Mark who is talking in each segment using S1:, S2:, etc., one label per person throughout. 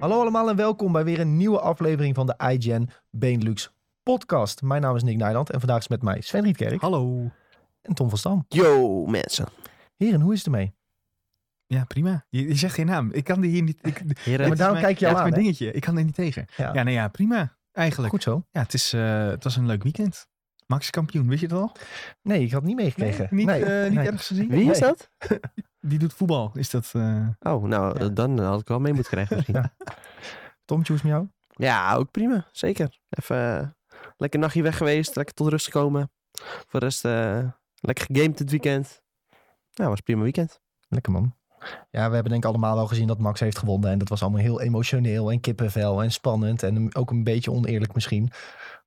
S1: Hallo allemaal en welkom bij weer een nieuwe aflevering van de iGen Benelux podcast. Mijn naam is Nick Nijland en vandaag is met mij Sven Rietkerk
S2: Hallo.
S1: en Tom van Stam.
S3: Yo, mensen.
S1: Heren, hoe is het ermee?
S2: Ja, prima. Je, je zegt geen naam. Ik kan die hier niet... Ik,
S3: Heren.
S1: maar
S2: het is
S1: daarom
S2: mijn-
S1: kijk je
S2: ja,
S1: al
S2: het
S1: aan,
S2: is mijn dingetje. Ik kan er niet tegen.
S1: Ja.
S2: Ja, nou ja, prima. Eigenlijk.
S1: Goed zo.
S2: Ja, het, is, eh, het was een leuk weekend. Max is kampioen, weet je het al?
S1: Nee, ik had het niet meegekregen.
S2: niet
S1: Nee,
S2: eh, niet
S1: nee.
S2: ergens gezien.
S3: Wie is
S1: Nee.
S3: dat?
S2: Die doet voetbal. Is dat... eh,
S3: Oh, nou,
S2: Ja.
S3: dan had ik wel mee moeten krijgen misschien.
S1: Ja.
S3: ja.
S1: Tom, choose me jou.
S3: ook prima. Zeker. Even eh, lekker nachtje weg geweest. Lekker tot rust gekomen. Voor de rest eh, lekker gegamed dit weekend. Nou, was een prima weekend.
S1: Lekker man. Ja, we hebben denk ik allemaal al gezien dat Max heeft gewonnen. En dat was allemaal heel emotioneel en kippenvel en spannend. En ook een beetje oneerlijk misschien.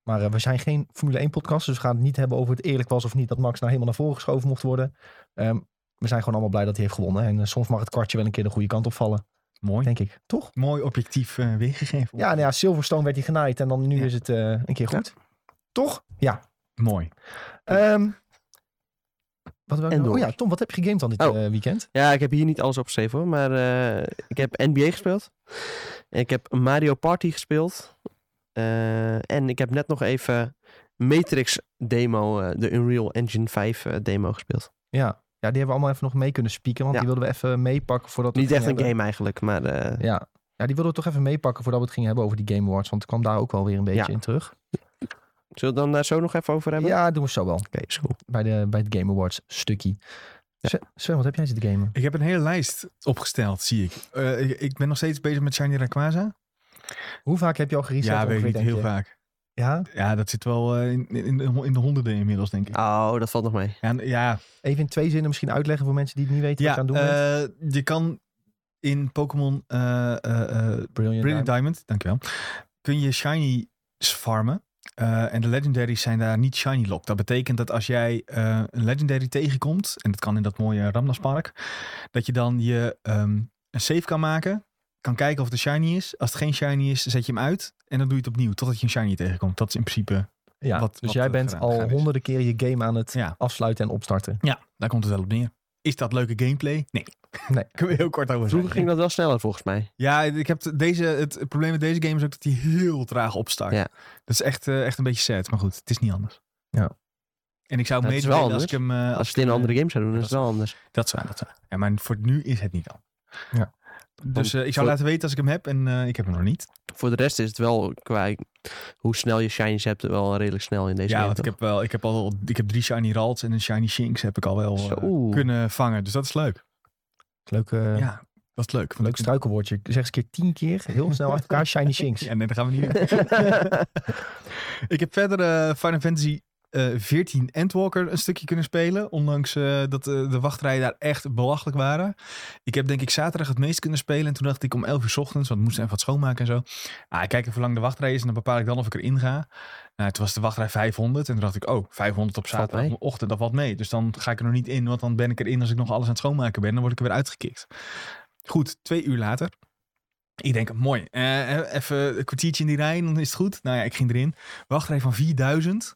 S1: Maar eh, we zijn geen Formule 1 podcast. Dus we gaan het niet hebben over het eerlijk was of niet dat Max nou helemaal naar voren geschoven mocht worden. Ehm, we zijn gewoon allemaal blij dat hij heeft gewonnen. En eh, soms mag het kwartje wel een keer de goede kant opvallen,
S2: mooi.
S1: denk ik. Toch?
S2: Mooi objectief eh, weergegeven.
S1: Ja, nou ja, Silverstone werd hij genaaid. En dan nu
S2: Ja.
S1: is het eh, een keer goed. Toch? Ja.
S2: Mooi.
S1: Ehm, wat wil ik
S3: En
S1: nou- Oh
S3: door.
S1: ja, Tom, wat heb je gegamed dan dit
S3: Oh.
S1: eh, weekend?
S3: Ja, ik heb hier niet alles opgeschreven hoor. Maar eh, ik heb NBA gespeeld. En ik heb Mario Party gespeeld. Eh, en ik heb net nog even Matrix demo, eh, de Unreal Engine 5 eh, demo gespeeld.
S1: Ja. ja, die hebben we allemaal even nog mee kunnen spieken. Want
S3: Ja.
S1: die wilden we even meepakken voordat we
S3: Niet
S1: het
S3: echt
S1: gingen
S3: een
S1: hebben.
S3: game eigenlijk, maar eh,
S1: Ja. ja, die wilden we toch even meepakken voordat we het gingen hebben over die Game Awards. Want het kwam daar ook wel weer een beetje
S3: Ja.
S1: in terug.
S3: zullen we het dan daar zo nog even over hebben?
S1: Ja, doen we zo wel.
S3: Oké, is goed.
S1: Bij, de, bij het Game Awards stukje. Sven- Sven, wat heb jij zitten gamen?
S2: Ik heb een hele lijst opgesteld, zie ik. Eh, ik, ik ben nog steeds bezig met Shiny Rayquaza.
S1: Hoe vaak heb je al gereset?
S2: Ja, weet ik
S1: ongeveer,
S2: niet.
S1: denk
S2: Heel
S1: je?
S2: vaak.
S1: Ja,
S2: Ja, dat zit wel eh, in, in, in de honderden inmiddels, denk ik.
S3: Oh, dat valt nog mee.
S2: Ja, ja,
S1: even in twee zinnen misschien uitleggen voor mensen die het niet weten
S2: ja
S1: wat je aan het doen bent.
S2: eh, je kan in Pokémon eh, eh, eh,
S1: Brilliant
S2: Brilliant Diamond, dankjewel. Kun je shinies farmen. Eh, en de legendaries zijn daar niet shiny locked. Dat betekent dat als jij eh, een legendary tegenkomt, en dat kan in dat mooie Ramdas Park, dat je dan je ehm, een save kan maken, kan kijken of de shiny is. Als het geen shiny is, zet je hem uit en dan doe je het opnieuw, totdat je een shiny tegenkomt. Dat is in principe,
S1: Ja,
S2: wat-
S1: dus
S2: wat
S1: jij
S2: er
S1: bent
S2: gedaan-
S1: al
S2: gedaan is.
S1: honderden keren je game aan het
S2: Ja.
S1: afsluiten en opstarten.
S2: ja, daar komt het wel op neer. Is dat leuke gameplay? Nee.
S1: Nee.
S2: Kunnen we heel kort over
S3: Vroeger
S2: zeggen.
S3: ging dat wel sneller volgens mij.
S2: Ja, ik heb t- deze, het, het probleem met deze game is ook dat hij heel traag opstart.
S3: Ja.
S2: Dat is echt, eh, echt een beetje sad, maar goed, het is niet anders.
S1: Ja.
S2: En ik zou hem
S3: Ja, het
S2: mede
S3: is wel
S2: spelen als ik hem... eh,
S3: Als je
S2: ik
S3: het in een
S2: hem,
S3: andere game zou doen,
S2: dat
S3: is het wel anders.
S2: eh, Dat is waar, dat is waar. Ja, maar voor nu is het niet dan.
S1: Ja.
S2: Dus eh, ik zou
S3: Voor-
S2: laten weten als ik hem heb en eh, ik heb hem nog niet.
S3: Voor de rest is het wel qua hoe snel je shinies hebt, wel redelijk snel in deze
S2: ja,
S3: game.
S2: want ik
S3: toch?
S2: heb, wel, ik heb al ik heb drie Shiny Ralts en een Shiny Shinx heb ik al wel eh,
S3: Zo.
S2: kunnen vangen. Dus dat is leuk.
S1: Leuk, eh,
S2: Ja, dat is leuk. Want
S1: leuk
S2: ik-
S1: struikelwoordje. Zeg eens een keer tien keer, heel snel achter elkaar, shiny shinks.
S2: Ja, nee, dat gaan we niet doen. ik heb verder eh, Final Fantasy eh 14 Endwalker een stukje kunnen spelen. Ondanks eh, dat eh, de wachtrijen daar echt belachelijk waren. Ik heb denk ik zaterdag het meest kunnen spelen. En toen dacht ik om 11 uur 's ochtends, want we moesten even wat schoonmaken en zo. Ah, ik kijk even hoe lang de wachtrij is en dan bepaal ik dan of ik erin ga. Nou, toen was de wachtrij 500. En toen dacht ik, oh, 500 op
S3: Valt
S2: zaterdagochtend, dat valt mee. Dus dan ga ik er nog niet in, want dan ben ik erin als ik nog alles aan het schoonmaken ben. Dan word ik er weer uitgekikt. Goed, twee uur later. Ik denk, mooi, eh, even een kwartiertje in die rij, dan is het goed. Nou ja, ik ging erin. Wachtrij van 4000.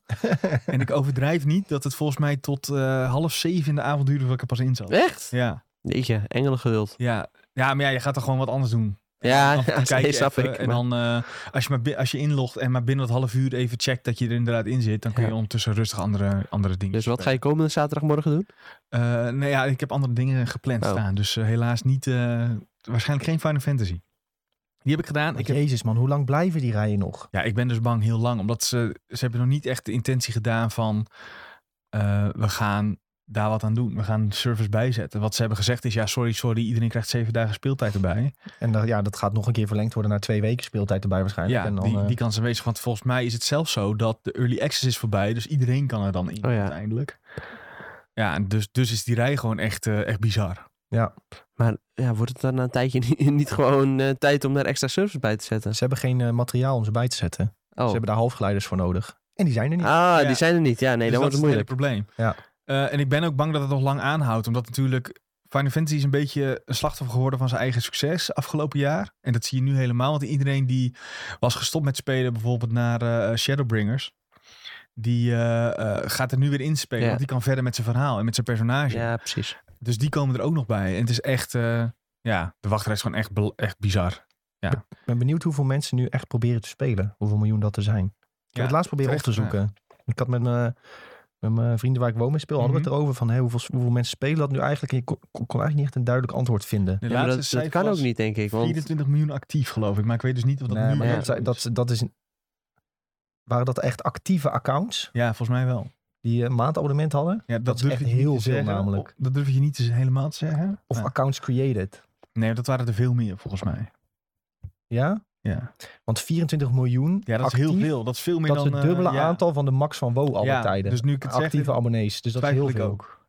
S2: en ik overdrijf niet dat het volgens mij tot eh, half zeven in de avond duurde voordat ik er pas in zat.
S3: Echt?
S2: Ja,
S3: Jeetje, engelen geduld.
S2: ja. ja, maar ja, je gaat toch gewoon wat anders doen.
S3: Ja,
S2: En dan
S3: ja,
S2: kijk je
S3: Ah, nee, snap
S2: even
S3: ik,
S2: En
S3: maar-
S2: dan, eh, als, je maar, bi- als je inlogt en maar binnen dat half uur even checkt dat je er inderdaad in zit, dan kun je
S3: Ja.
S2: ondertussen rustig andere, andere dingen
S3: Dus wat ga je komende zaterdagmorgen doen?
S2: Eh, nee, ja, ik heb andere dingen gepland
S3: Oh.
S2: staan. Dus eh, helaas niet, eh, waarschijnlijk geen Final Fantasy. Die heb ik gedaan. Ik heb
S1: Jezus man, hoe lang blijven die rijen nog?
S2: Ja, ik ben dus bang heel lang. Omdat ze, ze hebben nog niet echt de intentie gedaan van... eh, we gaan daar wat aan doen. We gaan service bijzetten. Wat ze hebben gezegd is... Ja, sorry, sorry. Iedereen krijgt zeven dagen speeltijd erbij.
S1: En dan- ja, dat gaat nog een keer verlengd worden naar twee weken speeltijd erbij waarschijnlijk.
S2: Ja,
S1: en dan,
S2: die,
S1: eh,
S2: die kans aanwezig. Want volgens mij is het zelfs zo dat de early access is voorbij. Dus iedereen kan er dan in
S3: Oh ja.
S2: uiteindelijk. Ja, en dus, dus is die rij gewoon echt, eh, echt bizar.
S3: Maar ja, wordt het dan na een tijdje niet, niet gewoon eh, tijd om daar extra service bij te zetten?
S1: Ze hebben geen eh, materiaal om ze bij te zetten.
S3: Oh.
S1: Ze hebben daar halfgeleiders voor nodig. En die zijn er niet.
S3: Ah,
S2: Ja.
S3: die zijn er niet. Ja, nee,
S2: dus
S3: dan wordt
S2: dat
S3: het
S2: is
S3: moeilijk.
S2: het hele probleem.
S1: Ja.
S2: Eh, en ik ben ook bang dat het nog lang aanhoudt. Omdat natuurlijk Final Fantasy is een beetje een slachtoffer geworden van zijn eigen succes afgelopen jaar. En dat zie je nu helemaal. Want iedereen die was gestopt met spelen bijvoorbeeld naar eh, Shadowbringers. Die eh, eh, gaat er nu weer inspelen.
S3: Ja.
S2: Want die kan verder met zijn verhaal en met zijn personage.
S3: Ja, precies.
S2: Dus die komen er ook nog bij. En het is echt, eh, ja, de wachtrij is gewoon echt, bel- echt bizar. Ja.
S1: Ik ben benieuwd hoeveel mensen nu echt proberen te spelen. Hoeveel miljoen dat er zijn. Ik
S2: Ja,
S1: heb het laatst proberen op
S2: terecht,
S1: te zoeken. Ik had met mijn, met mijn vrienden waar ik woon mee speel, hadden
S2: Mhm.
S1: we het erover van hey, hoeveel, hoeveel mensen spelen dat nu eigenlijk. En je kon, kon eigenlijk niet echt een duidelijk antwoord vinden.
S2: De
S3: Ja, maar
S2: laatste
S3: dat, dat
S2: cijfer
S3: kan ook
S2: was
S3: niet, denk ik. Want
S2: 24 miljoen actief, geloof ik. Maar ik weet dus niet wat dat
S1: Nee,
S2: nu
S1: maar
S3: ja.
S1: dat, zijn- dat, dat is. Waren dat echt actieve accounts
S2: Ja, volgens mij wel.
S1: die een maandabonnement hadden?
S2: Ja, dat,
S1: is
S2: durf
S1: echt
S2: je niet
S1: heel
S2: te
S1: veel
S2: zeggen.
S1: namelijk.
S2: Dat durf je niet te- helemaal te zeggen.
S1: Of
S2: Ja.
S1: accounts created?
S2: Nee, dat waren er veel meer, volgens mij.
S1: Ja?
S2: Ja,
S1: Want 24 miljoen.
S2: ja dat
S1: actief,
S2: is heel veel. Dat is veel meer
S1: Dat is
S2: dan...
S1: het dubbele
S2: eh, ja.
S1: aantal van de max van WoW alle
S2: Ja,
S1: tijden.
S2: Dus nu ik het zeg,
S1: actieve abonnees. Dus dat is
S2: twijfel
S1: heel
S2: ik
S1: veel.
S2: ook.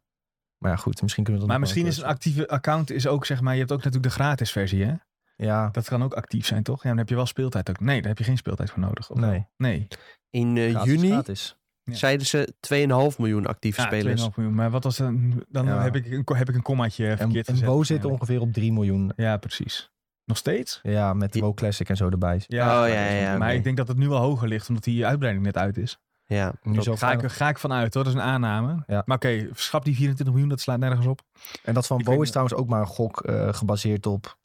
S1: Maar ja, goed, misschien kunnen we dat
S2: Maar
S1: nog wel
S2: misschien is een actieve account is ook, zeg maar, je hebt ook natuurlijk de gratis versie, hè?
S1: keer- Ja,
S2: Dat kan ook actief zijn, toch? Ja, dan heb je wel speeltijd ook. Nee, daar heb je geen speeltijd voor nodig. of wel?
S1: nee.
S2: Nee.
S3: in eh,
S1: Gratis,
S3: juni
S1: gratis.
S2: Ja.
S3: zeiden ze 2,5 miljoen actieve
S2: Ja, 2,5
S3: spelers.
S2: miljoen. Maar wat was dan? Dan
S1: Ja.
S2: heb, ik een, heb ik een kommaatje
S1: En,
S2: verkeerd
S1: en
S2: gezet.
S1: Bo zit
S2: waarschijnlijk.
S1: ongeveer op 3 miljoen.
S2: Ja, precies. Nog steeds?
S1: Ja, met de
S3: Ja.
S1: WoW Classic en zo erbij.
S3: Ja, Oh, ja,
S2: maar-
S3: ja,
S2: Maar
S3: oké.
S2: ik denk dat het nu wel hoger ligt, omdat die uitbreiding net uit is.
S3: Ja,
S1: Nu
S3: dat-
S1: zo
S2: Ga ik,
S1: weinig.
S2: ga ik vanuit hoor, dat is een aanname.
S1: Ja.
S2: Maar oké, schap die 24 miljoen, dat slaat nergens op.
S1: En dat van
S2: Ik
S1: Bo
S2: weet
S1: is
S2: niet-
S1: trouwens ook maar een gok eh, gebaseerd op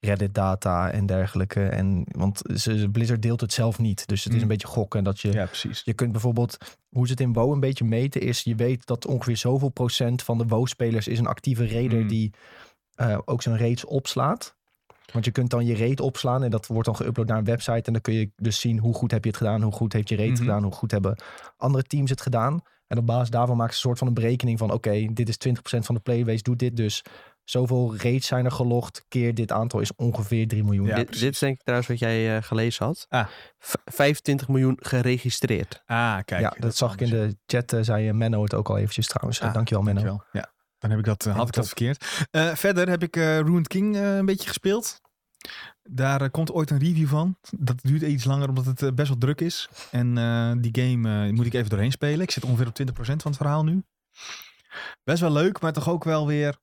S1: Reddit data en dergelijke. En, want ze, Blizzard deelt het zelf niet. Dus het is
S2: Mm.
S1: een beetje gokken. En dat je,
S2: Ja, precies.
S1: je kunt bijvoorbeeld, hoe ze het in WoW een beetje meten is, je weet dat ongeveer zoveel procent van de WoW-spelers is een actieve raider
S2: Mm.
S1: die eh, ook zijn raids opslaat. Want je kunt dan je raid opslaan en dat wordt dan geüpload naar een website. En dan kun je dus zien hoe goed heb je het gedaan, hoe goed heeft je raid
S2: Mhm.
S1: gedaan, hoe goed hebben andere teams het gedaan. En op basis daarvan maken ze een soort van een berekening van: oké, dit is 20% van de playbase, doet dit dus. Zoveel raids zijn er gelogd, keer dit aantal is ongeveer 3 miljoen.
S2: Ja,
S1: Dit-
S3: dit, dit is denk ik trouwens wat jij eh, gelezen had.
S2: Ah.
S3: V- 25 miljoen geregistreerd.
S2: Ah, kijk.
S1: ja, dat, zag ik in
S2: anders.
S1: de chat, eh, zei eh, Menno het ook al eventjes trouwens. Eh,
S2: Ah,
S1: dankjewel Menno.
S2: Dankjewel. Ja, dan heb ik dat, eh, had ik
S1: top.
S2: dat verkeerd. Eh, verder heb ik eh Ruined King eh, een beetje gespeeld. Daar eh, komt ooit een review van. Dat duurt iets langer omdat het eh, best wel druk is. En eh, die game eh, moet ik even doorheen spelen. Ik zit ongeveer op 20% van het verhaal nu. Best wel leuk, maar toch ook wel weer...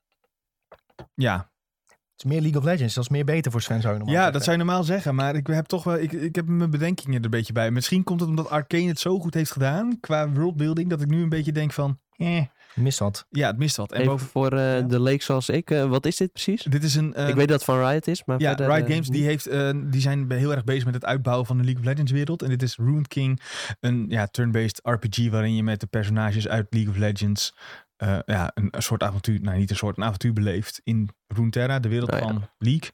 S2: Ja,
S1: Het is meer League of Legends, dat is meer beter voor Sven zou je normaal
S2: ja
S1: zeggen.
S2: dat zou je normaal zeggen. Maar ik heb toch wel... Ik, ik heb mijn bedenkingen er een beetje bij. Misschien komt het omdat Arcane het zo goed heeft gedaan qua worldbuilding... dat ik nu een beetje denk van... Eh,
S1: Mis dat.
S2: ja, het mist wat. En
S3: Even
S2: boven-
S3: voor eh,
S2: ja.
S3: de leek zoals ik. eh, wat is dit precies?
S2: dit is een... eh,
S3: ik weet dat het van Riot is, maar
S2: Ja,
S3: verder...
S2: Riot
S3: eh,
S2: Games die, heeft, eh, die zijn be- heel erg bezig met het uitbouwen van de League of Legends wereld. En dit is Ruined King, een ja, turn-based RPG waarin je met de personages uit League of Legends eh, ja, een, een soort avontuur, nou niet een soort, een avontuur beleeft in Runeterra, de wereld
S3: Oh ja.
S2: van League.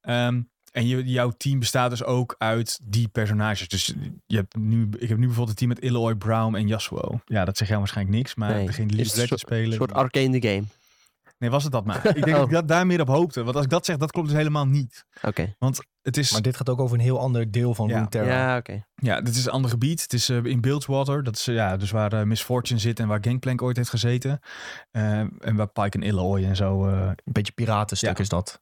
S2: Ehm, en je, jouw team bestaat dus ook uit die personages. Dus je hebt nu, ik heb nu bijvoorbeeld een team met Eloy, Brown en Yasuo. Ja, dat zegt jou waarschijnlijk niks, maar
S3: Nee.
S2: degene
S3: Is
S2: die League of
S3: het een
S2: Legends spelen...
S3: Een soort Oh. arcane the game.
S2: nee, was het dat maar. Ik denk dat ik dat daar meer op hoopte. Want als ik dat zeg, dat klopt dus helemaal niet.
S3: Oké.
S2: Het is
S1: Maar dit gaat ook over een heel ander deel van
S2: Ja.
S1: Runeterra.
S3: Ja, oké.
S2: Ja, dit is een ander gebied. Het is eh, in Bilgewater. Dat is eh, ja, dus waar eh, Miss Fortune zit en waar Gangplank ooit heeft gezeten. Eh, en waar Pike en Illoy en zo. eh.
S1: Een beetje piratenstuk
S2: Ja.
S1: is dat.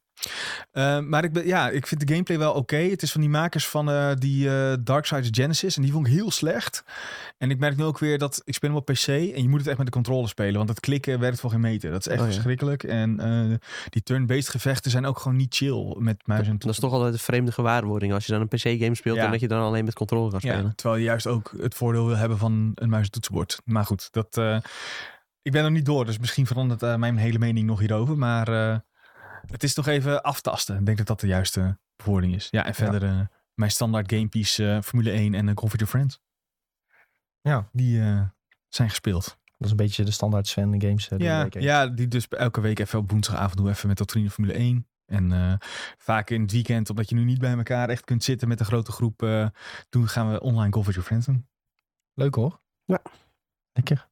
S2: Eh, maar ik, ben, ja, ik vind de gameplay wel oké. Het is van die makers van eh, die eh Darkseid Genesis. En die vond ik heel slecht. En ik merk nu ook weer dat ik speel hem op PC. En je moet het echt met de controle spelen. Want het klikken werkt voor geen meter. Dat is echt
S3: Oh ja.
S2: verschrikkelijk. En eh, die turn-based gevechten zijn ook gewoon niet chill. Met muis en
S3: Dat is toch altijd een vreemde gewaarwording als je dan een PC-game speelt
S2: Ja.
S3: en dat je dan alleen met controle kan spelen.
S2: Ja, terwijl je juist ook het voordeel wil hebben van een muis- en toetsenbord. Maar goed, dat, eh, ik ben er niet door, dus misschien verandert eh, mijn hele mening nog hierover. Maar eh, het is nog even aftasten. Ik denk dat dat de juiste bewoording is. Ja, en verder eh, mijn standaard gamepiece eh, Formule 1 en uh, Coffee to Friends.
S1: Ja.
S2: Die eh, zijn gespeeld.
S1: Dat is een beetje de standaard Sven games. eh, die
S2: Ja,
S1: ik heb.
S2: ja, die dus elke week even op woensdagavond doen. Even met Doctrine Formule 1. En eh, vaak in het weekend, omdat je nu niet bij elkaar echt kunt zitten met een grote groep, eh, doen gaan we online Golf with Your Friends doen.
S1: Leuk hoor.
S3: Ja.
S1: Lekker.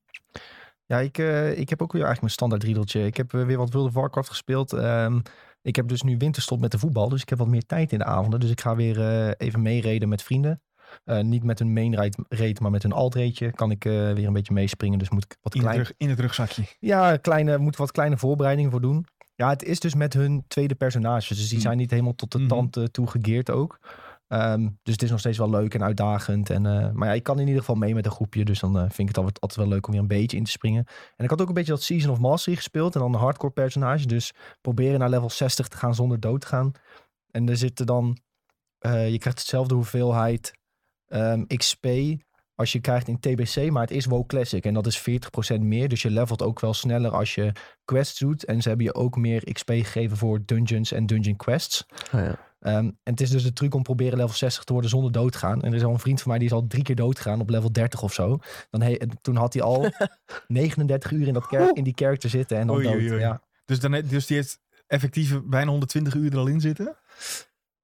S1: Ja, ik, eh, ik heb ook weer eigenlijk mijn standaard riedeltje. Ik heb eh, weer wat World of Warcraft gespeeld. Ehm, ik heb dus nu winterstop met de voetbal, dus ik heb wat meer tijd in de avonden. Dus ik ga weer eh, even meereden met vrienden. Eh, niet met een main raid- raid, maar met een alt raidje kan ik eh, weer een beetje meespringen. Dus moet ik wat
S2: In, het
S1: klein,
S2: rug, in het rugzakje.
S1: Ja, kleine, moet wat kleine voorbereidingen voor doen. Ja, het is dus met hun tweede personages. Dus die
S2: Mm.
S1: zijn niet helemaal tot de
S2: Mhm.
S1: tand eh, toe gegeerd ook. Ehm, dus het is nog steeds wel leuk en uitdagend. En, eh, maar ja, ik kan in ieder geval mee met een groepje. Dus dan eh, vind ik het altijd, altijd wel leuk om weer een beetje in te springen. En ik had ook een beetje dat Season of Mastery gespeeld. En dan een hardcore personage. Dus proberen naar level 60 te gaan zonder dood te gaan. En er zitten dan... eh, je krijgt dezelfde hoeveelheid ehm, XP als je krijgt in TBC, maar het is WoW Classic en dat is 40% meer. Dus je levelt ook wel sneller als je quests doet. En ze hebben je ook meer XP gegeven voor dungeons en dungeon quests.
S3: Oh, ja.
S1: Ehm, en het is dus de truc om proberen level 60 te worden zonder dood te gaan. En er is al een vriend van mij die is al drie keer dood gegaan op level 30 of zo. Dan he- toen had hij al 39 uur in, dat kerk in die character zitten en dan
S2: Oei,
S1: dood.
S2: oei, oei.
S1: Ja.
S2: Dus, dan, he- dus die heeft effectief bijna 120 uur er al in zitten.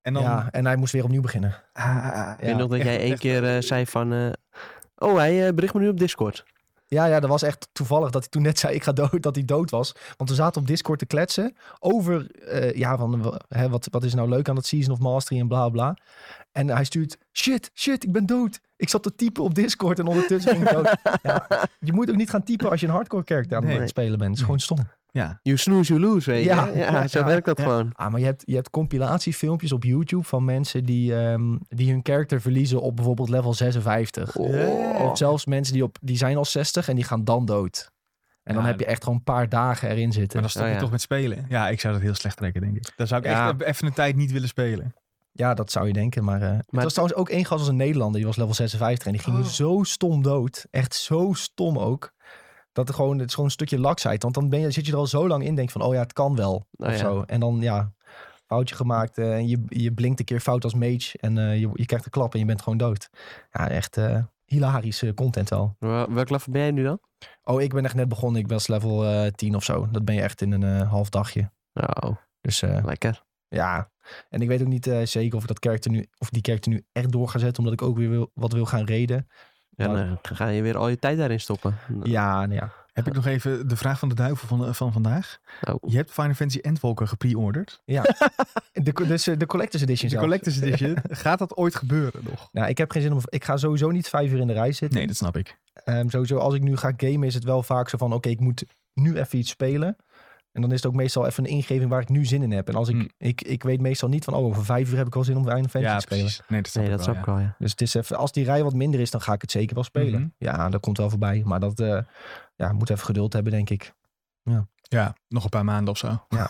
S2: En dan...
S1: ja, en hij moest weer opnieuw beginnen.
S2: Ah, ah, ah.
S3: Ik weet
S1: Ja,
S3: nog dat jij
S2: echt-
S3: één
S2: echt-
S3: keer eh, zei van... eh, oh, hij eh, bericht me nu op Discord.
S1: Ja, ja, dat was echt toevallig dat hij toen net zei ik ga dood, dat hij dood was. Want we zaten op Discord te kletsen over, eh, ja, van, w- hè, wat, wat is nou leuk aan dat Season of Mastery en bla bla. En hij stuurt, shit, shit, ik ben dood. Ik zat te typen op Discord en ondertussen ging ik dood. Ja, je moet ook niet gaan typen als je een hardcore character aan
S2: Nee.
S1: het spelen bent. Het is gewoon stom.
S2: Ja.
S3: You snooze, you lose, weet je.
S1: Ja.
S3: Ja, ja zo
S1: Ja.
S3: werkt dat
S2: Ja.
S3: gewoon.
S1: Ah, maar je hebt, je hebt compilatiefilmpjes op YouTube van mensen die, ehm, die hun character verliezen op bijvoorbeeld level 56.
S3: Oh.
S1: Of zelfs mensen die, op, die zijn al 60 en die gaan dan dood. En dan
S2: Ja,
S1: heb je echt gewoon een paar dagen erin zitten.
S2: Maar dan stop
S3: Oh,
S2: je
S3: ja.
S2: toch met spelen. Ja, ik zou dat heel slecht trekken, denk ik. Dan zou ik
S3: Ja.
S2: echt even een tijd niet willen spelen.
S1: Ja, dat zou je denken. Maar, eh het was trouwens ook één gast als een Nederlander. Die was level 56 en die ging
S2: Oh.
S1: zo stom dood. Echt zo stom ook. Dat er gewoon, het is gewoon een stukje laksheid. Want dan ben je, zit je er al zo lang in. Denk van, oh ja, het kan wel.
S3: Nou
S1: of
S3: ja.
S1: zo. En dan, ja, foutje gemaakt. eh, en je, je blinkt een keer fout als mage. En eh, je, je krijgt een klap en je bent gewoon dood. Ja, echt eh, hilarische content al.
S3: Wel- Welk level ben jij nu dan?
S1: Oh, ik ben echt net begonnen. Ik was level eh 10 of zo. Dat ben je echt in een eh, half dagje.
S3: Nou,
S1: Dus eh,
S3: lekker.
S1: ja, en ik weet ook niet eh, zeker of ik dat karakter nu, of die karakter nu echt door ga zetten, omdat ik ook weer wil, wat wil gaan reden.
S3: En
S1: Nou,
S3: dan ga je weer al je tijd daarin stoppen.
S1: ja, nou ja.
S2: Heb ik nog even de vraag van de duivel van, eh, van vandaag.
S3: Nou,
S2: Je hebt Final Fantasy Endwalker gepre-orderd.
S1: De, co- dus, eh, de Collector's Edition
S2: De
S1: zelf.
S2: Collector's Edition. Gaat dat ooit gebeuren nog?
S1: nou, ik heb geen zin om. Ik ga sowieso niet vijf uur in de rij zitten.
S2: Nee, dat snap ik.
S1: Ehm, sowieso, als ik nu ga gamen, is het wel vaak zo van: oké, ik moet nu even iets spelen. En dan is het ook meestal even een ingeving waar ik nu zin in heb. En als ik,
S2: Hmm.
S1: ik, ik weet meestal niet van: oh, over vijf uur heb ik wel zin om Final Fantasy te spelen.
S2: Nee, dat snap
S3: nee,
S2: ik
S3: dat
S2: wel,
S3: snap
S2: ja.
S3: ik wel, ja.
S1: Dus het is even, als die rij wat minder is, dan ga ik het zeker wel spelen.
S2: Mhm.
S1: Ja, dat komt wel voorbij. Maar dat eh, ja, moet even geduld hebben, denk ik.
S2: Ja, nog een paar maanden of zo.
S1: Ja.
S2: ja,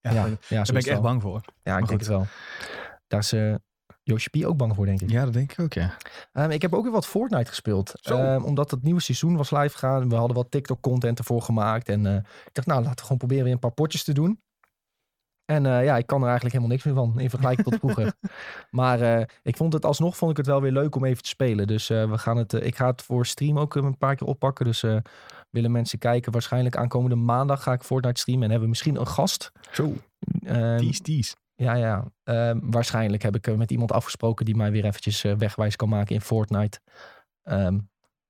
S1: ja, ja,
S2: Daar
S1: zo
S2: ben
S1: is
S2: ik echt
S1: het wel.
S2: bang voor.
S1: Ja, ik
S2: Maar
S1: denk het wel. Daar is eh Yoshi P ook bang voor, denk ik.
S2: Ja, dat denk ik ook, ja.
S1: Ehm, ik heb ook weer wat Fortnite gespeeld.
S2: Zo.
S1: Ehm, omdat het nieuwe seizoen was live gegaan. We hadden wat TikTok-content ervoor gemaakt. En eh, ik dacht, nou, laten we gewoon proberen weer een paar potjes te doen. En eh, ja, ik kan er eigenlijk helemaal niks meer van in vergelijking tot vroeger. Maar eh, ik vond het alsnog vond ik het wel weer leuk om even te spelen. Dus eh, we gaan het, eh, ik ga het voor stream ook eh, een paar keer oppakken. Dus eh, willen mensen kijken. Waarschijnlijk aankomende maandag ga ik Fortnite streamen. En hebben we misschien een gast.
S2: Zo,
S1: Ehm,
S2: tease, tease.
S1: ja, ja. Ehm, waarschijnlijk heb ik eh, met iemand afgesproken die mij weer eventjes eh, wegwijs kan maken in Fortnite. Ehm,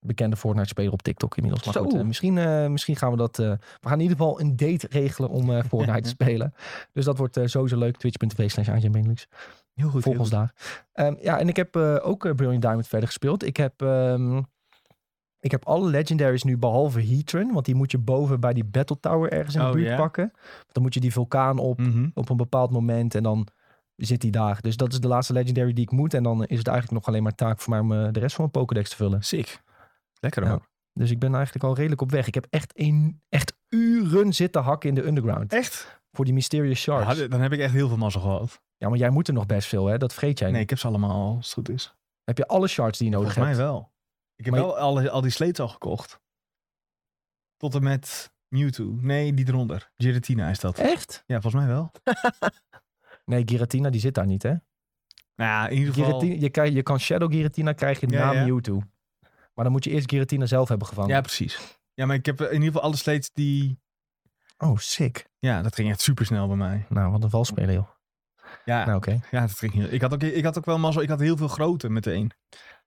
S1: bekende Fortnite-speler op TikTok inmiddels. Maar
S3: Zo.
S1: goed, eh, misschien, eh, misschien gaan we dat... eh, we gaan in ieder geval een date regelen om eh, Fortnite te spelen. Dus dat wordt eh, sowieso leuk. Twitch.tv slash Aantje en Benelux.
S2: Heel goed.
S1: Volg ons daar. Ehm, ja, en ik heb eh, ook eh, Brilliant Diamond verder gespeeld. Ik heb, ehm, ik heb alle legendaries nu behalve Heatran. Want die moet je boven bij die Battle Tower ergens in de
S2: Oh,
S1: buurt
S2: ja.
S1: pakken. Dan moet je die vulkaan op
S2: Mhm.
S1: op een bepaald moment en dan zit hij daar. Dus dat is de laatste legendary die ik moet. En dan is het eigenlijk nog alleen maar taak voor mij om eh, de rest van mijn Pokédex te vullen.
S2: Sick. Lekker
S1: Ja.
S2: ook.
S1: Dus ik ben eigenlijk al redelijk op weg. Ik heb echt, een, echt uren zitten hakken in de underground.
S2: Echt?
S1: Voor die Mysterious Shards. Ja,
S2: Ja, dan heb ik echt heel veel mazzel gehad.
S1: maar jij moet er nog best veel, hè? Dat vergeet jij
S2: Nee,
S1: niet.
S2: ik heb ze allemaal, als het goed is.
S1: Heb je alle shards die je nodig
S2: Volgens mij
S1: hebt?
S2: wel. Ik heb
S1: Maar je-
S2: wel alle, al die sleets al gekocht. Tot en met Mewtwo. Nee, die eronder. Giratina is dat.
S1: Echt?
S2: Ja, volgens mij wel.
S1: Nee, Giratina die zit daar niet, hè?
S2: Nou ja, in ieder geval...
S1: Giratina, je, kan, je kan Shadow Giratina krijgen
S2: Ja,
S1: na
S2: ja.
S1: Mewtwo. Maar dan moet je eerst Giratina zelf hebben gevangen.
S2: Ja, precies. Ja, maar ik heb eh, in ieder geval alle sleets die...
S1: Oh, sick.
S2: Ja, dat ging echt super snel bij mij.
S1: Nou, wat een valspeler, joh.
S2: Ja,
S1: Nou, oké.
S2: ja dat ging heel... Ik had, ook, ik had ook wel mazzel. Ik had heel veel grote meteen.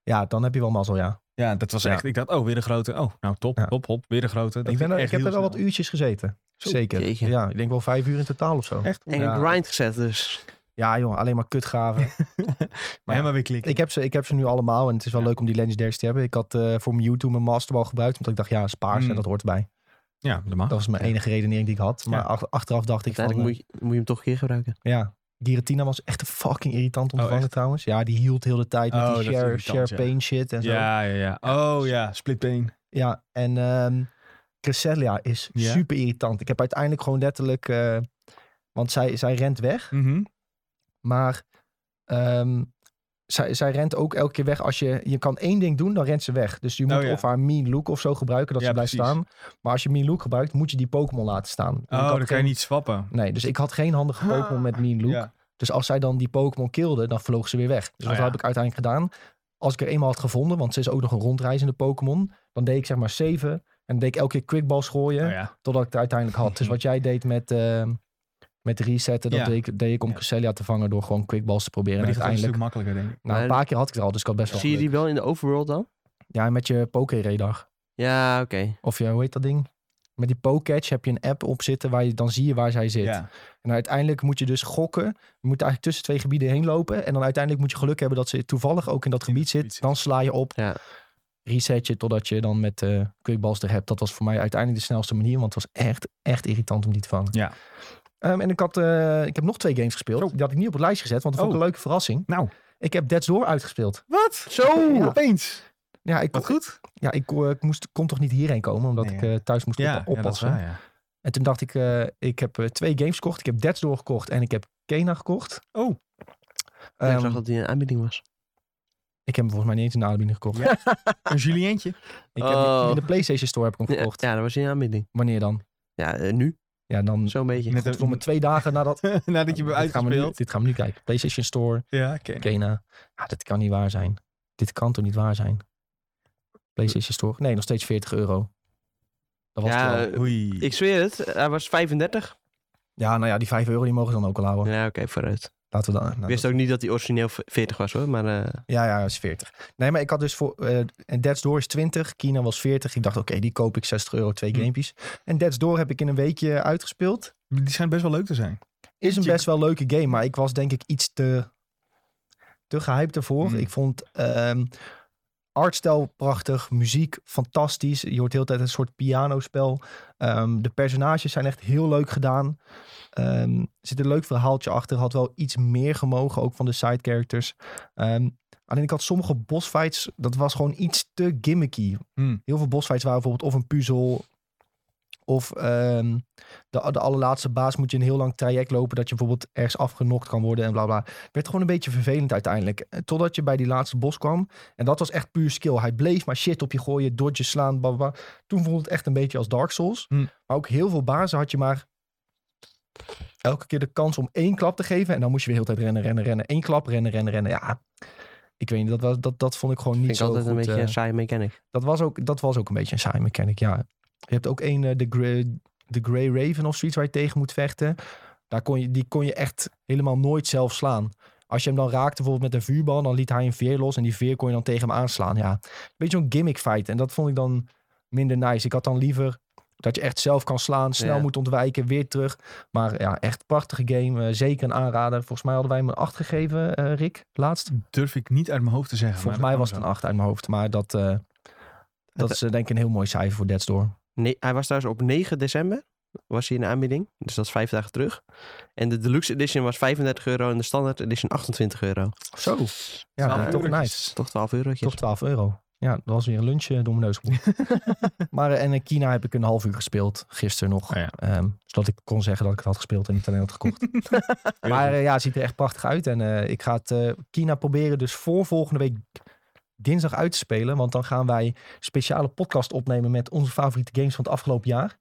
S1: Ja, dan heb je wel mazzel, ja.
S2: Ja, dat was
S1: Ja.
S2: echt... Ik dacht, oh, weer een grote. Oh, nou, top,
S1: Ja.
S2: top, hop. Weer een grote. Dat
S1: Ik, ben
S2: ging
S1: er, ik
S2: echt
S1: heb er
S2: heel
S1: wel wat
S2: snel.
S1: uurtjes gezeten.
S2: Zo,
S1: Zeker.
S3: jeetje.
S1: Ja, ik denk wel vijf uur in totaal of zo.
S2: Echt?
S3: En
S1: Ja.
S3: een grind gezet dus.
S1: Ja, jongen, alleen maar kutgraven.
S2: Maar helemaal weer klikken.
S1: ik, heb ze, ik heb ze nu allemaal en het is wel
S2: Ja.
S1: leuk om die legendaries te hebben. Ik had eh voor mijn YouTube mijn masterball gebruikt, omdat ik dacht, ja, spaar ze,
S2: Mm.
S1: dat hoort erbij.
S2: Ja, dat mag.
S1: Dat was mijn
S2: Ja.
S1: enige redenering die ik had. Maar
S2: Ja.
S1: ach- achteraf dacht ik van,
S3: Uiteindelijk moet je, moet je hem toch een keer gebruiken.
S1: eh, ja, Giratina was echt fucking irritant om te
S2: Oh,
S1: vangen
S2: echt?
S1: trouwens. Ja, die hield heel de tijd met
S2: Oh,
S1: die
S2: dat is
S1: share,
S2: irritant,
S1: share pain shit en zo. Ja,
S2: Ja, ja, ja. Oh ja, splitbeen.
S1: en ehm Cresselia is
S2: Ja.
S1: super irritant. Ik heb uiteindelijk gewoon letterlijk, eh, want zij, zij rent weg.
S2: Mhm.
S1: Maar ehm, zij, zij rent ook elke keer weg. Als je, je kan één ding doen, dan rent ze weg. Dus je moet
S2: Oh, ja.
S1: of haar mean look of zo gebruiken, dat
S2: Ja,
S1: ze blijft
S2: precies.
S1: staan. Maar als je mean look gebruikt, moet je die Pokémon laten staan. En ik
S2: Oh,
S1: had
S2: dan kan je
S1: geen-
S2: niet swappen. Oh,
S1: Nee, dus ik had geen handige Pokémon met mean look.
S2: Ja.
S1: Dus Dus als zij dan die Pokémon kilden, dan vloog ze weer weg. Dus
S2: Oh
S1: wat
S2: ja.
S1: heb ik uiteindelijk gedaan? Als ik er eenmaal had gevonden, want ze is ook nog een rondreizende Pokémon, dan deed ik zeg maar zeven. En dan deed ik elke keer quickballs gooien,
S2: Nou ja.
S1: totdat ik het uiteindelijk had. Dus wat jij deed met, eh, met resetten, dat
S2: Ja.
S1: deed, ik, deed ik om
S2: Ja.
S1: Cresselia te vangen door gewoon quickballs te proberen.
S2: Maar
S1: en
S2: die gaat een stuk
S1: uiteindelijk,
S2: makkelijker, denk ik.
S1: nou, een paar keer had ik het al, dus ik had best wel
S3: Zie je
S1: geluk.
S3: die wel in de overworld dan?
S1: Ja, en met je Poké-radar.
S3: Ja, oké.
S1: Of je, hoe heet dat ding? Met die Pocatch heb je een app op zitten waar je dan zie je waar zij zit.
S2: Ja.
S1: En uiteindelijk moet je dus gokken. Je moet eigenlijk tussen twee gebieden heen lopen. En dan uiteindelijk moet je geluk hebben dat ze toevallig ook in dat gebied
S2: gebied
S1: zit.
S2: zit.
S1: Dan sla je op.
S3: Ja.
S1: Reset je totdat je dan met eh quickballs er hebt. Dat was voor mij uiteindelijk de snelste manier. Want het was echt, echt irritant om die te vangen.
S2: Ja.
S1: Ehm, en ik, had, eh, ik heb nog twee games gespeeld.
S2: Zo.
S1: Die had ik niet op het lijstje gezet. Want dat vond ik
S2: Oh.
S1: een leuke verrassing.
S2: Nou,
S1: Ik heb Dead's Door uitgespeeld.
S2: wat? Zo,
S1: Ja.
S2: opeens.
S1: Ja, ik,
S2: Wat goed.
S1: ja, ik, eh, ik moest, kon toch niet hierheen komen. Omdat
S2: Nee,
S1: ik
S2: ja.
S1: eh, thuis moest
S2: Ja,
S1: oppa-
S2: ja, dat is
S1: oppassen.
S2: waar, ja.
S1: En toen dacht ik, eh, ik heb eh, twee games gekocht. Ik heb Dead's Door gekocht en ik heb Kena gekocht.
S2: Oh.
S3: Ja, ik
S1: Ehm,
S3: zag dat die een aanbieding was.
S1: ik heb hem volgens mij niet eens in de aanbieding gekocht.
S2: Ja. Een julientje.
S1: Ik heb
S3: Oh.
S1: hem in de PlayStation Store heb ik hem
S3: Ja,
S1: gekocht.
S3: ja, dat was in de aanbieding.
S1: Wanneer dan?
S3: Ja, eh, nu.
S1: Ja, dan
S3: Zo'n beetje.
S2: Net
S1: om twee dagen nadat...
S2: Nadat je hem
S1: dit, gaan we nu,
S2: uitgespeeld.
S1: dit gaan we nu kijken. PlayStation Store,
S2: Ja, oké.
S1: Kena. Ja, dit kan niet waar zijn. Dit kan toch niet waar zijn? PlayStation Store. Nee, nog steeds 40 euro. Dat was
S3: Ja,
S1: het wel.
S3: eh,
S2: Oei.
S3: ik zweer het. Hij was 35.
S1: ja, nou ja, die 5 euro die mogen ze dan ook al houden.
S3: Ja, oké, vooruit.
S1: Laten we dan... nou,
S3: Ik wist ook niet dat hij origineel v- 40 was hoor, maar eh,
S1: Ja, ja, is 40. Nee, maar ik had dus voor... eh, en Dead's Door is 20, Kina was 40. Ik dacht, oké, die koop ik 60 euro, twee
S2: Hm.
S1: gamepjes. En Dead's Door heb ik in een weekje uitgespeeld.
S2: Die schijnt best wel leuk te zijn.
S1: Is een
S2: Check.
S1: best wel leuke game, maar ik was denk ik iets te, te gehyped ervoor.
S2: Hm.
S1: Ik vond ehm artstijl prachtig, muziek fantastisch. Je hoort de hele tijd een soort pianospel. Ehm, de personages zijn echt heel leuk gedaan. Ehm, er zit een leuk verhaaltje achter. Had wel iets meer gemogen, ook van de side characters. Ehm, alleen ik had sommige bossfights, dat was gewoon iets te gimmicky.
S2: Hm.
S1: Heel veel bossfights waren bijvoorbeeld of een puzzel... Of ehm, de, de allerlaatste baas moet je een heel lang traject lopen... dat je bijvoorbeeld ergens afgenokt kan worden en bla bla. Het werd gewoon een beetje vervelend uiteindelijk. Eh, Totdat je bij die laatste bos kwam. En dat was echt puur skill. Hij bleef maar shit op je gooien, dodges slaan, bla bla. bla. Toen voelde het echt een beetje als Dark Souls.
S2: Hmm.
S1: Maar ook heel veel bazen had je maar elke keer de kans om één klap te geven. En dan moest je weer heel de tijd rennen, rennen, rennen. Eén klap, rennen, rennen, rennen. Ja, ik weet niet, dat, was, dat, dat vond ik gewoon niet
S3: vind ik
S1: zo
S3: altijd
S1: goed.
S3: een beetje
S1: eh,
S3: een saaie mechanic.
S1: dat, was ook, dat was ook een beetje een saaie mechanic, ja. Je hebt ook één, eh, de, Grey, de Grey Raven of zoiets, waar je tegen moet vechten. Daar kon je, die kon je echt helemaal nooit zelf slaan. Als je hem dan raakte bijvoorbeeld met een vuurbal, dan liet hij een veer los en die veer kon je dan tegen hem aanslaan. Ja, een beetje zo'n gimmick fight. En dat vond ik dan minder nice. Ik had dan liever dat je echt zelf kan slaan, snel
S3: Ja.
S1: moet ontwijken, weer terug. Maar ja, echt prachtige game. eh, zeker een aanrader. Volgens mij hadden wij hem een 8 gegeven, eh, Rick, laatst.
S2: Durf ik niet uit mijn hoofd te zeggen.
S1: Volgens
S2: maar
S1: mij was
S2: dat
S1: het
S2: kan
S1: een 8 uit mijn hoofd. Maar dat, eh, dat is eh, denk ik een heel mooi cijfer voor Dead Store.
S3: Nee, hij was trouwens op 9 december, was hij in de aanbieding. Dus dat is vijf dagen terug. En de deluxe edition was 35 euro en de standaard edition 28 euro.
S1: Zo.
S2: wel.
S1: Ja,
S3: Twaalf
S1: toch
S2: eurotjes.
S1: nice.
S3: Toch 12 eurotjes.
S1: Toch 12 euro. Ja, dat was weer een lunch eh, door mijn neus gemoet. maar eh, en in China heb ik een half uur gespeeld, gisteren nog.
S2: Oh ja.
S1: Ehm, zodat ik kon zeggen dat ik het had gespeeld en niet alleen had gekocht. maar eh, ja, het ziet er echt prachtig uit. En eh, ik ga het eh, China proberen dus voor volgende week dinsdag uit te spelen. Want dan gaan wij speciale podcast opnemen met onze favoriete games van het afgelopen jaar.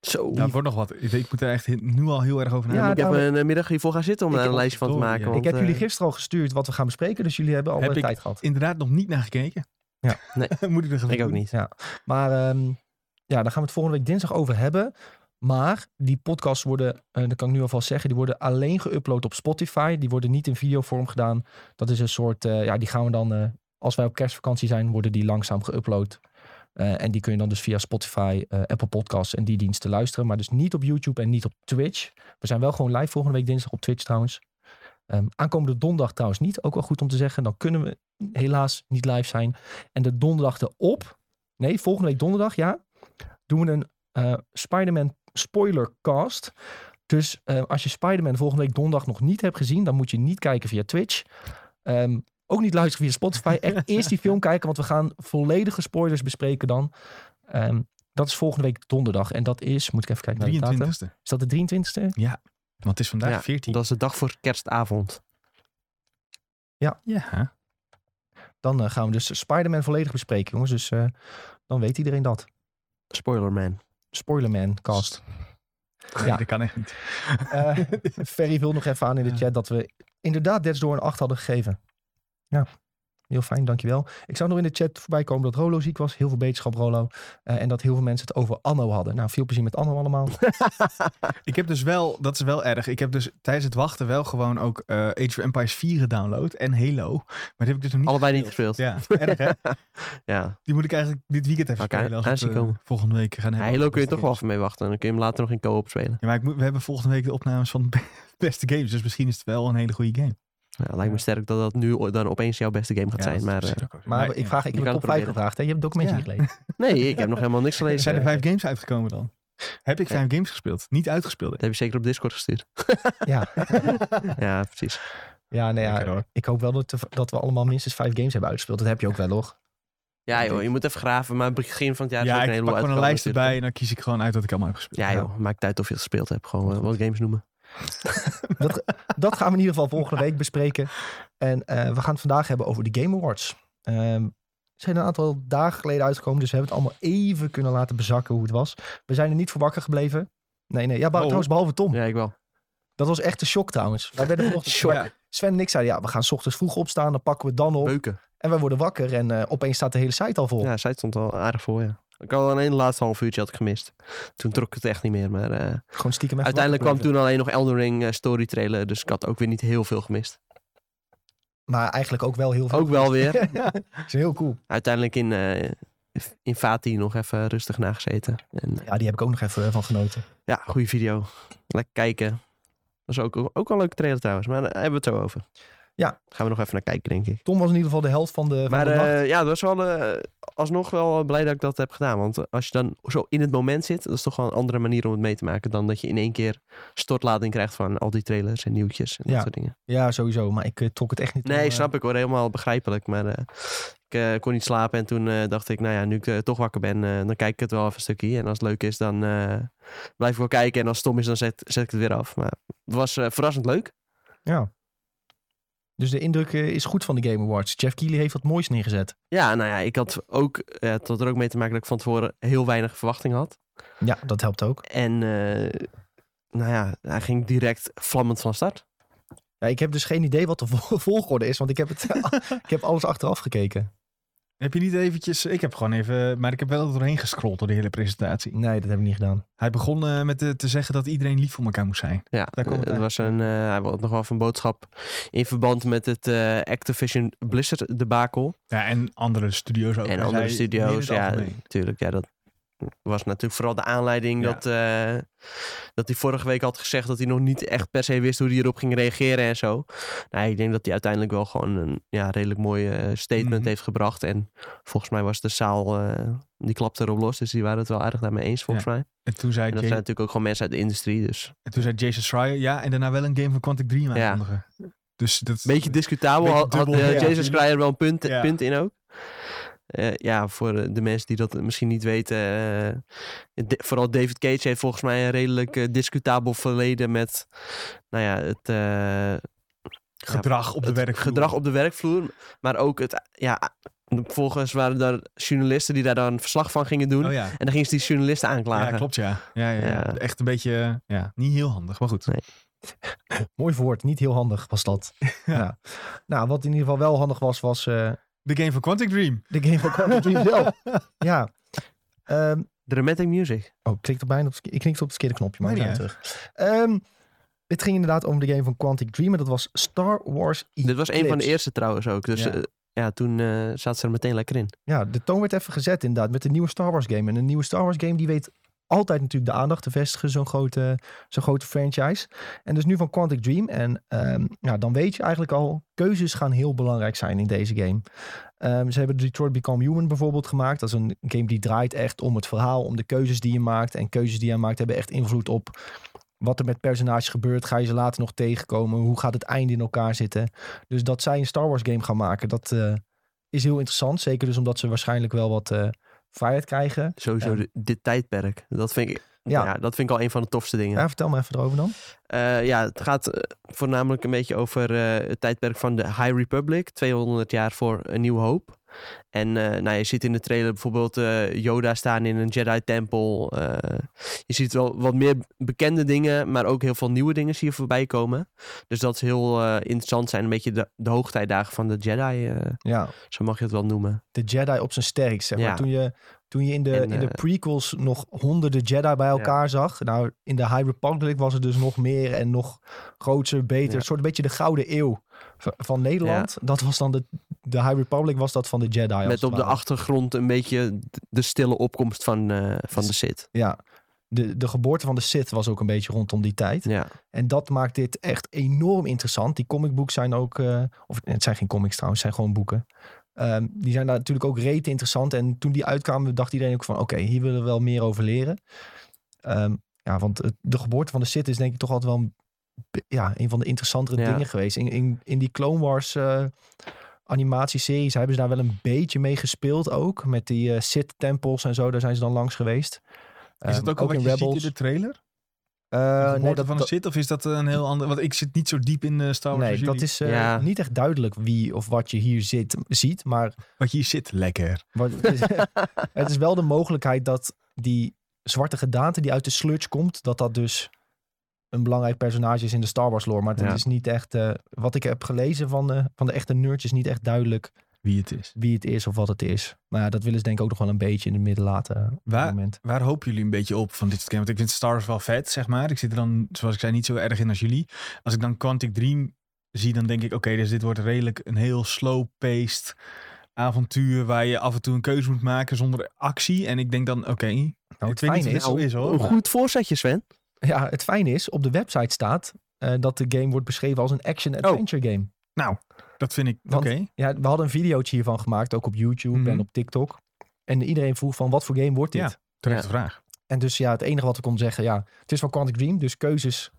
S3: Zo.
S2: Nou, het wordt nog wat. Ik, ik moet er echt nu al heel erg over
S1: Ja,
S2: nadenken.
S3: ik heb
S1: nou,
S3: een eh, middag hiervoor gaan zitten om
S1: ik
S3: daar een
S1: heb-
S3: lijstje van te
S2: verdorie,
S3: maken.
S2: ja.
S1: ik
S3: want,
S1: heb jullie
S3: eh,
S1: gisteren al gestuurd wat we gaan bespreken. Dus jullie hebben al
S2: Heb
S1: eh,
S2: ik-
S1: tijd gehad.
S2: Inderdaad, nog niet naar gekeken.
S1: Ja.
S3: Nee.
S2: moet ik er
S3: Ik ook niet.
S1: Ja. Maar ehm, ja, daar gaan we het volgende week dinsdag over hebben. Maar die podcasts worden, eh dat kan ik nu alvast zeggen, die worden alleen geüpload op Spotify. Die worden niet in videovorm gedaan. Dat is een soort, eh, ja, die gaan we dan, eh, als wij op kerstvakantie zijn, worden die langzaam geüpload. Eh, en die kun je dan dus via Spotify, eh, Apple Podcasts en die diensten luisteren. Maar dus niet op YouTube en niet op Twitch. We zijn wel gewoon live volgende week dinsdag op Twitch trouwens. Ehm, aankomende donderdag trouwens niet. Ook wel goed om te zeggen. Dan kunnen we helaas niet live zijn. En de donderdag erop. Nee, volgende week donderdag, ja. Doen we een eh Spider-Man spoilercast. Dus eh, als je Spider-Man volgende week donderdag nog niet hebt gezien. Dan moet je niet kijken via Twitch. Ehm, ook niet luisteren via Spotify. Echt eerst die film kijken. Want we gaan volledige spoilers bespreken dan. Ehm, dat is volgende week donderdag. En dat is, moet ik even kijken naar de datum.
S2: 23 e
S1: Is dat de 23e?
S2: Want het is vandaag
S3: Ja,
S2: 14.
S3: Dat is de dag voor kerstavond.
S2: Ja.
S1: Dan eh, gaan we dus Spider-Man volledig bespreken, jongens. Dus eh, dan weet iedereen dat.
S3: Spoilerman.
S1: Spoilerman cast. Ja.
S2: dat kan echt niet.
S1: Eh, Ferry vult nog even aan in de
S2: Ja.
S1: chat dat we inderdaad Dead's Door een 8 hadden gegeven. Ja, heel fijn, dankjewel. Ik zag nog in de chat voorbij komen dat Rolo ziek was. Heel veel beterschap, Rolo. Eh, en dat heel veel mensen het over Anno hadden. Nou, veel plezier met Anno allemaal.
S2: Ik heb dus wel, dat is wel erg. Ik heb dus tijdens het wachten wel gewoon ook eh, Age of Empires 4 gedownload en Halo. Maar die heb ik dus nog niet.
S3: Allebei niet gespeeld. Ja.
S2: Ja, erg hè? Die moet ik eigenlijk dit weekend even
S3: Oké,
S2: spelen. Als
S3: daar
S2: we
S3: zie
S2: het,
S3: ik
S2: eh,
S3: komen.
S2: volgende week gaan hebben.
S3: Halo kun je toch wel even mee wachten. Dan kun je hem later nog in co-op spelen.
S2: Ja, maar ik moet, we hebben volgende week de opnames van de beste games. Dus misschien is het wel een hele goede game.
S3: Ja, lijkt me sterk dat dat nu o- dan opeens jouw beste game gaat
S2: Ja, dat
S3: zijn.
S2: is
S3: Maar eh,
S2: misschien ook wel-
S1: Maar ik
S2: ja.
S1: vraag, ik
S3: Je
S1: heb de
S3: kan
S1: top
S3: het
S1: 5
S3: proberen.
S1: gelezen. Hè? Je hebt documenten
S2: Ja.
S1: gelezen.
S3: nee, ik heb nog helemaal niks gelezen.
S2: Zijn er
S3: Eh,
S2: vijf games uitgekomen dan? Heb ik
S3: Nee.
S2: vijf games gespeeld? Niet uitgespeeld.
S3: Dat heb je zeker op Discord gestuurd.
S1: Ja.
S3: Ja, precies.
S1: Ja, nee,
S2: Lekker,
S1: ja,
S2: hoor.
S1: ik hoop wel dat, dat we allemaal minstens vijf games hebben uitgespeeld. Dat heb je ook wel, hoor.
S3: Ja joh, je moet even graven. Maar begin van het jaar is
S2: ja,
S3: ook een
S2: ik
S3: heleboel
S2: pak gewoon een
S3: uitgekomen
S2: lijst erbij en dan kies ik gewoon uit wat ik allemaal heb gespeeld.
S3: natuurlijk. Ja joh, maakt uit of je het gespeeld hebt. Gewoon eh, wat games noemen.
S1: Dat gaan we in ieder geval volgende week bespreken. En eh, we gaan het vandaag hebben over de Game Awards. Ehm zijn een aantal dagen geleden uitgekomen, dus we hebben het allemaal even kunnen laten bezakken hoe het was. We zijn er niet voor wakker gebleven. Nee, nee. Ja, maar
S2: Oh.
S1: trouwens, behalve Tom.
S3: Ja, ik wel.
S1: Dat was echt een shock trouwens. Wij werden vanochtend...
S3: Shock.
S2: Ja.
S1: Sven en ik zeiden, ja, we gaan 's ochtends vroeg opstaan, dan pakken we het dan op.
S3: Beuken.
S1: En wij worden wakker en eh, opeens staat de hele site al vol.
S3: Ja, zij stond al aardig voor, ja. Ik had alleen de laatste half uurtje had ik gemist. Toen trok ik het echt niet meer. Maar eh,
S1: Gewoon stiekem even
S3: uiteindelijk
S1: wakker
S3: kwam toen alleen nog Elden Ring eh, story trailer. Dus ik had ook weer niet heel veel gemist.
S1: blijven. Maar eigenlijk ook wel heel veel.
S3: Ook wel weer.
S1: Is heel cool.
S3: Uiteindelijk in, eh in Fati nog even rustig nagezeten. En, eh,
S1: Ja, die heb ik ook nog even eh, van genoten.
S3: ja, goede video. Lekker kijken. Dat is ook, ook wel een leuke trailer trouwens. Maar daar hebben we het zo over.
S1: Ja.
S3: Gaan we nog even naar kijken, denk ik.
S1: Tom was in ieder geval de helft van de, van
S3: Maar
S1: de nacht.
S3: eh, ja, dat was wel eh, alsnog wel eh, blij dat ik dat heb gedaan. Want als je dan zo in het moment zit, dat is toch wel een andere manier om het mee te maken dan dat je in één keer stortlading krijgt van al die trailers en nieuwtjes en
S1: Ja.
S3: dat soort dingen.
S1: Ja, sowieso. Maar ik eh, trok het echt niet.
S3: Nee,
S1: om, eh,
S3: snap ik hoor, helemaal begrijpelijk. Maar eh, ik eh, kon niet slapen en toen eh, dacht ik, nou ja, nu ik eh, toch wakker ben, eh, dan kijk ik het wel even een stukje. En als het leuk is, dan eh, blijf ik wel kijken. En als het stom is, dan zet, zet ik het weer af. Maar het was eh, verrassend leuk.
S1: Ja. Dus de indruk eh, is goed van de Game Awards. Jeff Keighley heeft wat moois neergezet.
S3: Ja, nou ja, ik had ook, eh, het had er ook mee te maken dat ik van tevoren heel weinig verwachting had.
S1: Ja, dat helpt ook.
S3: En eh, nou ja, hij ging direct vlammend van start.
S1: Ja, ik heb dus geen idee wat de vol- volgorde is, want ik heb, het, ik heb alles achteraf gekeken.
S2: Heb je niet eventjes... Ik heb gewoon even... Maar ik heb wel er doorheen gescrolld door de hele presentatie.
S1: Nee, dat heb ik niet gedaan.
S2: Hij begon eh, met eh, te zeggen dat iedereen lief voor elkaar moest zijn.
S3: Ja,
S2: Daar kwam het
S3: eh, het was een, eh, hij had nog wel even een boodschap in verband met het eh, Activision Blizzard debakel.
S2: Ja, en andere studio's ook.
S3: en
S2: Hij
S3: andere
S2: zei, meer in
S3: studio's,
S2: het
S3: ja,
S2: algemeen.
S3: natuurlijk. Ja, dat was natuurlijk vooral de aanleiding
S2: Ja.
S3: dat, eh, dat hij vorige week had gezegd dat hij nog niet echt per se wist hoe hij erop ging reageren en zo. Nou, ik denk dat hij uiteindelijk wel gewoon een ja, redelijk mooi eh, statement
S2: Mhm.
S3: heeft gebracht. En volgens mij was de zaal, eh, die klapte erop los, dus die waren het wel aardig daarmee eens volgens mij.
S2: En toen zei,
S3: En dat
S2: Jay-
S3: zijn natuurlijk ook gewoon mensen uit de industrie, dus...
S2: en toen zei Jason Schreier, ja, en daarna wel een game van Quantic Dream
S3: Ja.
S2: aankondigen. Dus dat...
S3: Beetje discutabel.
S2: Beetje
S3: had-
S2: dubbel,
S3: had eh,
S2: ja.
S3: Jason Schreier wel een punt,
S2: Ja.
S3: punt in ook. Eh, ja, voor eh, de mensen die dat misschien niet weten. eh, de- vooral David Cage heeft volgens mij een redelijk eh, discutabel verleden met nou ja, het, eh,
S2: gedrag op de
S3: het
S2: werkvloer.
S3: gedrag op de werkvloer. Maar ook het, ja, volgens waren daar journalisten die daar dan verslag van gingen doen.
S2: Oh ja.
S3: En dan gingen ze die journalisten aanklagen.
S2: Ja, klopt ja. Ja, ja, ja.
S3: Ja.
S2: Echt een beetje, ja, niet heel handig, maar goed.
S3: Nee.
S1: Mooi woord, niet heel handig was dat. ja. Nou, wat in ieder geval wel handig was, was eh,
S2: De game van Quantic Dream.
S1: de Game van Quantum Dream zelf. Ja. Ehm,
S3: Dramatic music.
S1: oh, ik klikte bijna op, het verke- ik klikte op het verkeerde knopje, maar we
S2: Nee,
S1: zijn
S2: niet
S1: terug. Ehm, het ging inderdaad over de game van Quantic Dream en dat was Star Wars
S3: Dit was een van de
S1: Eclipse.
S3: eerste trouwens ook. Dus
S2: Ja.
S3: eh, ja, toen eh zaten ze er meteen lekker in.
S1: Ja, de toon werd even gezet inderdaad met de nieuwe Star Wars game. En een nieuwe Star Wars game die weet altijd natuurlijk de aandacht te vestigen, zo'n grote, zo'n grote franchise. En dus nu van Quantic Dream. En ehm, ja, dan weet je eigenlijk al, keuzes gaan heel belangrijk zijn in deze game. Ehm, ze hebben Detroit Become Human bijvoorbeeld gemaakt. Dat is een game die draait echt om het verhaal, om de keuzes die je maakt. En keuzes die je maakt hebben echt invloed op wat er met personages gebeurt. Ga je ze later nog tegenkomen? Hoe gaat het einde in elkaar zitten? Dus dat zij een Star Wars game gaan maken, dat... eh, is heel interessant. Zeker dus omdat ze waarschijnlijk wel wat eh, vrijheid krijgen.
S3: Sowieso
S1: Ja.
S3: di- dit tijdperk. Dat vind ik
S1: Ja.
S3: ja. dat vind ik al een van de tofste dingen.
S1: Ja, vertel me even erover dan.
S3: Eh, ja, het gaat eh, voornamelijk een beetje over eh, het tijdperk van de High Republic. 200 jaar voor een nieuw hoop. En eh, nou, je ziet in de trailer bijvoorbeeld eh, Yoda staan in een Jedi-tempel. Eh, je ziet wel wat meer bekende dingen, maar ook heel veel nieuwe dingen zie je voorbij komen. Dus dat is heel eh, interessant zijn. Een beetje de, de hoogtijdagen van de Jedi, eh,
S1: Ja,
S3: zo mag je het wel noemen.
S1: de Jedi op zijn sterkst. Zeg maar.
S3: Ja.
S1: toen, je, toen je in de,
S3: En,
S1: in de
S3: eh,
S1: prequels nog honderden Jedi bij elkaar zag. Nou, in de High Republic was het dus nog meer en nog groter, beter.
S3: Ja.
S1: Een soort beetje de gouden eeuw van, van Nederland. Dat was dan de, de High Republic was dat van de Jedi. als
S3: Met
S1: het
S3: op de
S1: ware.
S3: achtergrond een beetje d- de stille opkomst van, eh, van de Sith.
S1: Ja, de, de geboorte van de Sith was ook een beetje rondom die tijd.
S3: Ja,
S1: En dat maakt dit echt enorm interessant. Die comicbooks zijn ook, eh, of nee, het zijn geen comics trouwens, het zijn gewoon boeken. Ehm, die zijn daar natuurlijk ook rete interessant. En toen die uitkwamen, dacht iedereen ook van, oké, hier willen we wel meer over leren. Ehm, ja, want het- de geboorte van de Sith is denk ik toch altijd wel een, be- ja, een van de interessantere
S3: Ja.
S1: dingen geweest. In, in, in die Clone Wars eh, animatieseries hebben ze daar wel een beetje mee gespeeld ook. Met die eh, Sith-tempels en zo, daar zijn ze dan langs geweest.
S2: Is dat
S1: Ehm,
S2: ook al wat
S1: in
S2: je ziet in de trailer?
S1: Eh,
S2: Uh,
S1: nee,
S2: dat, van een zit of is dat een heel ander? Want ik zit niet zo diep in eh, Star Wars.
S1: Nee,
S2: als
S1: dat
S2: jullie.
S1: is eh,
S3: Ja.
S1: niet echt duidelijk wie of wat je hier zit, ziet. Maar
S2: Wat je hier zit, lekker.
S1: wat, het, is, het is wel de mogelijkheid dat die zwarte gedaante die uit de sludge komt, dat dat dus een belangrijk personage is in de Star Wars lore. Maar het
S3: Ja.
S1: is niet echt, eh, wat ik heb gelezen van de, van de echte nerds, is niet echt duidelijk
S2: Wie het is.
S1: wie het is of wat het is. Maar ja, dat willen ze denk ik ook nog wel een beetje in het midden laten. eh, op dit
S2: Waar-
S1: moment.
S2: Waar hopen jullie een beetje op van dit soort games? Want ik vind Star Wars wel vet, zeg maar. Ik zit er dan, zoals ik zei, niet zo erg in als jullie. Als ik dan Quantic Dream zie, dan denk ik... Oké, dus dit wordt redelijk een heel slow-paced avontuur... waar je af en toe een keuze moet maken zonder actie. En ik denk dan, oké,
S1: Nou,
S2: ik weet niet of dit zo is, hoor.
S3: een goed voorzetje Sven.
S1: Ja, het fijne is, op de website staat eh, dat de game wordt beschreven als een
S2: Oh.
S1: action-adventure game.
S2: Nou, dat vind ik, oké.
S1: Want- Ja, we hadden een videootje hiervan gemaakt, ook op YouTube
S2: Mhm.
S1: en op TikTok. En iedereen vroeg van, wat voor game wordt dit?
S2: Ja. Terechte
S3: Ja.
S2: vraag.
S1: En dus ja, het enige wat ik kon zeggen, ja, het is van Quantic Dream, dus keuzes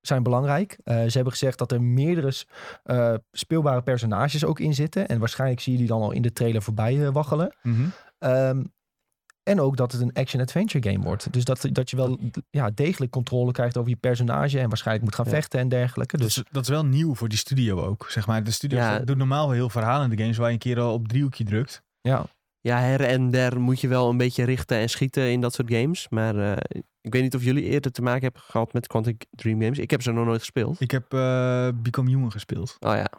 S1: zijn belangrijk. Eh, ze hebben gezegd dat er meerdere s- eh, speelbare personages ook in zitten. En waarschijnlijk zie je die dan al in de trailer voorbij eh, waggelen.
S2: Mhm.
S1: Ehm, en ook dat het een action-adventure game wordt. Dus dat, dat je wel ja, degelijk controle krijgt over je personage... en waarschijnlijk moet gaan
S3: Ja.
S1: vechten en dergelijke.
S2: Dat
S1: Dus
S2: is, dat is wel nieuw voor die studio ook, zeg maar. De studio
S3: Ja.
S2: doet normaal wel heel verhalende games... waar je een keer al op driehoekje drukt.
S1: ja,
S3: Ja, her en der moet je wel een beetje richten en schieten in dat soort games. Maar eh, ik weet niet of jullie eerder te maken hebben gehad met Quantic Dream Games. Ik heb ze nog nooit gespeeld.
S2: Ik heb eh, Become Human gespeeld.
S3: Oh ja,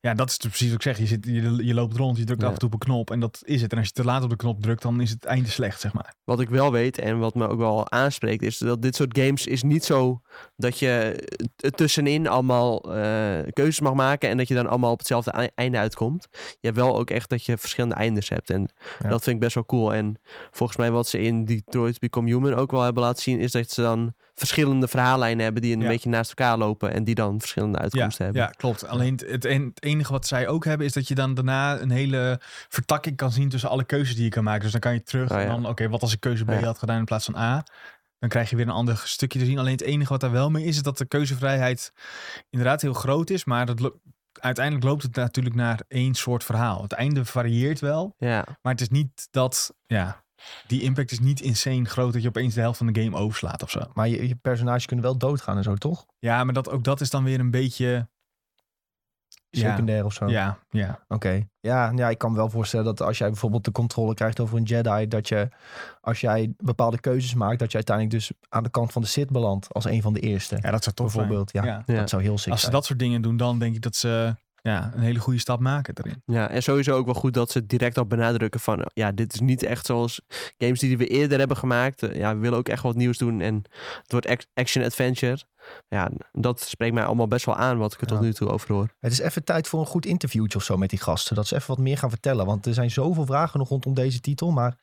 S2: Ja, dat is dus precies wat ik zeg. Je, zit, je, je loopt rond, je drukt
S3: Ja.
S2: af en toe op een knop en dat is het. En als je te laat op de knop drukt, dan is het einde slecht, zeg maar.
S3: wat ik wel weet en wat me ook wel aanspreekt... is dat dit soort games is niet zo dat je t- tussenin allemaal eh, keuzes mag maken... en dat je dan allemaal op hetzelfde ei- einde uitkomt. Je hebt wel ook echt dat je verschillende eindes hebt. En
S1: Ja.
S3: dat vind ik best wel cool. En volgens mij wat ze in Detroit Become Human ook wel hebben laten zien... is dat ze dan verschillende verhaallijnen hebben... die een
S2: Ja.
S3: beetje naast elkaar lopen... en die dan verschillende
S2: Ja,
S3: uitkomsten hebben.
S2: ja, klopt. Alleen het, het en- het enige wat zij ook hebben, is dat je dan daarna een hele vertakking kan zien tussen alle keuzes die je kan maken. Dus dan kan je terug
S3: Oh,
S2: en
S3: ja.
S2: dan, oké, wat als ik keuze B
S3: Ja.
S2: had gedaan in plaats van A? Dan krijg je weer een ander stukje te zien. Alleen het enige wat daar wel mee is, is dat de keuzevrijheid inderdaad heel groot is. Maar dat lo- uiteindelijk loopt het natuurlijk naar één soort verhaal. Het einde varieert wel,
S3: ja.
S2: Maar het is niet dat, ja, die impact is niet insane groot dat je opeens de helft van de game overslaat of zo.
S1: maar je, je personages kunnen wel doodgaan en zo, toch?
S2: Ja, maar dat, ook dat is dan weer een beetje, Ja.
S1: Secundair of zo.
S2: ja, ja.
S1: Oké. Ja, ja, ik kan me wel voorstellen dat als jij bijvoorbeeld de controle krijgt over een Jedi, dat je als jij bepaalde keuzes maakt, dat je uiteindelijk dus aan de kant van de Sith belandt als een van de eerste.
S2: Ja, dat zou toch
S1: bijvoorbeeld. Ja,
S2: zijn.
S3: Ja.
S1: dat zou heel sick
S2: Als ze
S1: zijn.
S2: dat soort dingen doen, dan denk ik dat ze ja, een hele goede stap maken daarin.
S3: Ja, en sowieso ook wel goed dat ze het direct al benadrukken van... eh, ja, dit is niet echt zoals games die we eerder hebben gemaakt. Eh, Ja, we willen ook echt wat nieuws doen en het wordt ac- action-adventure. Ja, dat spreekt mij allemaal best wel aan wat ik er tot
S1: Ja.
S3: nu toe over hoor.
S1: Het is even tijd voor een goed interviewtje of zo met die gasten. Dat ze even wat meer gaan vertellen. Want er zijn zoveel vragen nog rondom deze titel. Maar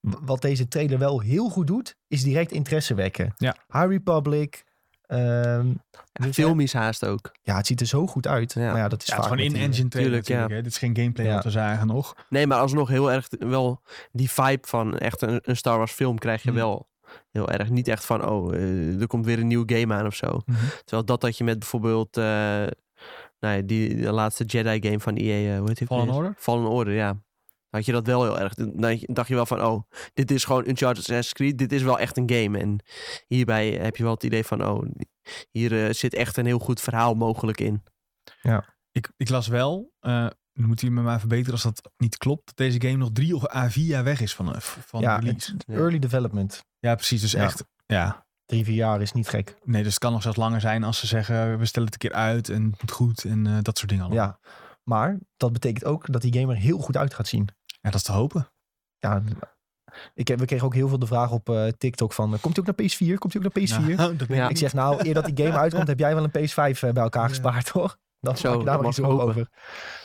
S1: w- wat deze trailer wel heel goed doet, is direct interesse wekken.
S2: Ja.
S1: High Republic. ehm,
S3: Ja, filmies haast ook.
S1: ja, het ziet er zo goed uit.
S3: Ja.
S1: Maar ja, dat is
S2: Ja, het
S1: vaak
S2: is gewoon
S1: met die-
S2: in-engine trailer
S3: Tuurlijk, ja.
S2: natuurlijk. Hè? Dit is geen gameplay
S1: Ja.
S2: wat we zagen nog.
S3: Nee, maar alsnog heel erg t- wel die vibe van echt een, een Star Wars film krijg je
S2: Mhm.
S3: wel heel erg. Niet echt van, oh, eh, er komt weer een nieuw game aan of zo.
S2: Mhm.
S3: Terwijl dat dat je met bijvoorbeeld... eh, nou ja, die de laatste Jedi game van EA, eh, hoe heet die? ook
S2: Fallen
S3: weer?
S2: Order?
S3: Fallen Order, ja. had je dat wel heel erg. Dan dacht je wel van, oh, dit is gewoon Uncharted Assassin's Creed. Dit is wel echt een game. En hierbij heb je wel het idee van, oh, hier eh, zit echt een heel goed verhaal mogelijk in.
S2: Ik, ik las wel, eh, dan moet u me maar verbeteren als dat niet klopt, dat deze game nog drie of à vier jaar weg is van, eh, van
S1: Ja,
S2: release.
S3: Ja.
S1: Early development.
S2: Ja, precies. Dus
S1: Ja.
S2: echt, ja.
S1: Drie, vier jaar is niet gek.
S2: Nee, dus het kan nog zelfs langer zijn als ze zeggen, we stellen het een keer uit en het moet goed en eh, dat soort dingen
S3: Oh.
S2: allemaal.
S1: Ja. Maar dat betekent ook dat die game er heel goed uit gaat zien.
S2: Ja, dat is te hopen.
S1: Ja, ik heb, we kregen ook heel veel de vraag op eh, TikTok van... eh, Komt hij ook naar PS4? Komt hij ook naar PS4?
S2: Nou, dat
S3: Ja.
S1: Ik zeg nou, eer dat die game uitkomt... heb jij wel een PS5 eh, bij elkaar
S2: Ja.
S1: gespaard, hoor. Dan
S3: Zo,
S1: maak je daar
S3: dat
S1: maar iets
S3: mag
S1: op
S3: hopen.
S1: over.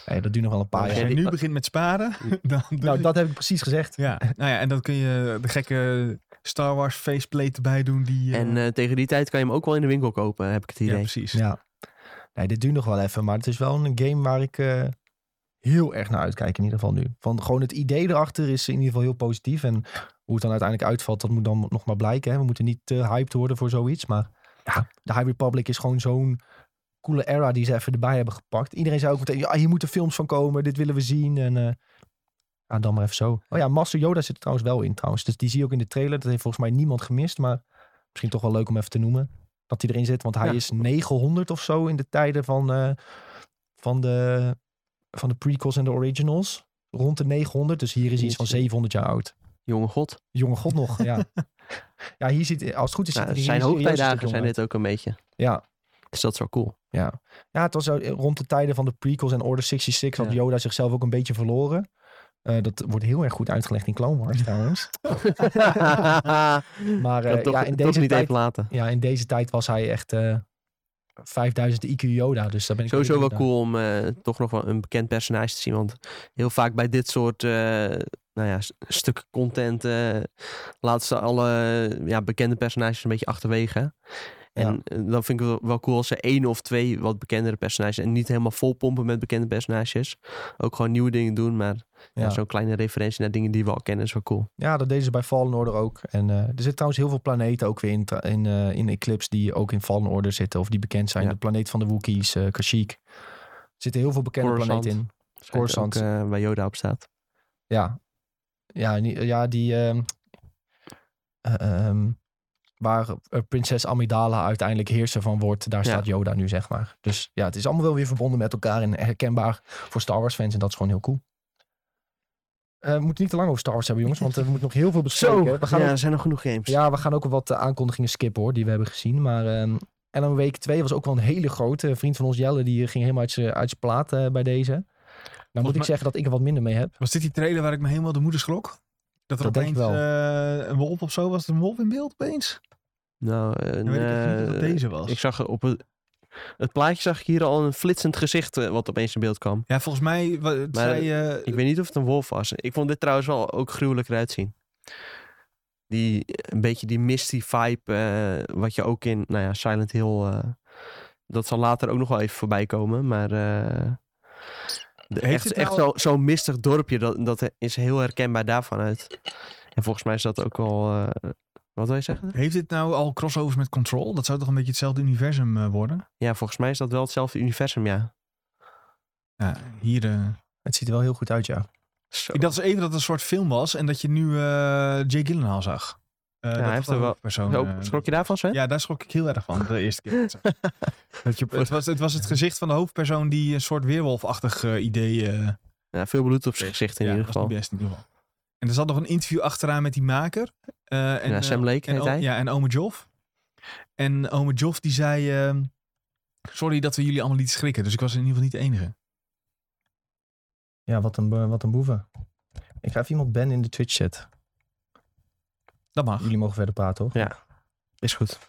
S1: Nee, dat duurt nog wel een paar
S2: Als
S1: jaar.
S2: je
S3: Ja, die-
S2: nu begint met sparen, dan...
S1: Nou, dat heb ik precies gezegd.
S2: Ja, nou ja, en dan kun je de gekke Star Wars faceplate erbij doen die... eh,
S3: En eh, tegen die tijd kan je hem ook wel in de winkel kopen, heb ik het
S2: ja,
S3: idee.
S2: precies.
S1: Ja. Nee, dit duurt nog wel even, maar het is wel een game waar ik eh, heel erg naar uitkijk in ieder geval nu. Van gewoon het idee erachter is in ieder geval heel positief en hoe het dan uiteindelijk uitvalt, dat moet dan nog maar blijken. Hè. We moeten niet te hyped worden voor zoiets, maar ja, de High Republic is gewoon zo'n coole era die ze even erbij hebben gepakt. Iedereen zei ook meteen, ja, hier moeten films van komen, dit willen we zien en... eh, ja, dan maar even zo. Oh ja, Master Yoda zit er trouwens wel in trouwens. Dus die zie je ook in de trailer. Dat heeft volgens mij niemand gemist. Maar misschien toch wel leuk om even te noemen. Dat hij erin zit. Want hij
S3: Ja.
S1: is 900 of zo in de tijden van, eh, van, de, van de prequels en de originals. Rond de 900. Dus hier is hij iets van 700 jaar oud.
S3: Jonge god.
S1: Jonge god nog, ja. Ja, hier ziet, als het goed is, ziet
S3: Nou,
S1: hij er
S3: zijn
S1: hier serieus een stuk
S3: hoogtijdagen
S1: jonger
S3: zijn
S1: uit.
S3: dit ook een beetje.
S1: Ja,
S3: Dus dat is wel cool.
S1: ja. ja, het was zo rond de tijden van de prequels en Order 66 had
S3: Ja.
S1: Yoda zichzelf ook een beetje verloren. Eh, dat wordt heel erg goed uitgelegd in Clone Wars trouwens. Oh. Maar eh,
S3: Dat toch,
S1: ja, in
S3: toch
S1: deze
S3: niet
S1: tijd,
S3: even laten.
S1: ja, in deze tijd was hij echt eh 5000 IQ Yoda. Dus daar ben ik
S3: Sowieso wel
S1: benieuwd
S3: cool om eh, toch nog wel een bekend personage te zien. Want heel vaak bij dit soort eh, nou ja, s- stuk content eh, laten ze alle ja, bekende personages een beetje achterwege. En
S1: Ja.
S3: eh, dan vind ik het wel- wel cool als ze één of twee wat bekendere personages. En niet helemaal vol pompen met bekende personages. Ook gewoon nieuwe dingen doen. Maar ja.
S1: Ja.
S3: zo'n kleine referentie naar dingen die we al kennen is wel cool.
S1: Ja, dat deden ze bij Fallen Order ook. En eh, er zitten trouwens heel veel planeten ook weer in, tra- in, eh, in Eclipse die ook in Fallen Order zitten. Of die bekend zijn.
S3: Ja.
S1: De planeet van de Wookiees, eh Kashyyyk. Er zitten heel veel bekende
S3: Coruscant.
S1: planeten in.
S3: Schijnt ook,
S1: Coruscant.
S3: eh, waar Yoda op staat.
S1: Ja. Ja, nie- ja die... ehm, eh, ehm, waar eh, prinses Amidala uiteindelijk heerser van wordt. Daar
S3: Ja.
S1: staat Yoda nu, zeg maar. Dus ja, het is allemaal wel weer verbonden met elkaar. En herkenbaar voor Star Wars fans. En dat is gewoon heel cool. Eh, we moeten niet te lang over Star Wars hebben, jongens. Want eh, we moeten nog heel veel bespreken. we gaan
S3: ja,
S1: ook-
S3: er zijn nog genoeg games.
S1: Ja, we gaan ook wat eh, aankondigingen skippen hoor, die we hebben gezien. Maar ehm Alan Week 2 was ook wel een hele grote. Een vriend van ons, Jelle, die eh, ging helemaal uit zijn uit zijn plaat eh, bij deze. Nou moet ik
S2: mij-
S1: zeggen dat ik er wat minder mee heb.
S2: Was dit die trailer waar ik me helemaal de moeder schrok? Dat er
S1: Dat denk ik
S2: opeens eh, een wolf of zo was, er een wolf in beeld opeens?
S3: Nou, een,
S2: Dan weet ik echt niet of dat
S3: eh,
S2: deze was.
S3: ik zag er op het, het plaatje zag ik hier al een flitsend gezicht eh, wat opeens in beeld kwam.
S2: Ja, volgens mij wa- het
S3: Maar-
S2: zei eh,
S3: Ik weet niet of het een wolf was. Ik vond dit trouwens wel ook gruwelijker uitzien. Die, eh, een beetje die misty vibe, eh, wat je ook in nou ja, Silent Hill, eh, dat zal later ook nog wel even voorbij komen. Maar eh, de-
S2: Heeft
S3: echt,
S2: het
S3: echt
S2: nou-
S3: zo- zo'n mistig dorpje, dat, dat is heel herkenbaar daarvan uit. En volgens mij is dat ook wel, eh, wat wil je zeggen?
S2: heeft dit nou al crossovers met Control? Dat zou toch een beetje hetzelfde universum eh, worden?
S3: Ja, volgens mij is dat wel hetzelfde universum, ja.
S2: Ja, hier... eh,
S1: Het ziet er wel heel goed uit, ja.
S3: Zo.
S2: Ik dacht dus even dat het een soort film was en dat je nu eh Jay Gyllenhaal zag. Eh, dat
S3: hij
S2: was
S3: heeft
S2: dan
S3: er wel-
S2: een Persoon,
S3: Zo,
S2: eh,
S3: schrok je daarvan, Sven?
S2: Ja, daar schrok ik heel erg van de eerste keer. dat ik het zag.
S3: Dat je
S2: het, was, het was het gezicht van de hoofdpersoon die een soort weerwolfachtig eh, idee... eh,
S3: Ja, veel bloed op zijn gezicht in
S2: ja,
S3: ieder
S2: was
S3: geval.
S2: niet best in ieder geval. En er zat nog een interview achteraan met die maker. eh, en,
S3: Ja,
S2: eh,
S3: Sam Lake
S2: en
S3: heet
S2: o-
S3: hij.
S2: Ja, en ome Joff. En ome Joff die zei... ehm, Sorry dat we jullie allemaal lieten schrikken. Dus ik was in ieder geval niet de enige.
S1: Ja, wat een, bo- wat een boeven. Ik ga even iemand bannen in de Twitch-chat.
S2: Dat mag.
S1: Jullie mogen verder praten, hoor.
S3: Is goed.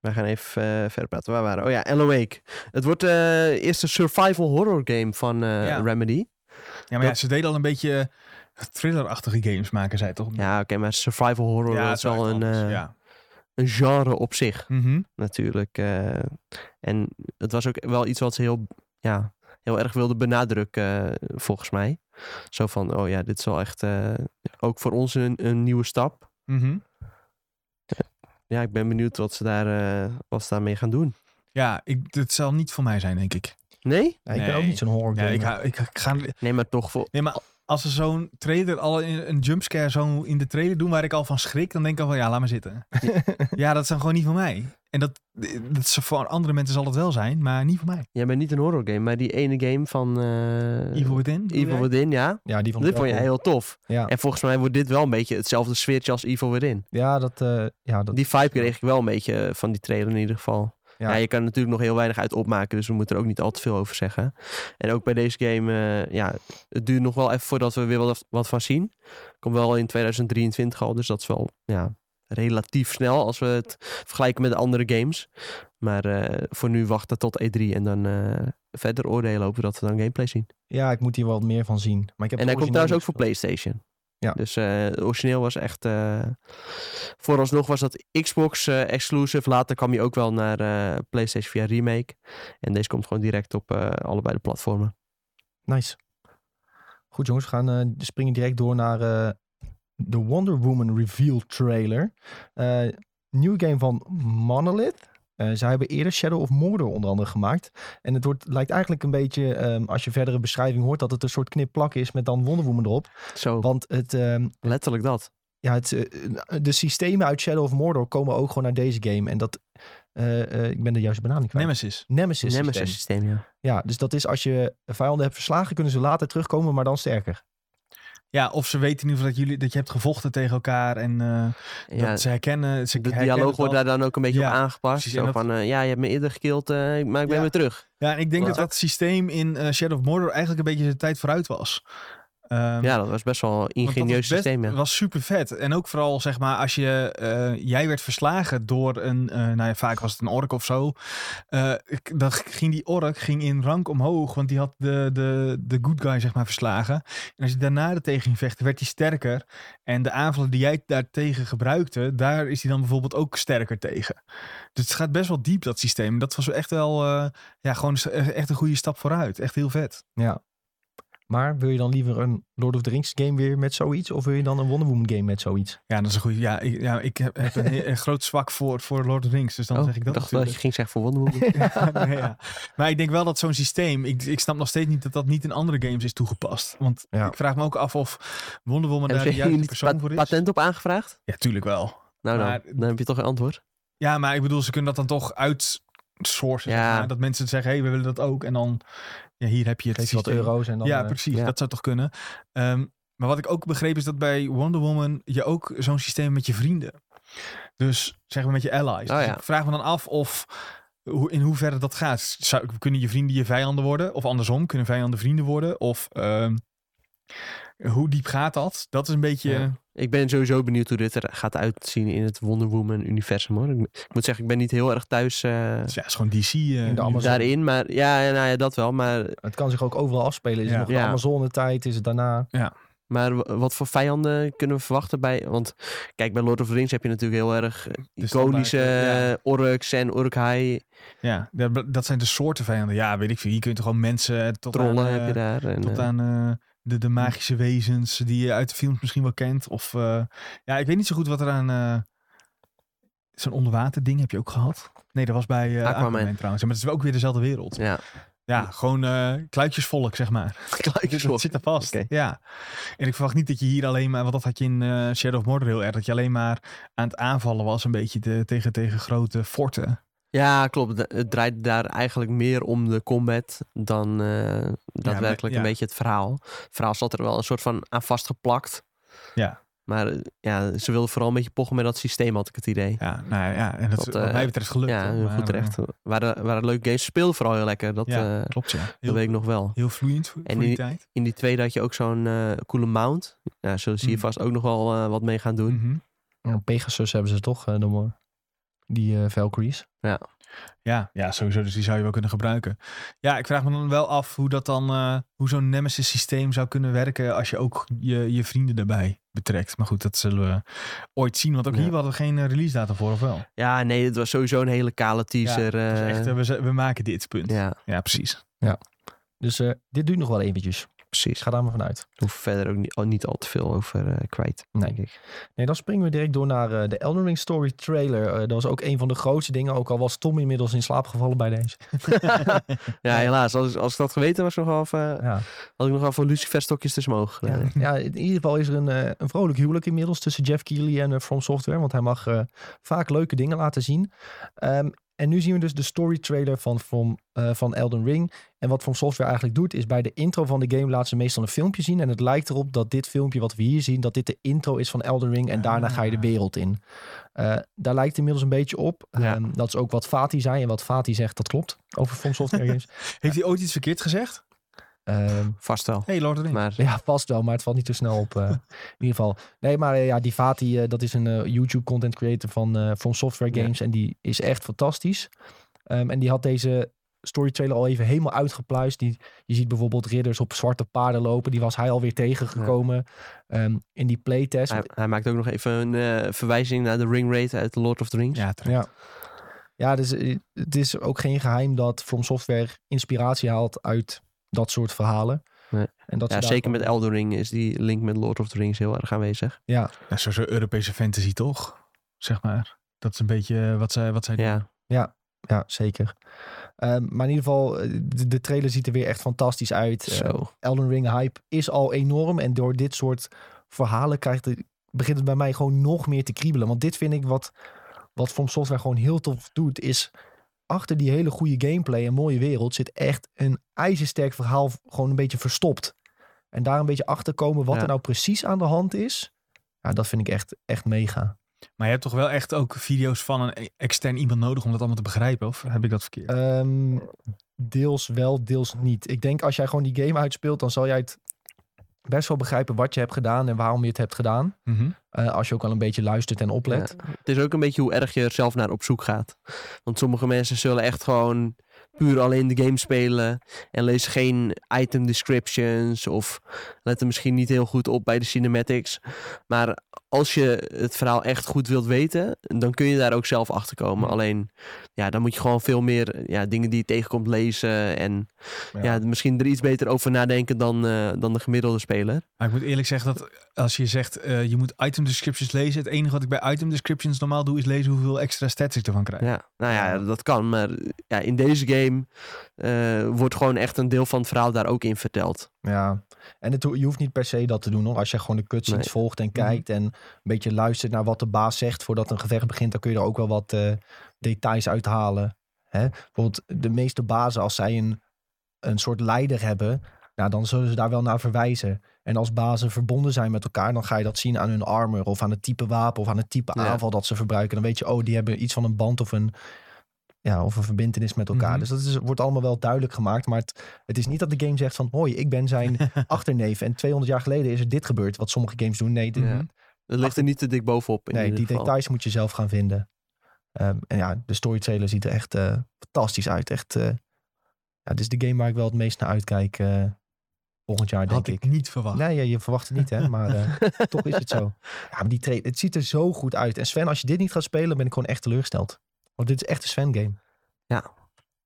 S3: Wij gaan even eh, verder praten. Waar waren we? Oh ja, Alan Wake. Het wordt eh, eerst de eerste survival horror game van eh,
S2: Ja.
S3: Remedy.
S2: Ja, maar ja,
S3: Dat-
S2: ze deden al een beetje eh, thrillerachtige games maken, zij toch?
S3: Ja, oké, maar survival horror
S2: Hm. Ja,
S3: dat is wel
S2: echt
S3: een,
S2: anders,
S3: eh,
S2: ja.
S3: een genre op zich
S2: Mhm.
S3: natuurlijk. eh. en het was ook wel iets wat ze heel, ja, heel erg wilden benadrukken, eh, volgens mij. Zo van, oh ja, dit is wel echt eh, ook voor ons een, een nieuwe stap.
S2: Mhm.
S3: Ja, ik ben benieuwd wat ze, daar, eh, wat ze daarmee gaan doen.
S2: Ja, ik, het zal niet voor mij zijn, denk ik.
S3: Nee?
S1: Ja, ik ben
S2: Nee.
S1: ook niet zo'n horror
S2: Ja,
S1: gamer.
S2: ik, hou- ik, ik ga...
S3: Nee, maar toch voor,
S2: Nee, maar als ze zo'n trailer, al in, een jumpscare zo in de trailer doen waar ik al van schrik, dan denk ik al van ja, laat maar zitten. ja, dat zijn gewoon niet van mij. En dat, dat is voor andere mensen zal het wel zijn, maar niet voor mij.
S3: Jij bent niet een horror game, maar die ene game van eh,
S2: Evil Within? bedoel
S3: Evil
S2: jij?
S3: Within, ja.
S1: Ja, die vond ik
S3: Dit
S1: wel
S3: vond je
S1: cool.
S3: heel tof.
S1: Ja.
S3: En volgens mij wordt dit wel een beetje hetzelfde sfeertje als Evil Within.
S1: Ja, dat... eh, ja, dat
S3: Die vibe kreeg ik wel een beetje eh, van die trailer in ieder geval.
S1: Ja.
S3: Ja. je kan er natuurlijk nog heel weinig uit opmaken, dus we moeten er ook niet al te veel over zeggen. En ook bij deze game, eh, ja, het duurt nog wel even voordat we weer wat, wat van zien. Komt wel in 2023 al, dus dat is wel ja, relatief snel als we het vergelijken met de andere games. Maar eh, voor nu wachten tot E3 en dan eh, verder oordelen over dat we dan gameplay zien.
S1: ja, ik moet hier wel wat meer van zien. Maar ik heb
S3: En
S1: het
S3: hij komt
S1: origineel
S3: trouwens ook voor
S1: niet
S3: PlayStation.
S1: Ja.
S3: Dus eh, het origineel was echt. eh, vooralsnog was dat Xbox eh, exclusive. Later kwam hij ook wel naar eh, PlayStation via Remake. En deze komt gewoon direct op eh, allebei de platformen.
S1: gespeeld. Nice. Goed jongens, we gaan eh, springen direct door naar eh, de Wonder Woman reveal trailer. Eh nieuwe game van Monolith. Eh, zij hebben eerder Shadow of Mordor onder andere gemaakt. En het wordt, lijkt eigenlijk een beetje, ehm, als je verdere beschrijving hoort, dat het een soort knipplak is met dan Wonder Woman erop.
S3: Zo,
S1: Want het, ehm,
S3: letterlijk dat.
S1: ja, het, eh, de systemen uit Shadow of Mordor komen ook gewoon naar deze game. En dat, eh, eh, ik ben de juiste benaming kwijt.
S2: Nemesis.
S1: Nemesis.
S3: Nemesis
S1: systeem.
S3: systeem, ja.
S1: Ja, dus dat is als je vijanden hebt verslagen, kunnen ze later terugkomen, maar dan sterker.
S2: Ja, of ze weten in ieder geval dat, jullie, dat je hebt gevochten tegen elkaar en eh,
S3: ja
S2: dat ze herkennen. Ze
S3: de
S2: herkennen
S3: dialoog
S2: het
S3: wordt
S2: al.
S3: daar dan ook een beetje
S2: Ja,
S3: op aangepast.
S2: precies, en
S3: Zo
S2: dat-
S3: van, eh, ja, je hebt me eerder gekild, eh, maar ik ben
S2: Ja.
S3: weer terug.
S2: Ja, en ik denk
S3: Ja.
S2: dat dat systeem in eh, Shadow of Mordor eigenlijk een beetje zijn tijd vooruit was. Ehm,
S3: Ja, dat was best wel een
S2: Want dat
S3: ingenieus
S2: was best-
S3: systeem, ja.
S2: was super vet. En ook vooral, zeg maar, als je... eh, jij werd verslagen door een... eh, nou ja, vaak was het een ork of zo. Eh, ik- dan g- ging die ork ging in rank omhoog. Want die had de, de, de good guy, zeg maar, verslagen. En als je daarna er tegen ging vechten, werd hij sterker. En de aanvallen die jij daartegen gebruikte... daar is hij dan bijvoorbeeld ook sterker tegen. Dus het gaat best wel diep, dat systeem. Dat was echt wel... eh, ja, gewoon echt een goede stap vooruit. Echt heel vet.
S1: Ja. Maar wil je dan liever een Lord of the Rings game weer met zoiets? Of wil je dan een Wonder Woman game met zoiets?
S2: Ja, dat is een goede. Ja, ik, ja, ik heb, heb een, he- een groot zwak voor, voor Lord of the Rings. Dus dan
S3: Oh,
S2: zeg ik dat.
S3: dacht dat je
S2: natuurlijk.
S3: ging zeggen voor Wonder Woman.
S2: Nee, ja. Maar ik denk wel dat zo'n systeem. Ik, ik snap nog steeds niet dat dat niet in andere games is toegepast. Want
S1: Ja.
S2: ik vraag me ook af of Wonder Woman
S3: Hebben
S2: daar
S3: ze
S2: de
S3: hier
S2: juiste
S3: niet
S2: persoon
S3: pat-
S2: voor is.
S3: patent op aangevraagd?
S2: Ja, tuurlijk wel.
S3: Nou, dan,
S2: Maar-
S3: dan heb je toch een antwoord.
S2: Ja, maar ik bedoel, ze kunnen dat dan toch uit sourcen. zeg
S3: Ja.
S2: maar. Dat mensen zeggen, hé, hey, we willen dat ook. En dan, ja, hier heb je het
S1: Geef je wat
S2: systeem.
S1: euro's en dan...
S2: ja,
S1: eh,
S2: precies.
S3: ja.
S2: Dat zou toch kunnen. Ehm, maar wat ik ook begreep is dat bij Wonder Woman je ook zo'n systeem met je vrienden. Dus zeg maar met je allies.
S3: Oh
S2: Dus
S3: ja.
S2: ik vraag me dan af of hoe- in hoeverre dat gaat. Zou, kunnen je vrienden je vijanden worden? Of andersom, kunnen vijanden vrienden worden? Of ehm, hoe diep gaat dat? Dat is een beetje...
S3: Ja. Ik ben sowieso benieuwd hoe dit er gaat uitzien in het Wonder Woman universum hoor. Ik, ik moet zeggen, ik ben niet heel erg thuis eh,
S2: Ja, het is gewoon DC. eh,
S1: In de Amazon.
S3: daarin. Maar ja, ja, nou ja, dat wel. Maar,
S1: het kan zich ook overal afspelen. Is
S2: Ja.
S1: het nog de
S3: Ja.
S1: Amazone-tijd? Is het daarna?
S3: maar w- wat voor vijanden kunnen we verwachten bij... Want kijk, bij Lord of the Rings heb je natuurlijk heel erg eh, iconische
S2: standaard,
S3: eh, orks en urkhai.
S2: Ja, dat, dat zijn de soorten vijanden. Ja, weet ik veel. Hier kun je toch gewoon mensen tot
S3: Trollen
S2: aan,
S3: heb je
S2: eh,
S3: daar. En,
S2: Tot
S3: eh,
S2: aan eh, de,
S3: Hm.
S2: de magische wezens die je uit de films misschien wel kent. Of eh, ja, ik weet niet zo goed wat er aan. eh, Zo'n onderwaterding heb je ook gehad. Nee, dat was bij eh,
S3: Aquaman.
S2: Aquaman. trouwens. Maar het is wel ook weer dezelfde wereld. Ja,
S3: ja,
S2: gewoon eh, kluitjesvolk, zeg maar. Dat
S3: kluitjesvolk.
S2: zit er vast.
S3: Oké.
S2: Ja. En ik verwacht niet dat je hier alleen maar... Want dat had je in eh, Shadow of Mordor heel erg. Dat je alleen maar aan het aanvallen was. Een beetje te- tegen, tegen grote forten.
S3: Ja, klopt. Da- Het draait daar eigenlijk meer om de combat dan eh, daadwerkelijk
S2: ja.
S3: een beetje het verhaal. Het verhaal zat er wel een soort van aan vastgeplakt.
S2: Ja.
S3: Maar eh, ja, ze wilden vooral een beetje pochen met dat systeem, had ik het idee.
S2: Ja, nou ja. En dat,
S3: Dat,
S2: is wat
S3: eh,
S2: mij betreft gelukt.
S3: ja,
S2: hoor.
S3: heel
S2: Maar,
S3: goed
S2: eh,
S3: terecht. Waar, de, waar het leuke games speelde vooral heel lekker. Dat, eh,
S2: ja, klopt ja.
S3: dat weet
S2: Heel,
S3: ik nog wel.
S2: heel vloeiend voor,
S3: En
S2: voor die
S3: die-
S2: tijd.
S3: In die tweede had je ook zo'n eh, coole mount. Ja, zullen ze hier
S2: Mm.
S3: vast ook nog wel eh, wat mee gaan doen.
S2: Mhm.
S1: Ja, Pegasus hebben ze toch, eh, dan, eh, die eh, Valkyries.
S2: Ja, ja, sowieso. Dus die zou je wel kunnen gebruiken. Ja, ik vraag me dan wel af hoe dat dan, eh, hoe zo'n nemesis systeem zou kunnen werken als je ook je, je vrienden daarbij betrekt. Maar goed, dat zullen we ooit zien. Want ook
S3: Ja.
S2: hier hadden we geen eh, release datum voor, of wel?
S3: Ja, nee, het was sowieso een hele kale teaser.
S2: Dus
S3: eh,
S2: echt, eh, we, z- we maken dit punt. Ja,
S3: ja.
S2: precies.
S1: Dus eh, dit duurt nog wel eventjes.
S3: precies.
S1: Ga daar maar vanuit.
S3: Hoef verder ook niet, al- niet al te veel over eh, kwijt,
S1: Nee.
S3: denk ik.
S1: Nee, dan springen we direct door naar eh, de Elden Ring Story trailer. Eh, dat was ook een van de grootste dingen, ook al was Tom inmiddels in slaap gevallen bij deze.
S3: Ja, helaas. Als, als ik dat geweten was, nog wel even,
S1: Ja.
S3: had ik nogal van Lucifer stokjes tussen mijn ogen
S1: Ja.
S3: gedaan.
S1: ja, in ieder geval is er een, eh, een vrolijk huwelijk inmiddels tussen Jeff Keighley en eh, From Software. Want hij mag eh, vaak leuke dingen laten zien. Ehm, en nu zien we dus de story trailer van, From, eh, van Elden Ring. En wat From Software eigenlijk doet, is bij de intro van de game laten ze meestal een filmpje zien. En het lijkt erop dat dit filmpje wat we hier zien, dat dit de intro is van Elden Ring. En daarna ga je de
S2: Ah.
S1: wereld in. Eh, daar lijkt het inmiddels een beetje op.
S3: Ja.
S1: Ehm, dat is ook wat Fatih zei. En wat Fatih zegt, dat klopt. Over From Software games.
S2: Heeft hij ooit iets verkeerd gezegd?
S1: Ehm,
S3: Vast wel.
S2: hey, Lord of the Rings.
S3: Maar
S1: Ja, vast wel, maar het valt niet te snel op. eh, in ieder geval. Nee, maar eh, ja, die Fatih, eh, dat is een eh, YouTube content creator van eh, From Software
S3: Ja.
S1: Games. En die is echt fantastisch. Ehm, en die had deze story trailer al even helemaal uitgepluist. Die, je ziet bijvoorbeeld ridders op zwarte paarden lopen. Die was hij alweer tegengekomen ehm, in die playtest.
S3: hij, hij maakt ook nog even een eh, verwijzing naar de ring raid uit The Lord of the Rings.
S2: Ja, terecht.
S1: Ja. Ja, dus eh, het is ook geen geheim dat From Software inspiratie haalt uit dat soort verhalen.
S3: Nee.
S1: En dat
S3: Ja,
S1: ze daar-
S3: zeker met Elden Ring is die link met Lord of the Rings heel erg aanwezig.
S1: Ja,
S2: Ja, sowieso Europese fantasy toch? Zeg maar. Dat is een beetje eh, wat zij, wat zij doen.
S3: Ja,
S1: ja, zeker. Ehm, maar in ieder geval, eh, de, de trailer ziet er weer echt fantastisch uit. Eh,
S3: zo.
S1: Elden Ring hype is al enorm. En door dit soort verhalen krijgt het, begint het bij mij gewoon nog meer te kriebelen. Want dit vind ik wat, wat From Software gewoon heel tof doet, is achter die hele goede gameplay en mooie wereld zit echt een ijzersterk verhaal gewoon een beetje verstopt. En daar een beetje achter komen wat
S3: Ja.
S1: er nou precies aan de hand is. Ja, dat vind ik echt, echt mega.
S2: Maar je hebt toch wel echt ook video's van een e- extern iemand nodig om dat allemaal te begrijpen? Of heb ik dat verkeerd?
S1: Ehm, deels wel, deels niet. Ik denk als jij gewoon die game uitspeelt, dan zal jij het best wel begrijpen wat je hebt gedaan en waarom je het hebt gedaan.
S2: Mhm.
S1: Eh, als je ook al een beetje luistert en oplet.
S3: Ja. Het is ook een beetje hoe erg je er zelf naar op zoek gaat. Want sommige mensen zullen echt gewoon puur alleen de game spelen en lezen geen item descriptions of letten misschien niet heel goed op bij de cinematics. Maar als je het verhaal echt goed wilt weten, dan kun je daar ook zelf achter komen. Alleen, ja, dan moet je gewoon veel meer ja, dingen die je tegenkomt lezen en
S1: Ja.
S3: ja. misschien er iets beter over nadenken dan, eh, dan de gemiddelde speler.
S2: Maar ik moet eerlijk zeggen dat als je zegt eh, je moet item descriptions lezen. Het enige wat ik bij item descriptions normaal doe is lezen hoeveel extra stats ik ervan krijg.
S3: Ja, nou ja, dat kan. Maar ja, in deze game eh, wordt gewoon echt een deel van het verhaal daar ook in verteld.
S1: Ja, en het, ho- je hoeft niet per se dat te doen hoor. Als je gewoon de cutscenes
S3: Nee. Mhm.
S1: volgt en kijkt en een beetje luistert naar wat de baas zegt voordat een gevecht begint, dan kun je er ook wel wat eh, details uithalen. Hè? Bijvoorbeeld de meeste bazen, als zij een, een soort leider hebben, nou, dan zullen ze daar wel naar verwijzen. En als bazen verbonden zijn met elkaar, dan ga je dat zien aan hun armor of aan het type wapen of aan het type
S3: Ja.
S1: aanval dat ze verbruiken. Dan weet je, oh, die hebben iets van een band of een, ja, of een verbindenis met elkaar.
S2: Mhm.
S1: Dus dat is, wordt allemaal wel duidelijk gemaakt. Maar het, het is niet dat de game zegt van, hoi, ik ben zijn achterneef. En 200 jaar geleden is er dit gebeurd, wat sommige games doen. Nee, dit-
S2: Mhm.
S3: Ja. Dat ligt er niet te dik bovenop. In
S1: nee
S3: ieder
S1: die
S3: geval.
S1: details moet je zelf gaan vinden. Ehm, en ja, de story trailer ziet er echt eh, fantastisch uit. Echt, eh, ja, dit is de game waar ik wel het meest naar uitkijk eh, volgend jaar, denk
S2: Had ik niet
S3: Oh.
S2: verwacht.
S1: Nee, ja, je verwacht het niet, hè? Maar eh, toch is het zo. Ja, maar die trailer, het ziet er zo goed uit. En Sven, als je dit niet gaat spelen, ben ik gewoon echt teleurgesteld. Want dit is echt een Sven-game.
S3: Ja.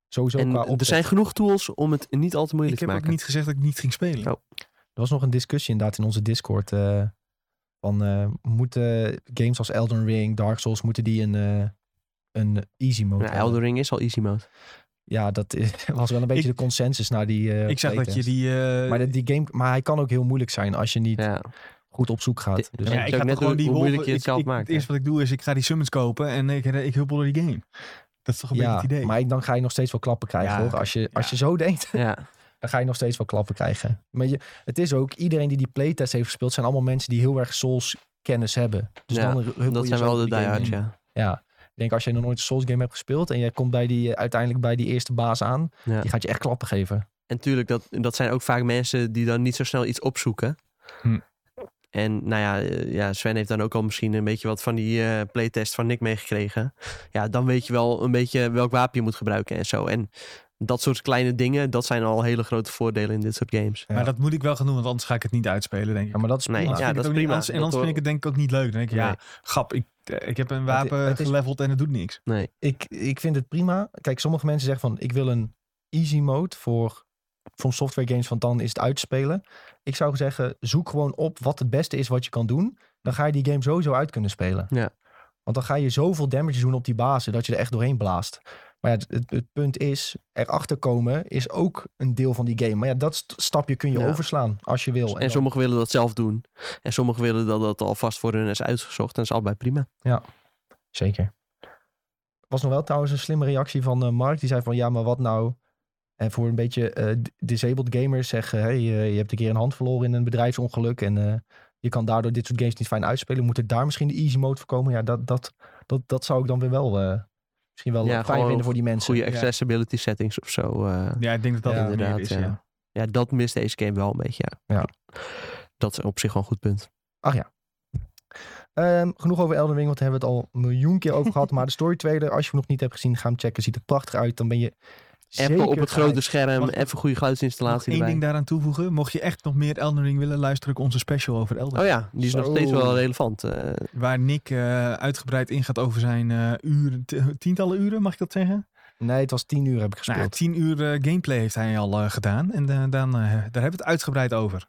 S1: Sowieso
S3: En
S1: qua
S3: er
S1: opzet.
S3: zijn genoeg tools om het niet al te
S2: ik
S3: moeilijk
S2: heb
S3: te
S2: ook
S3: maken.
S2: niet gezegd dat ik niet ging spelen.
S3: Oh.
S1: Er was nog een discussie inderdaad in onze Discord. eh, van eh, moeten games als Elden Ring, Dark Souls, moeten die een, eh, een easy mode
S3: Ja,
S1: hebben?
S3: Elden Ring is al easy mode.
S1: Ja, dat is- was wel een beetje
S2: Ik-
S1: de consensus naar die eh,
S2: ik zag dat je
S1: playtest.
S2: die... eh,
S1: Maar, dat die game, maar hij kan ook heel moeilijk zijn als je niet
S3: Ja.
S1: goed op zoek gaat.
S3: Dit-
S1: Dus
S3: Ja,
S2: ja,
S1: ja,
S3: ik
S2: ik
S3: zag
S2: ga
S3: net
S2: toch gewoon
S3: hoe-
S2: die
S3: hoe
S2: wolven-
S3: moeilijk je het
S2: ik-
S3: zelf
S2: ik-
S3: maakt,
S2: Het eerste wat ik doe is ik ga die summons kopen en ik, ik huppel door die game. Dat is toch een beetje het idee.
S1: maar dan ga je nog steeds wel klappen krijgen
S2: Ja,
S1: hoor. Als je, als
S2: ja.
S1: je zo denkt.
S3: ja.
S1: dan ga je nog steeds wel klappen krijgen. Maar je, het is ook, iedereen die die playtest heeft gespeeld, zijn allemaal mensen die heel erg Souls kennis hebben. Dus
S3: Ja,
S1: dan huppel
S3: dat
S1: je
S3: zijn
S1: zo
S3: wel de
S1: die game
S3: diehards,
S1: in.
S3: ja.
S1: Ja. Ik denk als je nog nooit een Souls game hebt gespeeld en jij komt bij die, eh, uiteindelijk bij die eerste baas aan,
S3: ja.
S1: die gaat je echt klappen geven.
S3: En tuurlijk, dat, dat zijn ook vaak mensen die dan niet zo snel iets opzoeken.
S2: Hm.
S3: En nou ja, eh, ja, Sven heeft dan ook al misschien een beetje wat van die eh, playtest van Nick meegekregen. Ja, dan weet je wel een beetje welk wapen je moet gebruiken en zo. En dat soort kleine dingen, dat zijn al hele grote voordelen in dit soort games.
S1: Ja.
S2: Maar dat moet ik wel gaan doen, want anders ga ik het niet uitspelen, denk ik.
S1: Ja, maar dat is
S3: Nee,
S1: prima.
S2: Anders
S3: ja,
S2: vind ik het
S3: dat
S2: ook niet-
S3: is prima.
S2: anders- en
S3: Dat
S2: anders vind ik het denk ik ook niet leuk. Dan denk ik, ja,
S3: Nee.
S2: grap, ik, eh, ik heb een
S1: Het i-
S2: wapen
S1: het is-
S2: geleveld en het doet niks.
S3: Nee.
S1: Ik, ik vind het prima. Kijk, sommige mensen zeggen van, ik wil een easy mode voor From Software Games, want dan is het uitspelen. Ik zou zeggen, zoek gewoon op wat het beste is wat je kan doen. Dan ga je die game sowieso uit kunnen spelen.
S3: Ja.
S1: Want dan ga je zoveel damage doen op die bazen dat je er echt doorheen blaast. Maar ja, het, het- het punt is, erachter komen is ook een deel van die game. Maar ja, dat st- stapje kun je
S3: Ja.
S1: overslaan als je wil.
S3: En,
S1: dan-
S3: sommigen willen dat zelf doen. En sommigen willen dat dat alvast voor hun is uitgezocht. En dat is allebei prima.
S1: Zeker. Was nog wel trouwens een slimme reactie van eh, Mark. Die zei van ja, maar wat nou? En voor een beetje eh, d- disabled gamers zeggen: hey, eh, je hebt een keer een hand verloren in een bedrijfsongeluk. En eh, je kan daardoor dit soort games niet fijn uitspelen. Moet er daar misschien de easy mode voor komen? Ja, dat, dat, dat, dat zou ik dan weer wel eh, misschien wel
S3: Ja,
S1: eh, fijn
S3: gewoon
S1: vinden voor die mensen.
S3: Goede accessibility settings of zo. eh,
S2: Ja, ik denk dat dat
S1: Ja,
S2: het meer
S3: inderdaad.
S2: is.
S3: ja.
S2: Ja.
S3: Ja. dat mist deze game wel een beetje. Ja.
S1: Ja.
S3: Dat is op zich wel een goed punt.
S1: Ehm, genoeg over Elden Ring, want daar hebben we het al een miljoen keer over gehad. Maar de story trailer, als je hem nog niet hebt gezien, ga hem checken. Ziet er prachtig uit. Dan ben je
S3: Appen op
S1: zeker
S3: het grote
S1: gehyped.
S3: scherm.
S2: Mag ik-
S3: Even goede
S2: Nog
S3: geluidsinstallatie
S2: één
S3: erbij.
S2: ding daaraan toevoegen. Mocht je echt nog meer Elden Ring willen, luister ik onze special over Elden
S3: Oh ja, die is nog
S1: Zo.
S3: steeds wel relevant. eh,
S2: Waar Nick eh, uitgebreid ingaat over zijn eh, uren, t- tientallen uren, mag ik dat zeggen?
S1: Nee, het was tien uur heb ik
S2: Nou, ja,
S1: gespeeld.
S2: tien uur eh, gameplay heeft hij al eh, gedaan. En eh, dan, eh, daar hebben we het uitgebreid over.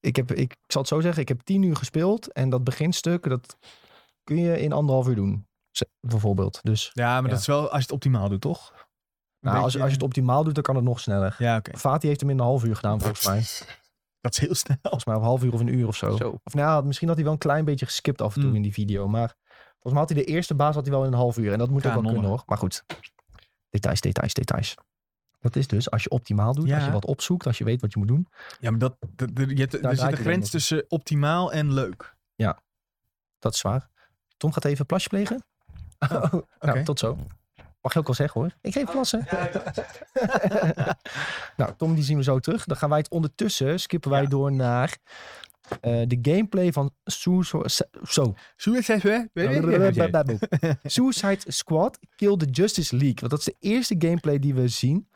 S1: ik, heb, ik zal het zo zeggen, ik heb tien uur gespeeld. En dat beginstuk, dat kun je in anderhalf uur doen. z- Bijvoorbeeld. Dus
S2: Ja, maar
S1: Ja.
S2: dat is wel als je het optimaal doet, toch? Een
S1: nou, als,
S2: beetje- eh,
S1: als je het optimaal doet, dan kan het nog sneller.
S2: Ja, oké.
S1: Fati heeft hem in een half uur gedaan, volgens mij.
S2: Dat is heel snel.
S1: Volgens mij een half uur of een uur of zo.
S3: zo.
S1: Of nou, ja, misschien had hij wel een klein beetje geskipt af en toe
S2: Mm.
S1: in die video. Maar volgens mij had hij de eerste baas had hij wel in een half uur. En dat moet
S2: Ja,
S1: ook wel
S2: nonnen.
S1: kunnen hoor. Maar goed. Details, details, details. Dat is dus als je optimaal doet,
S2: Ja.
S1: als je wat opzoekt, als je weet wat je moet doen.
S2: Ja, maar dat, dat- er- je hebt, er
S1: Daar draait
S2: zit een
S1: hij
S2: grens
S1: dan
S2: tussen optimaal en leuk.
S1: Dat is zwaar. Tom gaat even plasje plegen. nou,
S2: Oh, oké.
S1: tot zo. Mag je ook wel zeggen hoor. Ik geef plassen. nou, Tom die zien we zo terug. Dan gaan wij het ondertussen, skippen wij
S2: Ja.
S1: door naar eh, de gameplay van Suicide, zo,
S2: Suicide
S1: Suicide Squad Kill the Justice League. Want dat is de eerste gameplay die we zien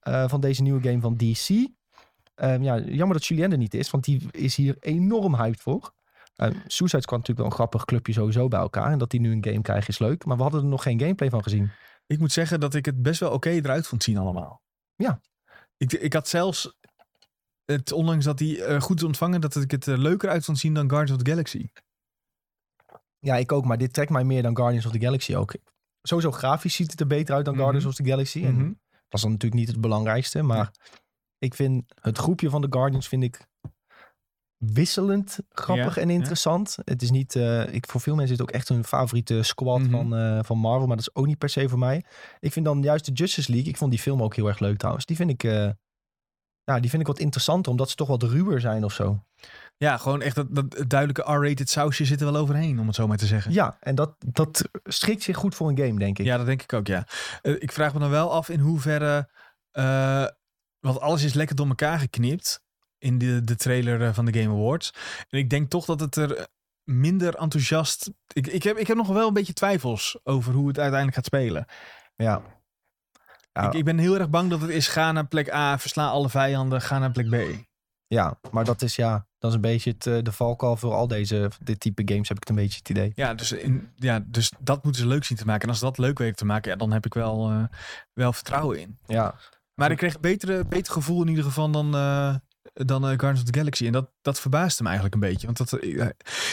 S1: eh, van deze nieuwe game van DC. Ehm, ja, jammer dat Julien er niet is, want die is hier enorm hyped voor. Ehm Suicide Squad natuurlijk wel een grappig clubje sowieso bij elkaar. En dat die nu een game krijgen is leuk. Maar we hadden er nog geen gameplay van gezien.
S2: Ik moet zeggen dat ik het best wel oké eruit vond zien allemaal.
S1: Ja.
S2: Ik, ik had zelfs, het, ondanks dat die eh, goed is ontvangen, dat ik het eh, leuker uit vond zien dan Guardians of the Galaxy.
S1: Ja, ik ook. Maar dit trekt mij meer dan Guardians of the Galaxy ook. Sowieso grafisch ziet het er beter uit dan
S2: Mhm.
S1: Guardians of the Galaxy. En
S2: Mhm.
S1: dat is dan natuurlijk niet het belangrijkste. Maar ik vind het groepje van de Guardians vind ik wisselend grappig
S2: Ja,
S1: en
S2: ja.
S1: interessant. Het is niet, eh, ik, voor veel mensen is het ook echt hun favoriete squad
S2: Mhm.
S1: van, eh, van Marvel. Maar dat is ook niet per se voor mij. Ik vind dan juist de Justice League, ik vond die film ook heel erg leuk trouwens. Die vind ik, eh, ja, die vind ik wat interessanter, omdat ze toch wat ruwer zijn of zo.
S2: Ja, gewoon echt dat, dat duidelijke R-rated sausje zit er wel overheen, om het zo maar te zeggen.
S1: Ja, en dat, dat schikt zich goed voor een game, denk ik.
S2: Ja, dat denk ik ook, ja. Eh, ik vraag me dan wel af in hoeverre... eh, want alles is lekker door elkaar geknipt in de, de trailer eh, van de Game Awards. En ik denk toch dat het er eh, minder enthousiast... Ik, ik, heb, ik heb nog wel een beetje twijfels over hoe het uiteindelijk gaat spelen.
S1: ja. Ja.
S2: Ik, ik ben heel erg bang dat het is ga naar plek A, versla alle vijanden, ga naar plek B.
S1: Ja, maar dat is ja, dat is een beetje het, eh, de valkuil voor al deze dit type games heb ik het een beetje het idee.
S2: Ja, dus, in, ja, dus dat moeten ze leuk zien te maken. En als ze dat leuk weten te maken, ja, dan heb ik wel, eh, wel vertrouwen in.
S1: Ja,
S2: Maar ik kreeg een betere, beter gevoel in ieder geval dan, eh, dan eh, Guardians of the Galaxy. En dat, dat verbaast hem eigenlijk een beetje. Want dat, eh,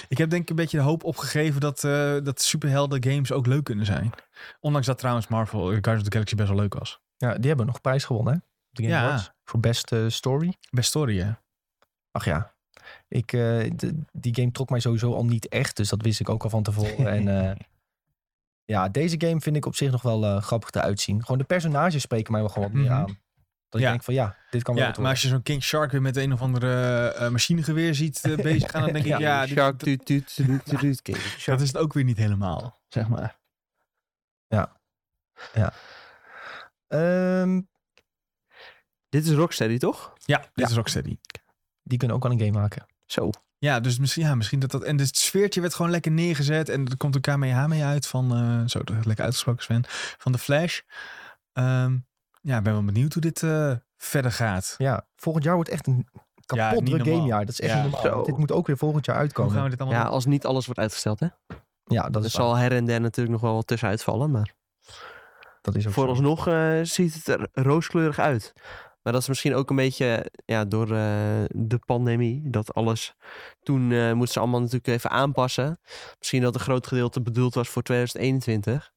S2: ik heb denk ik een beetje de hoop opgegeven dat, eh, dat superhelden games ook leuk kunnen zijn. Ondanks dat trouwens Marvel eh, Guardians of the Galaxy best wel leuk was.
S1: ja die hebben nog prijs gewonnen hè? Op de Game
S2: Ja.
S1: Awards. voor best eh, story.
S2: Best story, hè?
S1: Ach ja, ik, eh, d- die game trok mij sowieso al niet echt, dus dat wist ik ook al van tevoren. en eh, ja, deze game vind ik op zich nog wel eh, grappig te uitzien. Gewoon de personages spreken mij wel gewoon wat meer
S2: Mhm.
S1: aan. Dat
S2: Ja.
S1: ik denk van ja, dit kan wel
S2: Ja,
S1: wat
S2: maar als je zo'n King Shark weer met een of andere eh, machinegeweer ziet eh, bezig gaan, dan denk ik, ja, dit-
S3: Shark tuut tuut tuut tuut, tuut, King.
S2: dat is het ook weer niet helemaal, zeg maar.
S1: worden. Ehm,
S3: Dit is Rocksteady, toch?
S2: Ja, dit
S1: Ja.
S2: is Rocksteady.
S1: die kunnen ook al een game maken.
S3: Zo.
S2: Ja, dus misschien, ja, misschien dat dat... En dus het sfeertje werd gewoon lekker neergezet. En er komt een KMH mee uit van... eh, zo, dat lekker uitgesproken Sven. Van de Flash. Ehm, ja, ik ben wel benieuwd hoe dit eh, verder gaat.
S1: Ja, volgend jaar wordt echt een
S2: Ja,
S1: kapot
S2: niet
S1: druk
S2: normaal.
S1: gamejaar. Dat is echt
S2: Ja.
S1: niet normaal.
S3: Zo.
S1: want Dit moet ook weer volgend jaar
S2: Hoe
S1: uitkomen.
S2: gaan we dit allemaal
S3: Ja,
S2: doen?
S3: als niet alles wordt uitgesteld, hè?
S1: Ja, dat
S3: Er
S1: is waar.
S3: zal her en der natuurlijk nog wel wat tussenuit vallen. Maar
S1: Dat is ook zo.
S3: vooralsnog eh, ziet het er rooskleurig uit. Maar dat is misschien ook een beetje ja, door eh, de pandemie. Dat alles toen eh moesten ze allemaal natuurlijk even aanpassen. Misschien dat een groot gedeelte bedoeld was voor 2021.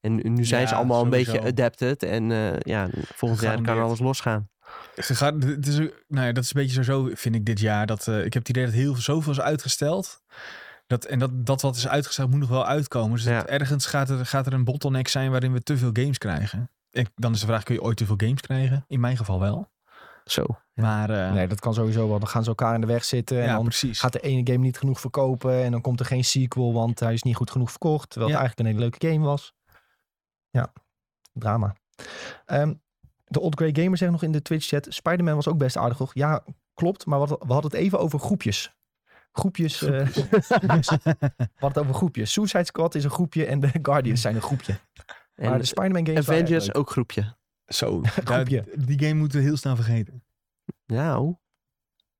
S3: En nu zijn
S2: Ja,
S3: ze allemaal een
S2: sowieso.
S3: beetje adapted. En eh, ja, volgend jaar kan
S2: Gegarandeerd.
S3: alles losgaan.
S2: Ze gaan- het is, een- nou ja, dat is een beetje zo, vind ik, dit jaar. Dat, eh, ik heb het idee dat heel veel, zoveel is uitgesteld. Dat, en dat, dat wat is uitgesteld moet nog wel uitkomen. Dus
S3: Ja.
S2: dat ergens gaat er, gaat er een bottleneck zijn waarin we te veel games krijgen. En dan is de vraag, kun je ooit te veel games krijgen? In mijn geval wel.
S3: Zo.
S2: Maar eh,
S1: Nee, dat kan sowieso wel. Dan gaan ze elkaar in de weg zitten. En
S2: ja,
S1: dan
S2: precies.
S1: gaat de ene game niet genoeg verkopen. En dan komt er geen sequel, want hij is niet goed genoeg verkocht. Terwijl het
S2: Ja.
S1: eigenlijk een hele leuke game was. Ja, drama. Ehm, de Old Grey Gamer zegt nog in de Twitch-chat... Spider-Man was ook best aardig, toch? Ja, klopt. Maar wat, we hadden het even over groepjes. Groepjes. eh, we hadden het over groepjes. Suicide Squad is een groepje en de Guardians zijn een groepje.
S3: En
S1: maar de Spider-Man games waren eh, echt
S3: Avengers
S1: leuk.
S3: ook groepje.
S2: Zo,
S1: Groepje.
S2: die game moeten we heel snel vergeten.
S3: Nou.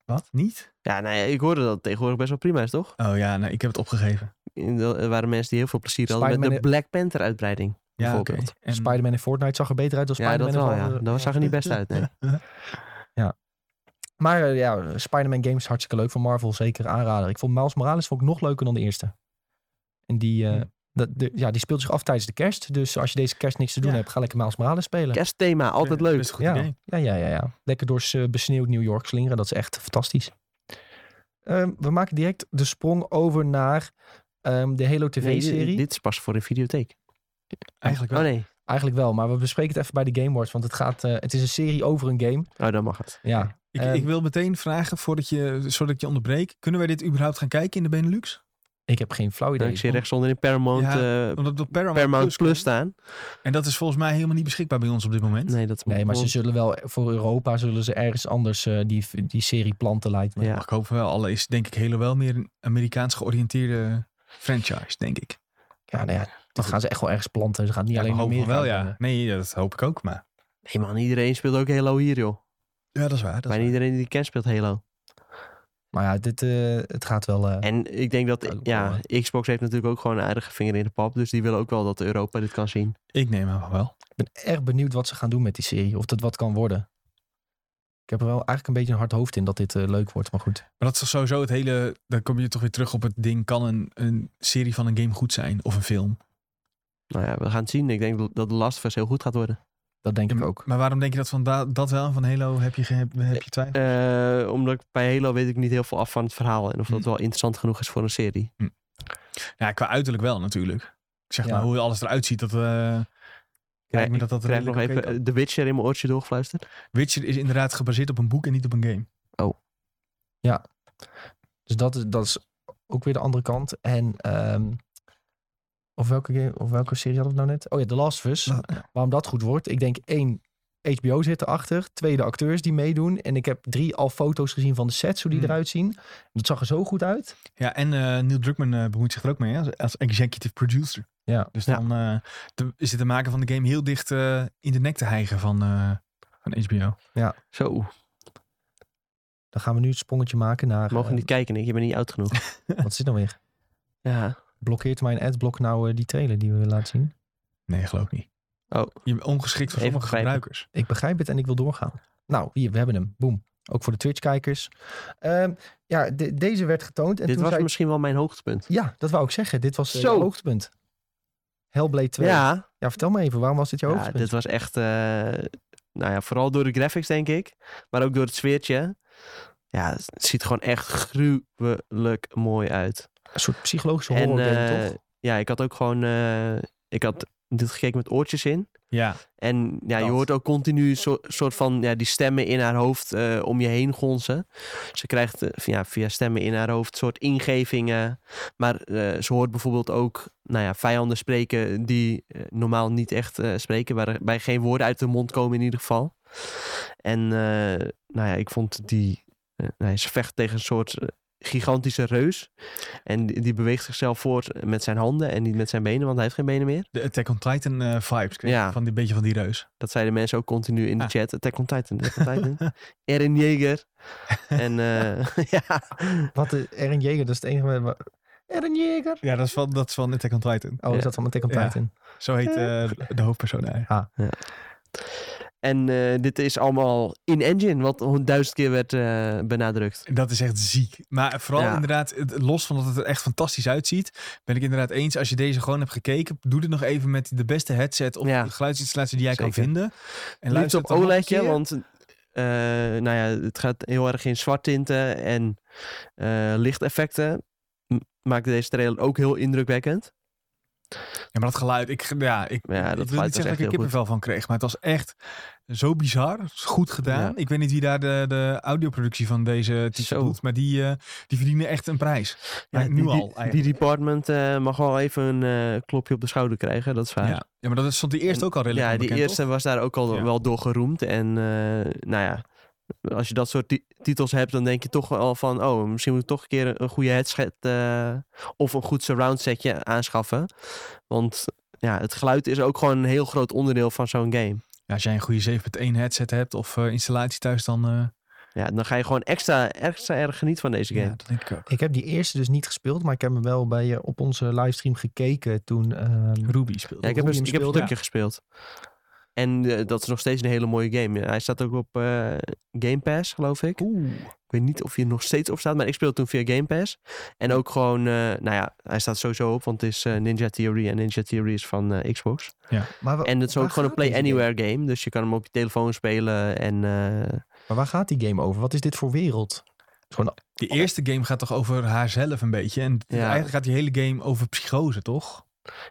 S2: Wat? Niet?
S3: Ja, nou ja, ik hoorde dat het tegenwoordig best wel prima is, toch?
S2: Oh ja, nee, ik heb het opgegeven.
S3: En dat- Er waren mensen die heel veel plezier hadden met de
S1: Spider-Man-
S3: Black Panther uitbreiding.
S2: Ja, oké.
S3: Bijvoorbeeld.
S2: En-
S1: Spider-Man in Fortnite zag er beter uit dan
S3: Ja,
S1: Spider-Man
S3: dat
S1: in
S3: wel.
S1: alle-
S3: Ja. Dat zag er niet best uit, nee.
S1: Maar eh, ja, Spider-Man games hartstikke leuk van Marvel. Zeker aanrader. Ik vond Miles Morales vond ik nog leuker dan de eerste. En die, eh,
S2: Hmm.
S1: dat, de- ja, die speelt zich af tijdens de kerst. Dus als je deze kerst niks te doen
S2: Ja.
S1: hebt, ga lekker Miles Morales spelen.
S3: Kerstthema, altijd
S2: Ja, dus
S3: leuk.
S2: best een goed
S1: ja.
S2: idee.
S1: ja, ja, ja, ja. Lekker door eh, besneeuwd New York slingeren. Dat is echt fantastisch. Ehm, we maken direct de sprong over naar ehm, de Halo
S3: Nee, dit-
S1: TV-serie.
S3: dit is pas voor een videotheek.
S2: Eigenlijk
S3: Oh
S2: wel.
S3: nee,
S1: Eigenlijk wel, maar we bespreken het even bij de Game Awards. Want het, gaat, eh, het is een serie over een game.
S3: oh, dan mag het.
S1: Ja,
S2: Ik,
S1: Ehm,
S2: ik wil meteen vragen, voordat je, zodat ik je onderbreek. Kunnen wij dit überhaupt gaan kijken in de Benelux?
S1: ik heb geen flauw idee.
S3: ik zie rechtsonder in Paramount,
S2: Ja,
S3: eh,
S2: Omdat het op Paramount,
S3: Paramount Plus
S2: komt.
S3: staan.
S2: En dat is volgens mij helemaal niet beschikbaar bij ons op dit moment.
S3: Nee, dat
S1: Nee,
S3: moet-
S1: maar ze zullen wel voor Europa zullen ze ergens anders eh, die, die serie planten lijkt me.
S3: Ja.
S2: Mag ik hopen wel. Alle is denk ik helemaal wel meer een Amerikaans georiënteerde franchise, denk ik.
S1: Ja, nou ja, dat gaan ze echt wel ergens planten. Ze gaan het niet
S2: Ja,
S1: alleen
S2: we
S1: naar
S2: hopen
S1: Amerika.
S2: wel, ja.
S1: uitbrengen.
S2: Nee, ja, dat hoop ik ook, maar...
S3: Nee man, iedereen speelt ook Halo hier joh.
S2: Ja, dat is waar. Dat is
S3: maar
S2: waar.
S3: iedereen die ik ken speelt Halo.
S1: Maar ja, dit, eh, het gaat wel... eh,
S3: En ik denk dat,
S1: Duidelijk wel,
S3: ja, Xbox heeft natuurlijk ook gewoon een aardige vinger in de pap. Dus die willen ook wel dat Europa dit kan zien.
S2: Ik neem aan van wel.
S1: ik ben erg benieuwd wat ze gaan doen met die serie. Of dat wat kan worden. Ik heb er wel eigenlijk een beetje een hard hoofd in dat dit eh, leuk wordt. Maar goed,
S2: Maar dat is toch sowieso het hele... Dan kom je toch weer terug op het ding... Kan een, een serie van een game goed zijn? Of een film?
S3: Nou ja, we gaan het zien. Ik denk dat de Last of Us heel goed gaat worden.
S1: dat denk ik
S2: Ja,
S1: ook.
S2: Maar waarom denk je dat van da- dat wel en van Halo heb je, ge- heb, heb je twijfel?
S3: Eh, omdat ik bij Halo weet ik niet heel veel af van het verhaal. En of dat
S2: Hm.
S3: wel interessant genoeg is voor een serie.
S2: Ja, qua uiterlijk wel natuurlijk. Ik zeg
S1: Ja.
S2: maar hoe alles eruit ziet, dat... eh lijkt me dat dat
S3: Ik krijg nog
S2: redelijk
S3: even
S2: oké kan.
S3: eh, The Witcher in mijn oortje doorgefluisterd.
S2: Witcher is inderdaad gebaseerd op een boek en niet op een game.
S1: Dus dat, is- dat is ook weer de andere kant. En... ehm, of welke, game, of welke serie hadden we nou net? Oh ja, The Last of Us. waarom dat goed wordt. Ik denk één, HBO zit erachter. Twee, de acteurs die meedoen. En ik heb drie al foto's gezien van de sets, hoe die
S2: Hmm.
S1: eruit zien. Dat zag er zo goed uit.
S2: Ja, en eh, Neil Druckmann eh, bemoeit zich er ook mee hè, als, als executive producer.
S1: Ja.
S2: Dus
S3: Ja.
S2: dan eh, de- is het de maker van de game heel dicht eh, in de nek te hijgen van, eh, van HBO.
S3: Zo,
S1: Dan gaan we nu het sprongetje maken naar...
S3: mogen
S1: eh,
S3: niet kijken. Ik je bent niet oud genoeg.
S1: Wat is dit nou weer?
S3: Ja,
S1: Blokkeert mijn adblock nou eh, die trailer die we willen laten zien?
S2: Nee, geloof ik niet.
S3: Oh.
S2: Je bent ongeschikt voor
S3: Even
S2: sommige
S3: begrijpen.
S2: gebruikers.
S1: Ik begrijp het en ik wil doorgaan. Nou, hier, we hebben hem. Boom. Ook voor de Twitch-kijkers. Ehm, ja, de- deze werd getoond. En
S3: dit
S1: toen
S3: was
S1: zei ik-
S3: misschien wel mijn hoogtepunt.
S1: Ja, dat wou ik zeggen. Dit was eh,
S3: Zo.
S1: jouw hoogtepunt. Hellblade 2. Ja.
S3: Ja,
S1: vertel me even. Waarom was dit jouw
S3: ja
S1: hoogtepunt?
S3: dit was echt, eh, nou ja, vooral door de graphics denk ik. Maar ook door het sfeertje. Ja, het ziet gewoon echt gruwelijk mooi uit.
S1: Een soort psychologische
S3: En,
S1: horror game,
S3: eh,
S1: toch?
S3: Ja, ik had ook gewoon, eh, ik had dit gekeken met oortjes in.
S2: Ja,
S3: En ja, je
S2: Dat.
S3: hoort ook continu een soort van ja, die stemmen in haar hoofd eh, om je heen gonzen. Ze krijgt eh, ja, via stemmen in haar hoofd soort ingevingen. Maar eh, ze hoort bijvoorbeeld ook nou ja, vijanden spreken die eh, normaal niet echt eh, spreken. Waarbij geen woorden uit de mond komen in ieder geval. En eh, nou ja, ik vond die... eh, nou ja, ze vecht tegen een soort eh, gigantische reus. En die, die beweegt zichzelf voort eh, met zijn handen en niet met zijn benen, want hij heeft geen benen meer.
S2: de Attack on Titan eh, vibes. Kreeg
S3: Ja.
S2: je Van die beetje van die reus.
S3: Dat zeiden mensen ook continu in de
S2: Ah.
S3: chat. Attack on Titan, Attack on Titan. Eren Jaeger. En eh, ja,
S1: Wat, de Eren Jager, dat is het enige... waar- waar- Eren Jager!
S2: Ja, dat is van, dat is van Attack on Titan.
S1: Oh,
S3: Ja.
S1: is dat van Attack on
S2: Ja.
S1: Titan?
S2: Zo heet eh, de hoofdpersoon eigenlijk.
S3: En eh, dit is allemaal in-engine, wat hond- duizend keer werd eh, benadrukt.
S2: Dat is echt ziek. Maar vooral
S3: Ja.
S2: inderdaad, het- los van dat het er echt fantastisch uitziet, ben ik inderdaad eens. Als je deze gewoon hebt gekeken, doe dit nog even met de beste headset of
S3: Ja.
S2: de geluidsinstallatie die jij
S3: Zeker.
S2: kan vinden. En
S3: Liefst
S2: luister
S3: op
S2: het dan nog een
S3: OLEDje,
S2: keer.
S3: want eh, nou ja, het gaat heel erg in zwart tinten en eh, lichteffecten. M- Maakt deze trailer ook heel indrukwekkend.
S2: Ja, maar dat geluid, ik, ja, ik,
S3: Ja, dat
S2: ik wil niet
S3: geluid was
S2: zeggen dat
S3: echt
S2: ik er
S3: heel
S2: kippenvel van kreeg, maar het was echt zo bizar. Het is Goed gedaan.
S3: Ja.
S2: Ik weet niet wie daar de, de audioproductie van deze titel
S3: Zo.
S2: doet, maar die, eh, die verdienen echt een prijs. Ja,
S3: Ja,
S2: nu
S3: die,
S2: al
S3: die-
S2: eigenlijk.
S3: Die department eh, mag wel even een eh, klopje op de schouder krijgen, dat is waar.
S2: Ja. ja, maar dat stond die eerste
S3: En-
S2: ook al redelijk
S3: Ja, die
S2: onbekend,
S3: eerste was daar ook al
S2: Ja.
S3: wel door geroemd. En eh, nou ja, als je dat soort ti- titels hebt, dan denk je toch al van... oh, misschien moet ik toch een keer een, een goede headset eh, of een goed surround setje aanschaffen. Want ja, het geluid is ook gewoon een heel groot onderdeel van zo'n game.
S2: toch? Ja, als jij een goede 7.1 headset hebt of eh, installatie thuis, dan, eh,
S3: Ja, dan ga je gewoon extra, extra erg genieten van deze
S2: ja,
S3: game.
S2: dat denk ik ook.
S1: Ik heb die eerste dus niet gespeeld, maar ik heb hem wel bij, eh, op onze livestream gekeken toen... ehm,
S2: Ruby speelt.
S3: Ja, ik heb,
S1: hoe
S3: een,
S1: je hem
S3: ik heb een
S1: speelde.
S3: stukje gespeeld. En eh, dat is nog steeds een hele mooie game. Hij staat ook op eh, Game Pass, geloof ik.
S2: Oeh.
S3: Ik weet niet of hij er nog steeds op staat, maar ik speelde toen via Game Pass. En ook gewoon, eh, nou ja, hij staat sowieso op, want het is eh, Ninja Theory en Ninja Theory is van eh, Xbox.
S1: maar, wa-
S3: En het is
S1: waar
S3: ook gewoon een
S1: gaat
S3: Play
S1: Ah, deze game?
S3: Anywhere game. dus je kan hem op je telefoon spelen en... eh,
S1: maar waar gaat die game over? Wat is dit voor wereld? Het is Gewoon,
S2: Die eerste game gaat toch over haarzelf een beetje. En
S3: Ja.
S2: eigenlijk gaat die hele game over psychose, toch?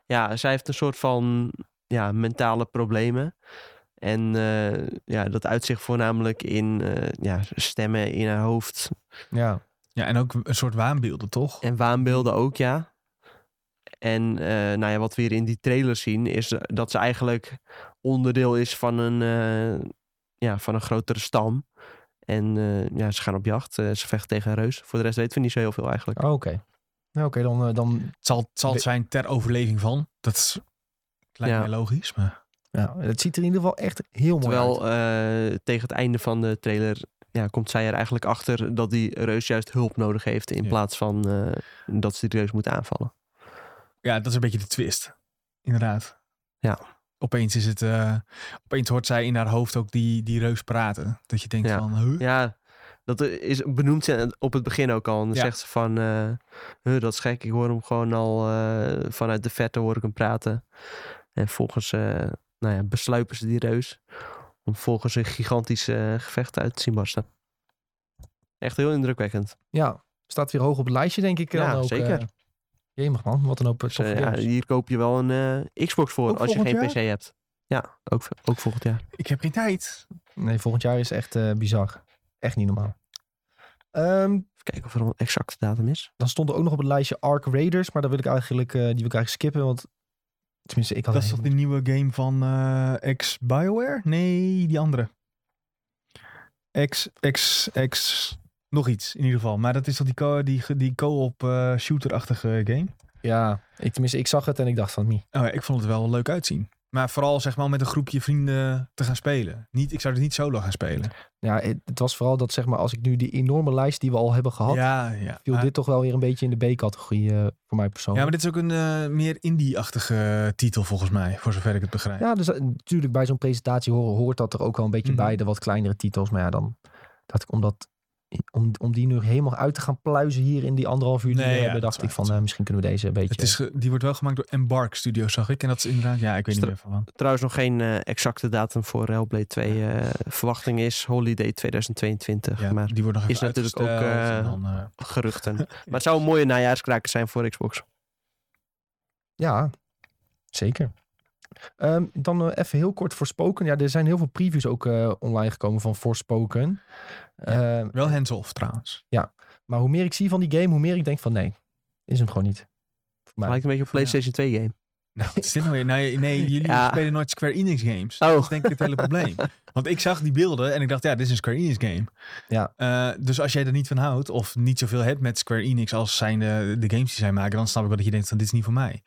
S3: ja, zij heeft een soort van ja, mentale problemen. En eh, ja, dat uitzicht voornamelijk in eh, ja, stemmen in haar hoofd.
S1: ja.
S2: Ja, en ook een soort waanbeelden, toch?
S3: En waanbeelden ook, ja. En eh, nou ja, wat we hier in die trailer zien, is dat ze eigenlijk onderdeel is van een, eh, ja, van een grotere stam. En eh, ja, ze gaan op jacht. Eh, ze vechten tegen een reus. Voor de rest weten we niet zo heel veel eigenlijk.
S1: Oh, oké. Nou, oké, dan, eh, dan
S2: Het zal, het zal het zijn ter overleving van. Dat is, lijkt
S3: Ja.
S2: mij logisch, maar...
S1: ja, het ziet er in ieder geval echt heel mooi uit.
S3: Terwijl eh, tegen het einde van de trailer ja, komt zij er eigenlijk achter dat die reus juist hulp nodig heeft. In
S2: Ja.
S3: plaats van eh, dat ze die reus moet aanvallen.
S2: Ja, dat is een beetje de twist. Inderdaad.
S3: Ja.
S2: Opeens is het... eh, opeens hoort zij in haar hoofd ook die, die reus praten. Dat je denkt
S3: Ja.
S2: van... Huh?
S3: Ja, dat eh, is benoemd ze op het begin ook al. En dan
S2: Ja.
S3: zegt ze van, eh, huh, dat is gek. Ik hoor hem gewoon al eh, vanuit de verte hoor ik hem praten. En volgens, eh nou ja, besluipen ze die reus. Om volgens een gigantisch eh, gevecht uit te zien barsten. Echt heel indrukwekkend.
S1: Ja, staat weer hoog op het lijstje, denk ik.
S3: Ja,
S1: dan ook,
S3: zeker.
S1: eh. jemig man, wat een hoop eh,
S3: Dus, eh,
S1: toffe
S3: ja,
S1: games.
S3: hier koop je wel een eh, Xbox voor
S2: Ook
S3: als je geen
S2: volgend
S3: PC hebt. Ja, ook, ook volgend jaar.
S2: Ik heb geen tijd.
S1: Nee, volgend jaar is echt eh, bizar. Echt niet normaal. Ehm,
S3: Even kijken of er een exacte datum is.
S1: dan stond er ook nog op het lijstje Ark Raiders, maar dat wil ik eigenlijk, eh, die wil ik eigenlijk skippen, want tenminste, ik had
S2: Dat is
S1: een
S2: toch
S1: hele-
S2: die nieuwe game van eh ex-Bioware? Nee, die andere. Ex, ex, ex... Nog iets in ieder geval. Maar dat is toch die co- die, ge- die co-op eh, shooter-achtige game?
S1: Ja, ik, tenminste, ik zag het en ik dacht van, mie.
S2: Oh, ja, ik vond het wel leuk uitzien. Maar vooral zeg maar om met een groepje vrienden te gaan spelen. Niet, ik zou het niet solo gaan spelen.
S1: Ja, het, het was vooral dat, zeg maar, als ik nu die enorme lijst die we al hebben gehad,
S2: Ja, ja.
S1: viel
S2: Maar-
S1: dit toch wel weer een beetje in de B-categorie eh, voor mij
S2: ja,
S1: persoonlijk.
S2: maar dit is ook een eh, meer indie-achtige titel volgens mij. Voor zover ik het begrijp.
S1: Ja, dus dat- natuurlijk bij zo'n presentatie horen, hoort dat er ook wel een beetje
S2: Mhm.
S1: bij, de wat kleinere titels. Maar ja, dan dacht ik, om, dat, om, om die nu helemaal uit te gaan pluizen hier in die anderhalf uur die
S2: Nee,
S1: we
S2: ja,
S1: hebben,
S2: dat
S1: dacht
S2: is waar,
S1: ik van,
S2: dat is
S1: eh, misschien kunnen we deze een beetje...
S2: het is, ge- die wordt wel gemaakt door Embark Studios, zag ik. En dat is inderdaad, ja, ik weet niet
S3: Stra-
S2: meer van.
S3: Trouwens nog geen eh, exacte datum voor Hellblade 2. eh, verwachting is holiday 2022.
S2: Ja,
S3: Maar
S2: die wordt nog
S3: is
S2: even
S3: natuurlijk ook,
S2: uitgesteld
S3: eh,
S2: en dan, dus eh,
S3: geruchten. Maar het zou een mooie najaarskraker zijn voor Xbox.
S1: Ja, zeker. Ehm, dan eh, even heel kort Forspoken. Ja, er zijn heel veel previews ook eh, online gekomen van Forspoken. Ehm,
S2: wel hands-off trouwens.
S1: maar hoe meer ik zie van die game, hoe meer ik denk van nee, is hem gewoon niet. Voor mij.
S3: Lijkt een beetje op een PlayStation 2 game.
S2: Nou, wat is dit nou weer? Nee, nee jullie
S3: Ja.
S2: spelen nooit Square Enix games.
S3: Oh.
S2: Dat is denk ik het hele probleem. Want ik zag die beelden en ik dacht, ja, dit is een Square Enix game.
S1: Ja.
S2: Eh, dus als jij er niet van houdt of niet zoveel hebt met Square Enix als zijn de, de games die zij maken, dan snap ik wel dat je denkt van dit is niet voor mij.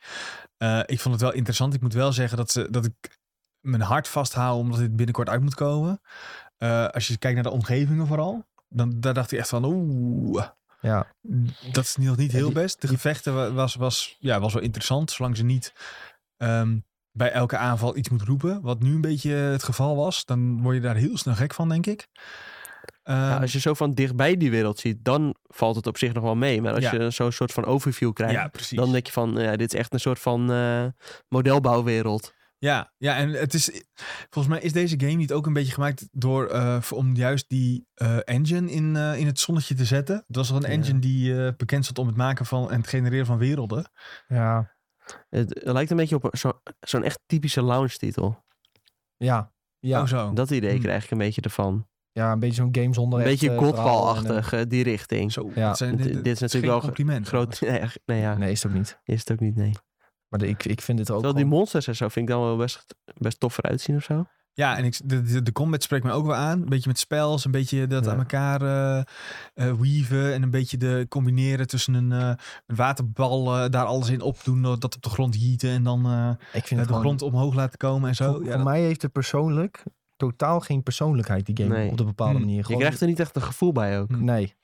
S2: Eh, ik vond het wel interessant. Ik moet wel zeggen dat, ze, dat ik mijn hart vasthoud omdat dit binnenkort uit moet komen. Eh, als je kijkt naar de omgevingen vooral, dan daar dacht ik echt van oeh.
S1: Ja,
S2: Dat is nog niet
S1: Ja,
S2: heel
S1: die-
S2: best. De gevechten wa- was, was, ja, was wel interessant, zolang ze niet ehm, bij elke aanval iets moet roepen. Wat nu een beetje het geval was. Dan word je daar heel snel gek van, denk ik.
S3: Ja,
S2: Ehm,
S3: als je zo van dichtbij die wereld ziet, dan valt het op zich nog wel mee. Maar als
S2: Ja.
S3: je zo'n soort van overview krijgt,
S2: ja, precies.
S3: dan denk je van, ja, dit is echt een soort van eh, modelbouwwereld.
S2: Ja, ja, en het is. Volgens mij is deze game niet ook een beetje gemaakt door. eh, voor- om juist die eh, engine in, eh, in het zonnetje te zetten. Dat was wel een
S3: Ja.
S2: engine die eh, bekend stond om het maken van. en het genereren van werelden.
S1: Ja.
S3: Het lijkt een beetje op een- zo- zo'n echt typische lounge titel.
S1: Ja. Ja.
S2: Oh, zo.
S3: Dat idee
S2: Hm.
S3: krijg ik een beetje ervan.
S1: ja, een beetje zo'n game zonder
S3: Een
S1: echt,
S3: beetje
S1: eh, verhaal en,
S3: Godfall-achtig, eh, die richting.
S2: zo
S1: Ja,
S2: dat zijn-
S3: dit- eh, dit is
S2: geen
S3: natuurlijk wel ge-
S2: compliment.
S3: Groot, nee, echt- nee, ja,
S1: eh, Nee, is het ook niet.
S3: is het ook niet, nee.
S1: Maar de- ik, ik vind dit ook
S3: Terwijl die
S1: gewoon-
S3: monsters en zo vind ik dan wel best, best tof vooruit zien of zo.
S2: Ja, en ik, de, de, de combat spreekt me ook wel aan. Een beetje met spels, een beetje dat
S3: Ja.
S2: aan elkaar eh eh, weaven. En een beetje de combineren tussen een, eh, een waterbal, eh, daar alles in opdoen. Dat op de grond heaten en dan eh,
S1: ik vind
S2: de
S1: het gewoon...
S2: grond omhoog laten komen en zo.
S1: voor
S2: Ja,
S1: voor
S2: dat-
S1: mij heeft het persoonlijk totaal geen persoonlijkheid, die game,
S3: Nee. Hmm.
S1: op de bepaalde
S2: Hm.
S1: manier.
S3: Je
S1: Gewoon-
S3: krijgt er niet echt een gevoel bij ook.
S2: Hm.
S1: Nee.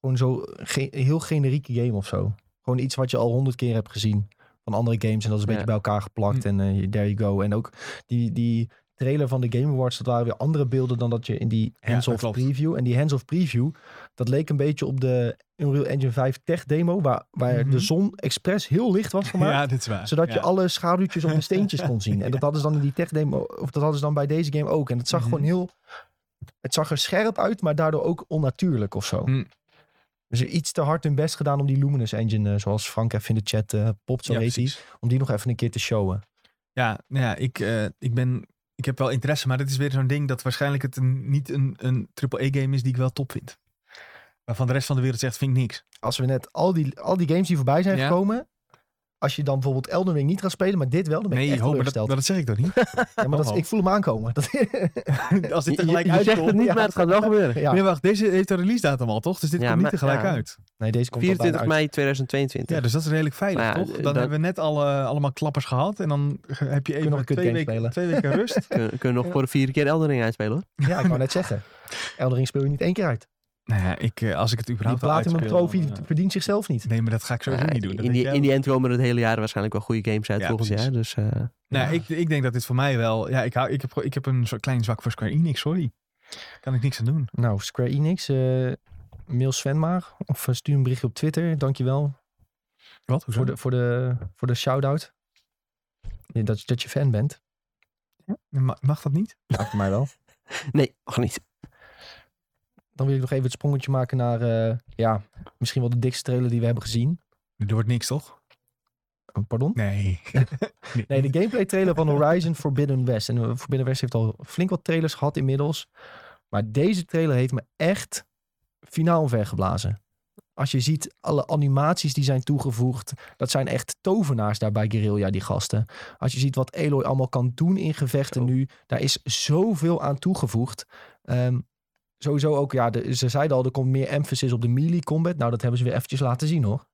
S1: Gewoon zo ge- heel generieke game of zo. Gewoon iets wat je al honderd keer hebt gezien van andere games. En dat is een
S3: Ja.
S1: beetje
S3: Hmm.
S1: bij elkaar geplakt.
S2: Hm.
S1: En eh, there you go. En ook die, die trailer van de Game Awards, dat waren weer andere beelden dan dat je in die
S2: Ja,
S1: hands-off
S2: dat klopt.
S1: preview. En die hands-off preview, dat leek een beetje op de Unreal Engine 5 tech demo. Waar, waar
S2: Mhm.
S1: de zon expres heel licht was gemaakt.
S2: ja, dit is waar.
S1: Zodat
S2: Ja.
S1: je alle schaduwtjes op de steentjes kon zien. En dat hadden ze dan in die tech demo, of dat hadden ze dan bij deze game ook. En het zag
S2: Mhm.
S1: gewoon heel, het zag er scherp uit, maar daardoor ook onnatuurlijk of zo.
S2: Mm.
S1: Dus er iets te hard hun best gedaan om die Luminous Engine, eh, zoals Frank even in de chat eh, popt, zo
S2: Ja,
S1: heet die,
S2: precies.
S1: om die nog even een keer te showen.
S2: Ja, nou ja ik, eh, ik, ben, ik heb wel interesse, maar dit is weer zo'n ding dat waarschijnlijk het een, niet een, een triple-E-game is die ik wel top vind. Waarvan de rest van de wereld zegt, vind ik niks.
S1: Als we net al die, al die games die voorbij zijn
S2: Ja.
S1: gekomen, als je dan bijvoorbeeld Elden Ring niet gaat spelen, maar dit wel, dan ben ik
S2: Nee,
S1: echt
S2: ho, maar dat,
S1: teleurgesteld.
S2: dat Oh. zeg ik toch niet?
S1: ja, maar dat,
S2: ho.
S1: ik voel hem aankomen. Dat,
S2: Als dit
S3: Je- je-
S2: tegelijk
S3: je, zegt
S2: uitkomt.
S3: het niet,
S1: ja.
S3: maar het gaat wel gebeuren.
S1: ja.
S2: Nee, wacht, deze heeft een release datum al, toch? Dus dit
S3: Ja,
S2: komt niet
S3: maar-
S2: tegelijk
S3: ja.
S2: uit.
S1: Nee, deze komt al bijna
S3: 24
S1: uit.
S3: mei
S2: Ja,
S3: 2022.
S2: dus dat is redelijk veilig,
S3: Maar ja,
S2: toch?
S3: eh,
S2: Dan
S3: dat-
S2: hebben we net alle, allemaal klappers gehad. En dan ge- heb je even
S1: nog een
S2: twee,
S1: kutgame
S2: weken,
S1: spelen.
S2: twee weken rust.
S3: Kun- Kunnen we nog
S1: Ja.
S3: voor de vierde keer Eldering uitspelen hoor.
S1: Ja, ik wou net zeggen. Elden Ring speel je niet één keer uit.
S2: nou ja, ik, eh, als ik het
S1: Die
S2: überhaupt al
S1: Platinum
S2: uitspeel, dan,
S1: Trophy
S2: eh,
S1: verdient zichzelf niet.
S2: Nee, maar dat ga ik sowieso
S3: Ja,
S2: niet doen. Dat
S3: in,
S2: weet
S3: die,
S2: jij
S3: in
S2: wel.
S3: die end komen er het hele jaar waarschijnlijk wel goede games uit
S2: Ja,
S3: volgend
S2: precies.
S3: jaar. Dus eh,
S2: Nou,
S1: Ja.
S2: ik, ik denk dat dit voor mij wel... Ja, ik, hou, ik, heb, gewoon- ik heb een soort klein zwak voor Square Enix, sorry. Kan ik niks aan doen.
S1: Nou, Square Enix, eh, mail Sven maar. Of eh, stuur een berichtje op Twitter. Dankjewel
S2: Wat? Hoezo?
S1: voor de, voor de, voor de shout-out. Ja, Dat, dat je fan bent.
S2: Ma- Mag dat niet?
S1: Ja, voor mij wel.
S3: nee, nog niet.
S1: Dan wil ik nog even het sprongetje maken naar... eh, ja, misschien wel de dikste trailer die we hebben gezien.
S2: Er wordt niks, toch?
S1: Oh, Pardon?
S2: Nee.
S1: Nee, de gameplay trailer van Horizon Forbidden West. En eh, Forbidden West heeft al flink wat trailers gehad inmiddels. Maar deze trailer heeft me echt finaal vergeblazen. Als je ziet, alle animaties die zijn toegevoegd. Dat zijn echt tovenaars daar bij Guerrilla, die gasten. Als je ziet wat Eloy allemaal kan doen in gevechten
S3: Zo.
S1: nu. Daar is zoveel aan toegevoegd. Ehm, sowieso ook, ja, de- ze zeiden al, er komt meer emphasis op de melee combat. Nou, dat hebben ze weer eventjes laten zien, hoor.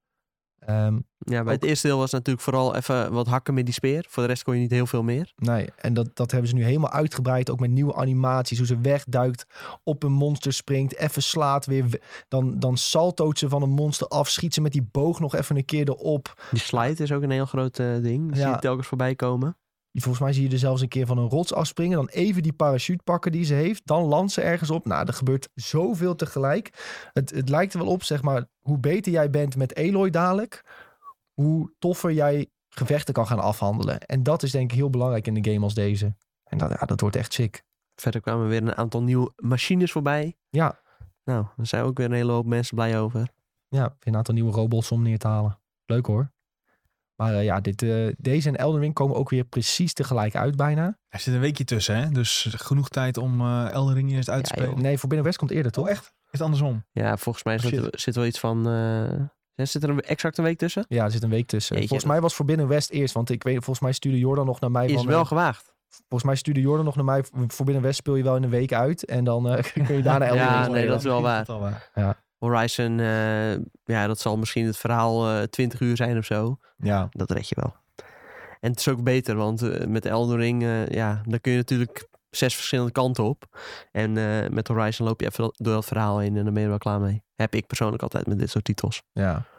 S1: Ehm,
S3: Ja, bij het eerste deel was natuurlijk vooral even wat hakken met die speer. Voor de rest kon je niet heel veel meer.
S1: Nee, en dat, dat hebben ze nu helemaal uitgebreid. Ook met nieuwe animaties. Hoe ze wegduikt, op een monster springt, even slaat weer. we- Dan, dan saltoot ze van een monster af, schiet ze met die boog nog even een keer erop.
S3: Die slide is ook een heel groot eh, ding. Dat zie
S1: Ja.
S3: je telkens voorbij komen.
S1: Volgens mij zie je er zelfs een keer van een rots afspringen. Dan even die parachute pakken die ze heeft. Dan landt ze ergens op. Nou, er gebeurt zoveel tegelijk. Het, het lijkt er wel op, zeg maar, hoe beter jij bent met Eloy dadelijk, hoe toffer jij gevechten kan gaan afhandelen. En dat is denk ik heel belangrijk in een game als deze. En dat, ja, dat wordt echt sick.
S3: Verder kwamen weer een aantal nieuwe machines voorbij.
S1: Ja.
S3: Nou, daar zijn ook weer een hele hoop mensen blij over.
S1: Ja, weer een aantal nieuwe robots om neer te halen. Leuk hoor. Maar eh, ja, dit, eh, deze en Elden Ring komen ook weer precies tegelijk uit bijna.
S2: Er zit een weekje tussen, hè? Dus genoeg tijd om eh Elden Ring eerst uit te
S3: Ja, joh.
S2: spelen.
S1: Eh, Nee, voor Binnen West komt eerder toch?
S2: Oh, echt? Is het andersom?
S3: Ja, volgens mij
S2: Oh,
S3: zit, er- zit wel iets van... eh, ja, zit er een, exact een week tussen?
S1: Ja, er zit een week tussen.
S3: Jeetje,
S1: volgens mij was voor Binnen West eerst. Want ik weet, volgens mij stuurde Jordan nog naar mij.
S3: Is
S1: van,
S3: wel
S1: eh,
S3: gewaagd.
S1: volgens mij stuurde Jordan nog naar mij. Voor Binnen West speel je wel in een week uit. En dan eh, kun je daarna Elden
S3: Ja,
S1: Ring
S3: nee,
S1: spelen.
S3: dat is wel
S2: Misschien
S3: waar.
S2: al waar.
S3: Horizon, eh, ja, dat zal misschien het verhaal eh 20 uur zijn of zo.
S1: Ja.
S3: Dat red je wel. En het is ook beter, want eh, met Elden Ring, eh, ja, dan kun je natuurlijk zes verschillende kanten op. En eh, met Horizon loop je even dat- door dat verhaal heen en dan ben je er wel klaar mee. Heb ik persoonlijk altijd met dit soort titels.
S1: ja.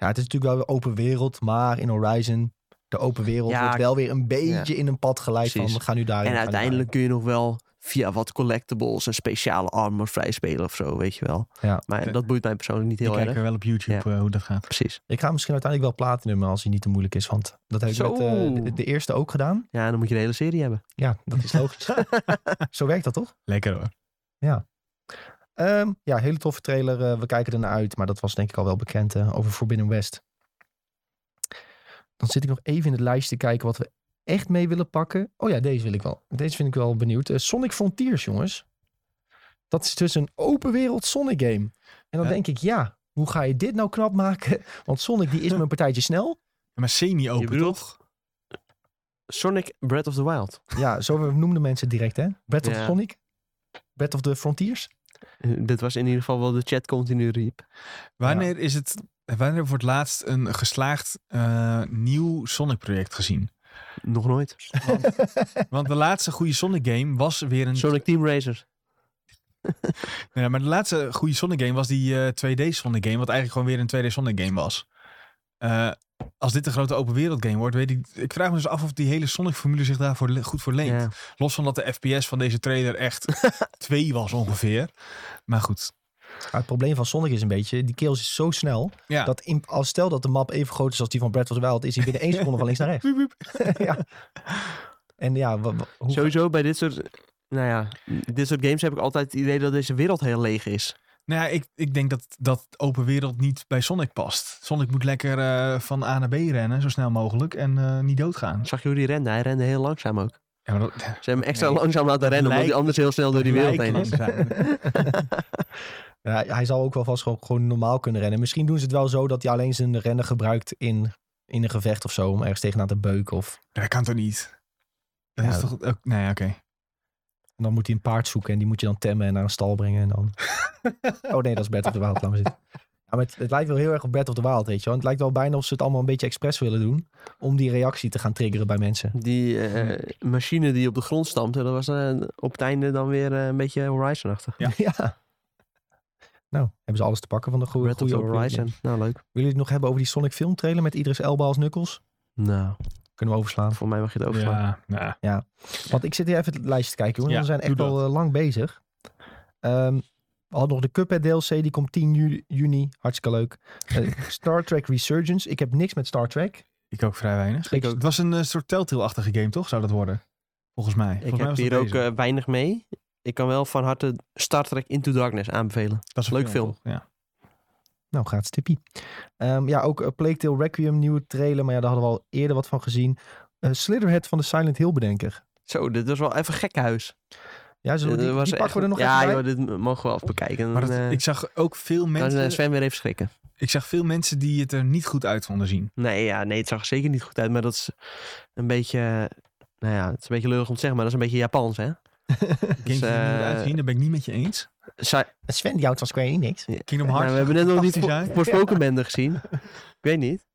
S1: Ja, het is natuurlijk wel weer open wereld. Maar in Horizon de open wereld
S3: Ja,
S1: wordt wel weer een beetje in een pad geleid
S3: Precies.
S1: van we gaan nu daarin.
S3: En
S1: we gaan nu
S3: uiteindelijk kun je nog wel via wat collectibles en speciale armor vrijspelen of zo, weet je wel.
S1: Ja.
S3: Maar
S2: Oké.
S3: dat boeit mij persoonlijk niet
S2: Ik
S3: heel
S2: kijk
S3: erg.
S2: er wel op YouTube eh, hoe dat gaat.
S3: Precies.
S1: daarin. Ik ga misschien uiteindelijk wel platinum als hij niet te moeilijk is. Want dat heb ik
S3: Zo.
S1: met eh, de, de eerste ook gedaan.
S3: Ja, dan moet je de hele serie hebben.
S1: Ja, dat is logisch. Zo werkt dat toch?
S2: Lekker hoor.
S1: Ehm, ja, hele toffe trailer. eh, we kijken ernaar uit. Maar dat was denk ik al wel bekend eh, over Forbidden West. Dan zit ik nog even in het lijstje te kijken wat we echt mee willen pakken. Oh ja, deze wil ik wel. Deze vind ik wel benieuwd. Eh, Sonic Frontiers, jongens. Dat is dus een open wereld Sonic game. En dan
S2: Ja.
S1: denk ik, ja, hoe ga je dit nou knap maken? Want Sonic die is me een partijtje snel.
S2: Maar semi-open,
S3: Je bedoelt-
S2: toch?
S3: Sonic Breath of the Wild.
S1: Ja, zo noemden mensen het direct, hè? Breath of
S3: Ja.
S1: Sonic. Breath of the Frontiers.
S3: Eh, Dit was in ieder geval wel de chat continu riep.
S2: Wanneer is het... Wanneer wordt voor het laatst een geslaagd eh, nieuw Sonic-project gezien?
S3: Nog nooit.
S2: Want de laatste goede Sonic-game was weer een...
S3: Sonic Team Racer.
S2: Nee, maar de laatste goede Sonic-game was die eh, 2D Sonic-game. Wat eigenlijk gewoon weer een 2D Sonic-game was. Eh, als dit een grote open wereld-game wordt, weet ik... Ik vraag me dus af of die hele Sonic-formule zich daarvoor le- goed voor leent.
S3: Ja.
S2: Los van dat de FPS van deze trailer echt 2 was ongeveer. Maar goed.
S1: Maar het probleem van Sonic is een beetje, die kills is zo snel.
S2: Ja.
S1: Dat in, als stel dat de map even groot is als die van Breath of the Wild, is hij binnen één seconde van links naar rechts.
S2: Wiep, wiep.
S1: ja. En ja, wa- wa- hoe,
S3: Sowieso bij dit soort... Nou ja, dit soort games heb ik altijd het idee dat deze wereld heel leeg is.
S2: Nou ja, ik, ik denk dat, dat open wereld niet bij Sonic past. Sonic moet lekker eh, van A naar B rennen, zo snel mogelijk. En eh, niet doodgaan.
S3: Zag je hoe die rende? Hij rende heel langzaam ook.
S2: Ja, maar dat,
S3: Ze hebben hem extra
S2: Nee.
S3: langzaam laten rennen, omdat
S2: Lijkt-
S3: hij anders heel snel door die wereld heen
S2: Lijkt
S3: is.
S2: langzaam.
S1: ja, hij zal ook wel vast gewoon, gewoon normaal kunnen rennen. Misschien doen ze het wel zo dat hij alleen zijn rennen gebruikt in, in een gevecht of zo. Om ergens tegenaan te beuken. Of,
S2: Dat kan toch niet? Dat
S1: Ja,
S2: is toch... ook- nee, oké.
S1: en dan moet hij een paard zoeken en die moet je dan temmen en naar een stal brengen. En dan... oh nee, dat is Breath of the Wild. Laat maar zitten. Ja, maar het, het lijkt wel heel erg op Breath of the Wild, weet je wel. Het lijkt wel bijna of ze het allemaal een beetje expres willen doen. Om die reactie te gaan triggeren bij mensen.
S3: Die eh, machine die op de grond stampte, dat was eh, op het einde dan weer eh, een beetje Horizon-achtig.
S2: Ja.
S1: ja. Nou, hebben ze alles te pakken van de goede
S3: Breath of the
S1: goede opening.
S3: Horizon. Nou, leuk.
S1: Willen jullie het nog hebben over die Sonic film trailer met Idris Elba als Knuckles?
S3: Nou,
S1: Kunnen we overslaan.
S3: voor mij mag je het overslaan.
S2: Ja, nou,
S1: Want ik zit hier even het lijstje te kijken, jongen.
S2: Ja,
S1: we zijn echt
S2: doe
S1: al eh, lang bezig. Ehm, we hadden nog de Cuphead DLC, die komt 10 ju- juni. Hartstikke leuk. Eh, Star Trek Resurgence. Ik heb niks met Star Trek.
S2: ik ook vrij weinig.
S1: Ik ook.
S2: Het was een eh, soort telltale-achtige game, toch? Zou dat worden? Volgens mij. Volgens
S3: Ik
S2: mij
S3: heb
S2: was dat
S3: hier ook
S2: deze.
S3: eh, weinig mee. Ik kan wel van harte Star Trek Into Darkness aanbevelen.
S2: dat is een
S3: leuk film.
S2: toch? Ja.
S1: Nou, gaat stippie. Ehm, ja, ook eh, Plague Tale Requiem, nieuwe trailer. Maar ja, daar hadden we al eerder wat van gezien. Eh, Slitherhead van de Silent Hill bedenker.
S3: Zo, dit was wel even gekkenhuis.
S1: Ja, zullen we
S3: Dit
S1: die,
S3: Eh, was
S1: die pakken we
S3: echt-
S1: er nog
S3: ja,
S1: even bij?
S3: joh, dit m- mogen we wel even bekijken.
S2: Maar
S3: Dan,
S2: dat-
S3: eh,
S2: ik zag ook veel
S3: kan eh,
S2: mensen...
S3: Sven weer even schrikken.
S2: Ik zag veel mensen die het er niet goed uit vonden zien.
S3: Nee, ja, nee, het zag er zeker niet goed uit. Maar dat is een beetje... eh, Nou ja, het is een beetje lullig om te zeggen, maar dat is een beetje Japans, hè?
S2: Games die er niet goed
S3: eh,
S2: uitzien, daar ben ik niet met je eens.
S3: Sa-
S1: Eh, Sven, die houdt van Square Enix.
S2: Kingdom
S3: Nou,
S2: Hearts.
S3: we hebben net nog niet
S2: fantastisch uit.
S3: vo- voorspoken benden gezien. Ik weet niet.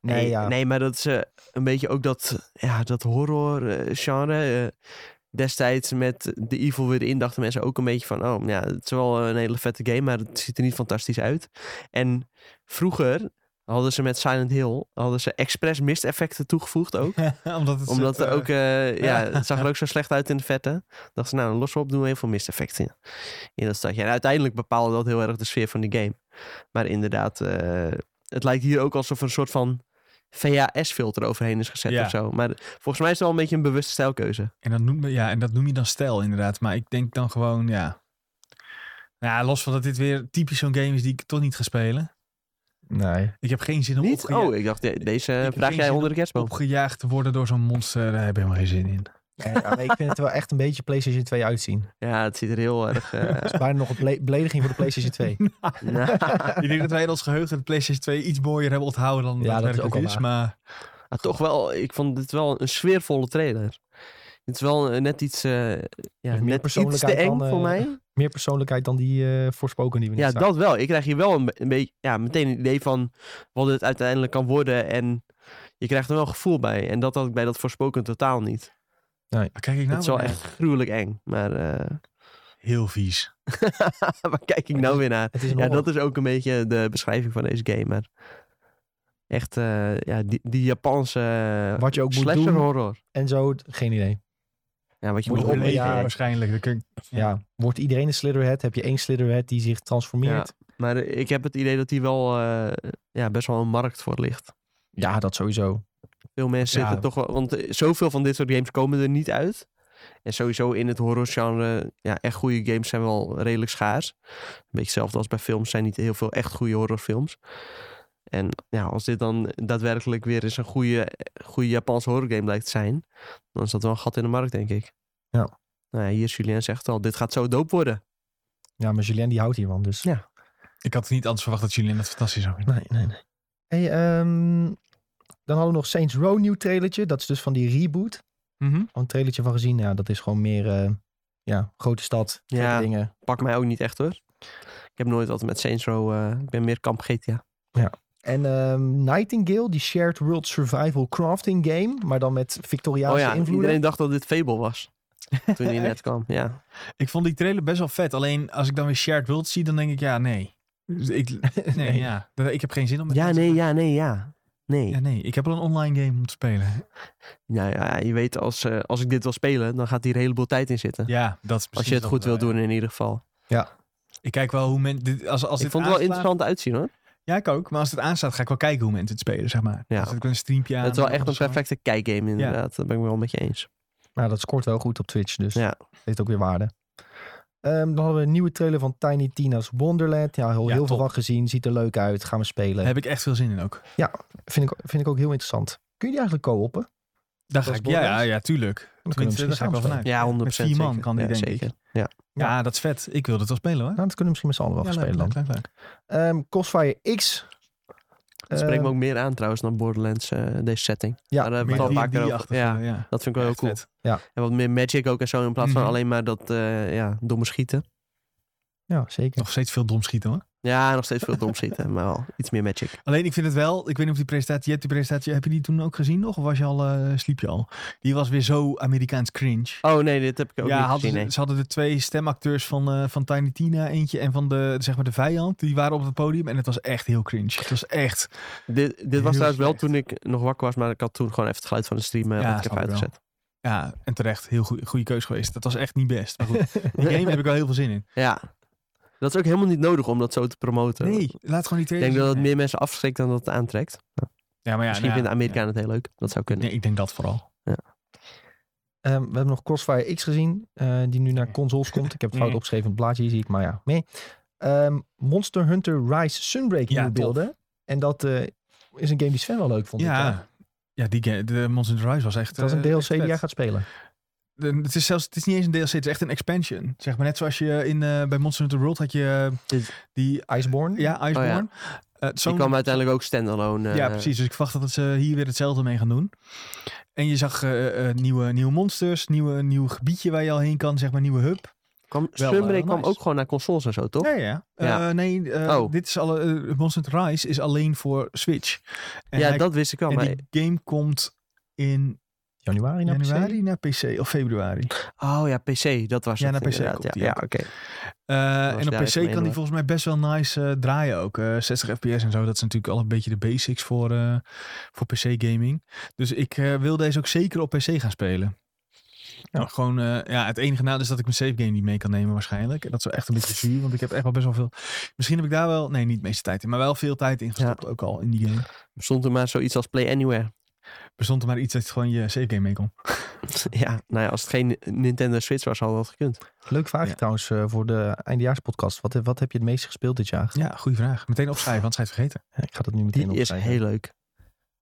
S1: Nee,
S3: nee,
S1: ja.
S3: nee, maar dat is eh, een beetje ook dat, ja, dat horror eh, genre. eh, destijds met de Evil weer in dachten mensen ook een beetje van... oh, ja, het is wel een hele vette game, maar het ziet er niet fantastisch uit. En vroeger hadden ze met Silent Hill... hadden ze expres misteffecten toegevoegd ook.
S2: Omdat het
S3: omdat
S2: soort,
S3: er
S2: eh,
S3: ook, eh, ja, het zag er ook zo slecht uit in de vette. Dachten ze, nou, los op, doen we heel veel misteffecten in, in dat stadje. En uiteindelijk bepaalde dat heel erg de sfeer van die game. Maar inderdaad, eh, het lijkt hier ook alsof er een soort van VHS-filter overheen is gezet
S2: Ja.
S3: of zo. Maar volgens mij is het wel een beetje een bewuste stijlkeuze.
S2: En dat, noem, ja, en dat noem je dan stijl inderdaad. Maar ik denk dan gewoon, ja... Nou ja, los van dat dit weer typisch zo'n game is die ik toch niet ga spelen.
S1: Nee.
S2: Ik heb geen zin om
S3: Niet?
S2: opgeja-
S3: Oh, ik dacht, de- deze
S2: heb
S3: vraag
S2: geen
S3: jij
S2: zin
S3: onder de kerstboom.
S2: opgejaagd te worden door zo'n monster. Daar heb ik helemaal geen zin in.
S1: Ja, ja, nee, ik vind het wel echt een beetje PlayStation 2 uitzien.
S3: Ja, het ziet er heel erg... eh,
S1: Het is bijna nog een ble- belediging voor de PlayStation 2.
S3: nou,
S2: ik denk dat wij in ons geheugen de PlayStation 2 iets mooier hebben onthouden dan
S1: Ja, dat
S2: dat
S1: is ook
S2: werkelijk
S1: wel
S2: is.
S1: waar.
S2: Maar
S3: maar toch wel, ik vond dit wel een sfeervolle trailer. Het is wel eh, net iets, eh ja,
S1: meer
S3: net iets te
S1: persoonlijkheid
S3: eng
S1: dan, eh,
S3: voor mij.
S1: Meer persoonlijkheid dan die eh, voorspoken die we
S3: Ja,
S1: net zagen.
S3: dat wel. Ik krijg hier wel een, be- een beetje, ja, meteen een idee van wat het uiteindelijk kan worden. En je krijgt er wel gevoel bij. En dat had ik bij dat voorspoken totaal
S1: Nou,
S3: niet.
S2: waar kijk ik nou
S3: Het is wel
S2: weer
S3: echt gruwelijk eng. Maar eh,
S2: naar? heel vies.
S3: waar kijk ik nou weer naar?
S1: Het is dus een
S3: Ja,
S1: horror.
S3: dat is ook een beetje de beschrijving van deze game. Maar Echt eh, ja, die, die Japanse eh,
S1: Wat je ook moet
S3: slasher
S1: doen
S3: horror.
S1: en zo, geen idee.
S3: Ja, wat je
S1: Moet
S3: moet
S1: je
S3: doen.
S1: leven
S2: ja,
S1: ja.
S2: waarschijnlijk. Dat kun-
S1: Ja. wordt iedereen een Slytherin? Heb je één Slytherin die zich transformeert? Ja,
S3: Maar eh, ik heb het idee dat hier wel eh, ja, best wel een markt voor ligt.
S1: dat sowieso.
S3: Veel mensen
S2: Ja.
S3: zitten toch wel... Want eh, zoveel van dit soort games komen er niet uit. En sowieso in het horrorgenre... Ja, echt goede games zijn wel redelijk schaars. Een beetje hetzelfde als bij films. zijn niet heel veel echt goede horrorfilms. En ja, als dit dan daadwerkelijk weer eens een goede, eh, goede Japanse horrorgame blijkt te zijn... dan is dat wel een gat in de markt, denk ik.
S1: Ja.
S3: Nou ja, hier Julien zegt al, dit gaat zo doop worden.
S1: Ja, maar Julien die houdt hiervan, dus...
S3: Ja.
S2: Ik had niet anders verwacht dat jullie dat fantastisch zou vinden.
S1: Nee, nee, nee. Hey, ehm, dan hadden we nog Saints Row nieuw trailertje. Dat is dus van die reboot.
S2: Mhm.
S1: Al een trailertje van gezien. Ja, dat is gewoon meer eh, ja, grote stad, gekke
S3: Ja.
S1: dingen.
S3: Pak mij ook niet echt, hoor. Ik heb nooit wat met Saints Row... eh, ik ben meer kamp GTA.
S1: En ehm, Nightingale, die shared world survival crafting game. Maar dan met Victoriaanse
S3: Oh ja,
S1: invloeden.
S3: iedereen dacht dat dit Fable was. Toen hij net kwam, ja.
S2: Ik vond die trailer best wel vet. Alleen als ik dan weer Shared World zie, dan denk ik ja, nee. Dus ik, nee,
S1: Nee.
S2: ja. Dat- Ik heb geen zin om met
S3: Ja,
S2: mensen-
S3: nee, ja, nee, ja. Nee.
S2: Ja, nee. Ik heb al een online game om te spelen.
S3: Nou ja, je weet, als, eh, als ik dit wil spelen, dan gaat hier een heleboel tijd in zitten.
S2: Ja, dat is precies eh,
S3: als je het
S2: dat
S3: goed
S2: wel,
S3: wil
S2: ja.
S3: doen in ieder geval.
S2: Ik kijk wel hoe men dit als als
S3: ik
S2: dit
S3: vond het wel
S2: aanslaat-
S3: interessant uitzien hoor.
S2: Ja, ik ook. Maar als het aanstaat, ga ik wel kijken hoe mensen het spelen, zeg maar. Dan
S3: Ja.
S2: zet ik wel een streampje aan.
S3: het is wel
S2: of
S3: echt een
S2: zo.
S3: perfecte kijkgame inderdaad. Dat ben ik wel met je eens.
S1: Maar Nou, dat scoort wel goed op Twitch, dus
S3: Ja.
S1: heeft ook weer waarde. Ehm, dan hadden we een nieuwe trailer van Tiny Tina's Wonderland. Ja, heel,
S2: Ja,
S1: heel veel
S2: top.
S1: van gezien. Ziet er leuk uit. Gaan we spelen.
S2: Daar heb ik echt veel zin in ook.
S1: Vind, ik, vind ik ook heel interessant. Kun je die eigenlijk co-oppen?
S2: Daar
S1: Dat
S2: ga
S1: is
S2: ik, ja, ja,
S1: Borderlands.
S2: ja, tuurlijk.
S1: we
S2: Tenminste,
S1: misschien
S2: daar ga ik wel
S1: samen
S2: vanuit.
S3: Ja, 100%
S2: Met vier man
S3: zeker.
S2: kan die,
S3: Ja,
S2: denk ik.
S3: zeker. Ja.
S1: Ja.
S2: Ja. dat is vet. Ik wil het wel spelen hoor.
S1: Nou, dat kunnen we misschien met z'n allen wel
S2: Ja,
S1: gaan
S2: leuk,
S1: spelen dan.
S2: leuk, leuk, leuk.
S1: Ehm, Crossfire X.
S3: Dat spreekt me
S1: Ehm,
S3: ook meer aan trouwens dan Borderlands, eh, deze setting.
S1: Ja,
S3: Maar daar hebben
S2: Eh, Meer
S3: we het al
S2: die-
S3: vaker
S2: die
S3: over.
S2: achtige,
S3: Ja,
S2: ja.
S3: dat vind ik wel heel
S2: Echt
S3: cool.
S2: vet.
S3: En wat meer magic ook en zo, in plaats van
S2: Mhm.
S3: alleen maar dat eh, ja, domme schieten.
S1: ja, zeker.
S2: Nog steeds veel dom schieten hoor.
S3: Ja, nog steeds veel dom schieten, maar wel iets meer magic.
S2: Alleen ik vind het wel, ik weet niet of die presentatie, je hebt die presentatie, heb je die toen ook gezien nog? Of was je al, eh, sliep je al? Die was weer zo Amerikaans cringe.
S3: Oh nee, dit heb ik ook
S2: ja,
S3: niet
S2: hadden
S3: gezien.
S2: ze,
S3: nee.
S2: ze hadden de twee stemacteurs van, eh, van Tiny Tina eentje en van de, zeg maar de vijand. Die waren op het podium en het was echt heel cringe. Het was echt,
S3: Dit, dit
S2: Heel
S3: was trouwens wel
S2: slecht.
S3: toen ik nog wakker was, maar ik had toen gewoon even het geluid van de stream eh,
S2: Ja,
S3: wat ik heb
S2: snap ik wel.
S3: uitgezet.
S2: ja, en terecht, heel goede, goede keus geweest. Dat was echt niet best. Maar goed, die game heb ik wel heel veel zin in.
S3: Ja. Dat is ook helemaal niet nodig om dat zo te promoten.
S2: Nee, laat gewoon die trailer
S3: Ik denk dat
S2: zien.
S3: het meer mensen afschrikt dan dat het aantrekt.
S2: ja, maar ja,
S3: Misschien
S2: nou ja,
S3: vinden Amerikanen het heel leuk. Dat zou
S2: ja.
S3: kunnen.
S2: Nee, ik denk dat vooral.
S1: Ehm, we hebben nog Crossfire X gezien. eh, die nu naar consoles komt. Ik heb het fout
S2: Mm.
S1: opgeschreven op het blaadje. Hier zie ik, maar ja. Mee. Ehm, Monster Hunter Rise Sunbreak
S2: Ja,
S1: nieuwe
S2: tof.
S1: beelden. En dat eh, is een game die Sven wel leuk vond. Ik, eh,
S2: Ja, ja die game, de Monster Hunter Rise was echt...
S1: Het was een
S2: eh,
S1: DLC
S2: echt
S1: die
S2: vet.
S1: jij gaat spelen.
S2: De- Het is zelfs het is niet eens een DLC, het is echt een expansion. Zeg maar net zoals je in, eh, bij Monster Hunter World had je eh,
S3: Dit- Oh
S2: die
S1: Iceborne?
S2: ja, Iceborne. Eh,
S3: Die
S2: zo'n-
S3: kwam uiteindelijk ook standalone. eh,
S2: ja, precies. Dus ik verwacht dat ze hier weer hetzelfde mee gaan doen. En je zag eh, eh, nieuwe, nieuwe monsters, nieuwe, nieuw gebiedje waar je al heen kan, zeg maar, nieuwe hub.
S3: Kwam,
S2: Wel, eh,
S3: Sunbreak kwam
S2: nice.
S3: ook gewoon naar consoles en zo, toch?
S2: Ja, ja.
S3: Oh. Ja.
S2: Eh, nee, eh,
S3: Oh.
S2: dit is alle, eh, Monster Hunter Rise is alleen voor Switch. En
S3: ja,
S2: hij-
S3: dat wist ik wel.
S2: en
S3: Maar...
S2: die game komt in
S1: Januari nou, naar PC?
S2: januari naar PC of februari.
S3: Oh ja, PC. Dat was
S2: Ja,
S3: het
S2: naar PC
S3: inderdaad.
S2: komt
S3: Ja,
S2: die
S3: ja
S2: ook.
S3: oké.
S2: Eh,
S3: was
S2: en op
S3: daar even
S2: PC
S3: mee
S2: kan die
S3: door.
S2: volgens mij best wel nice eh, draaien ook. Eh, 60 fps en zo, dat is natuurlijk al een beetje de basics voor, eh, voor PC gaming. Dus ik eh, wil deze ook zeker op PC gaan spelen. Nou, gewoon, eh, ja, het enige nadeel is dat ik mijn save game niet mee kan nemen waarschijnlijk. En dat is wel echt een beetje zuur, want ik heb echt wel best wel veel... Misschien heb ik daar wel, nee, niet de meeste tijd in, maar wel veel tijd in gestopt ook al in die game.
S3: Bestond er maar zoiets als Play Anywhere.
S2: Bestond er maar iets dat gewoon je save game mee kon.
S3: ja, nou ja, als het geen Nintendo Switch was, had dat gekund.
S1: Leuk vraagje
S2: Ja.
S1: trouwens eh, voor de eindejaarspodcast. Wat, eh, wat heb je het meest gespeeld dit jaar?
S2: Ja, goede vraag. Meteen opschrijven, anders ga je het vergeten.
S1: Ja, Ik ga dat nu meteen
S3: Die is
S1: opschrijven.
S3: heel leuk.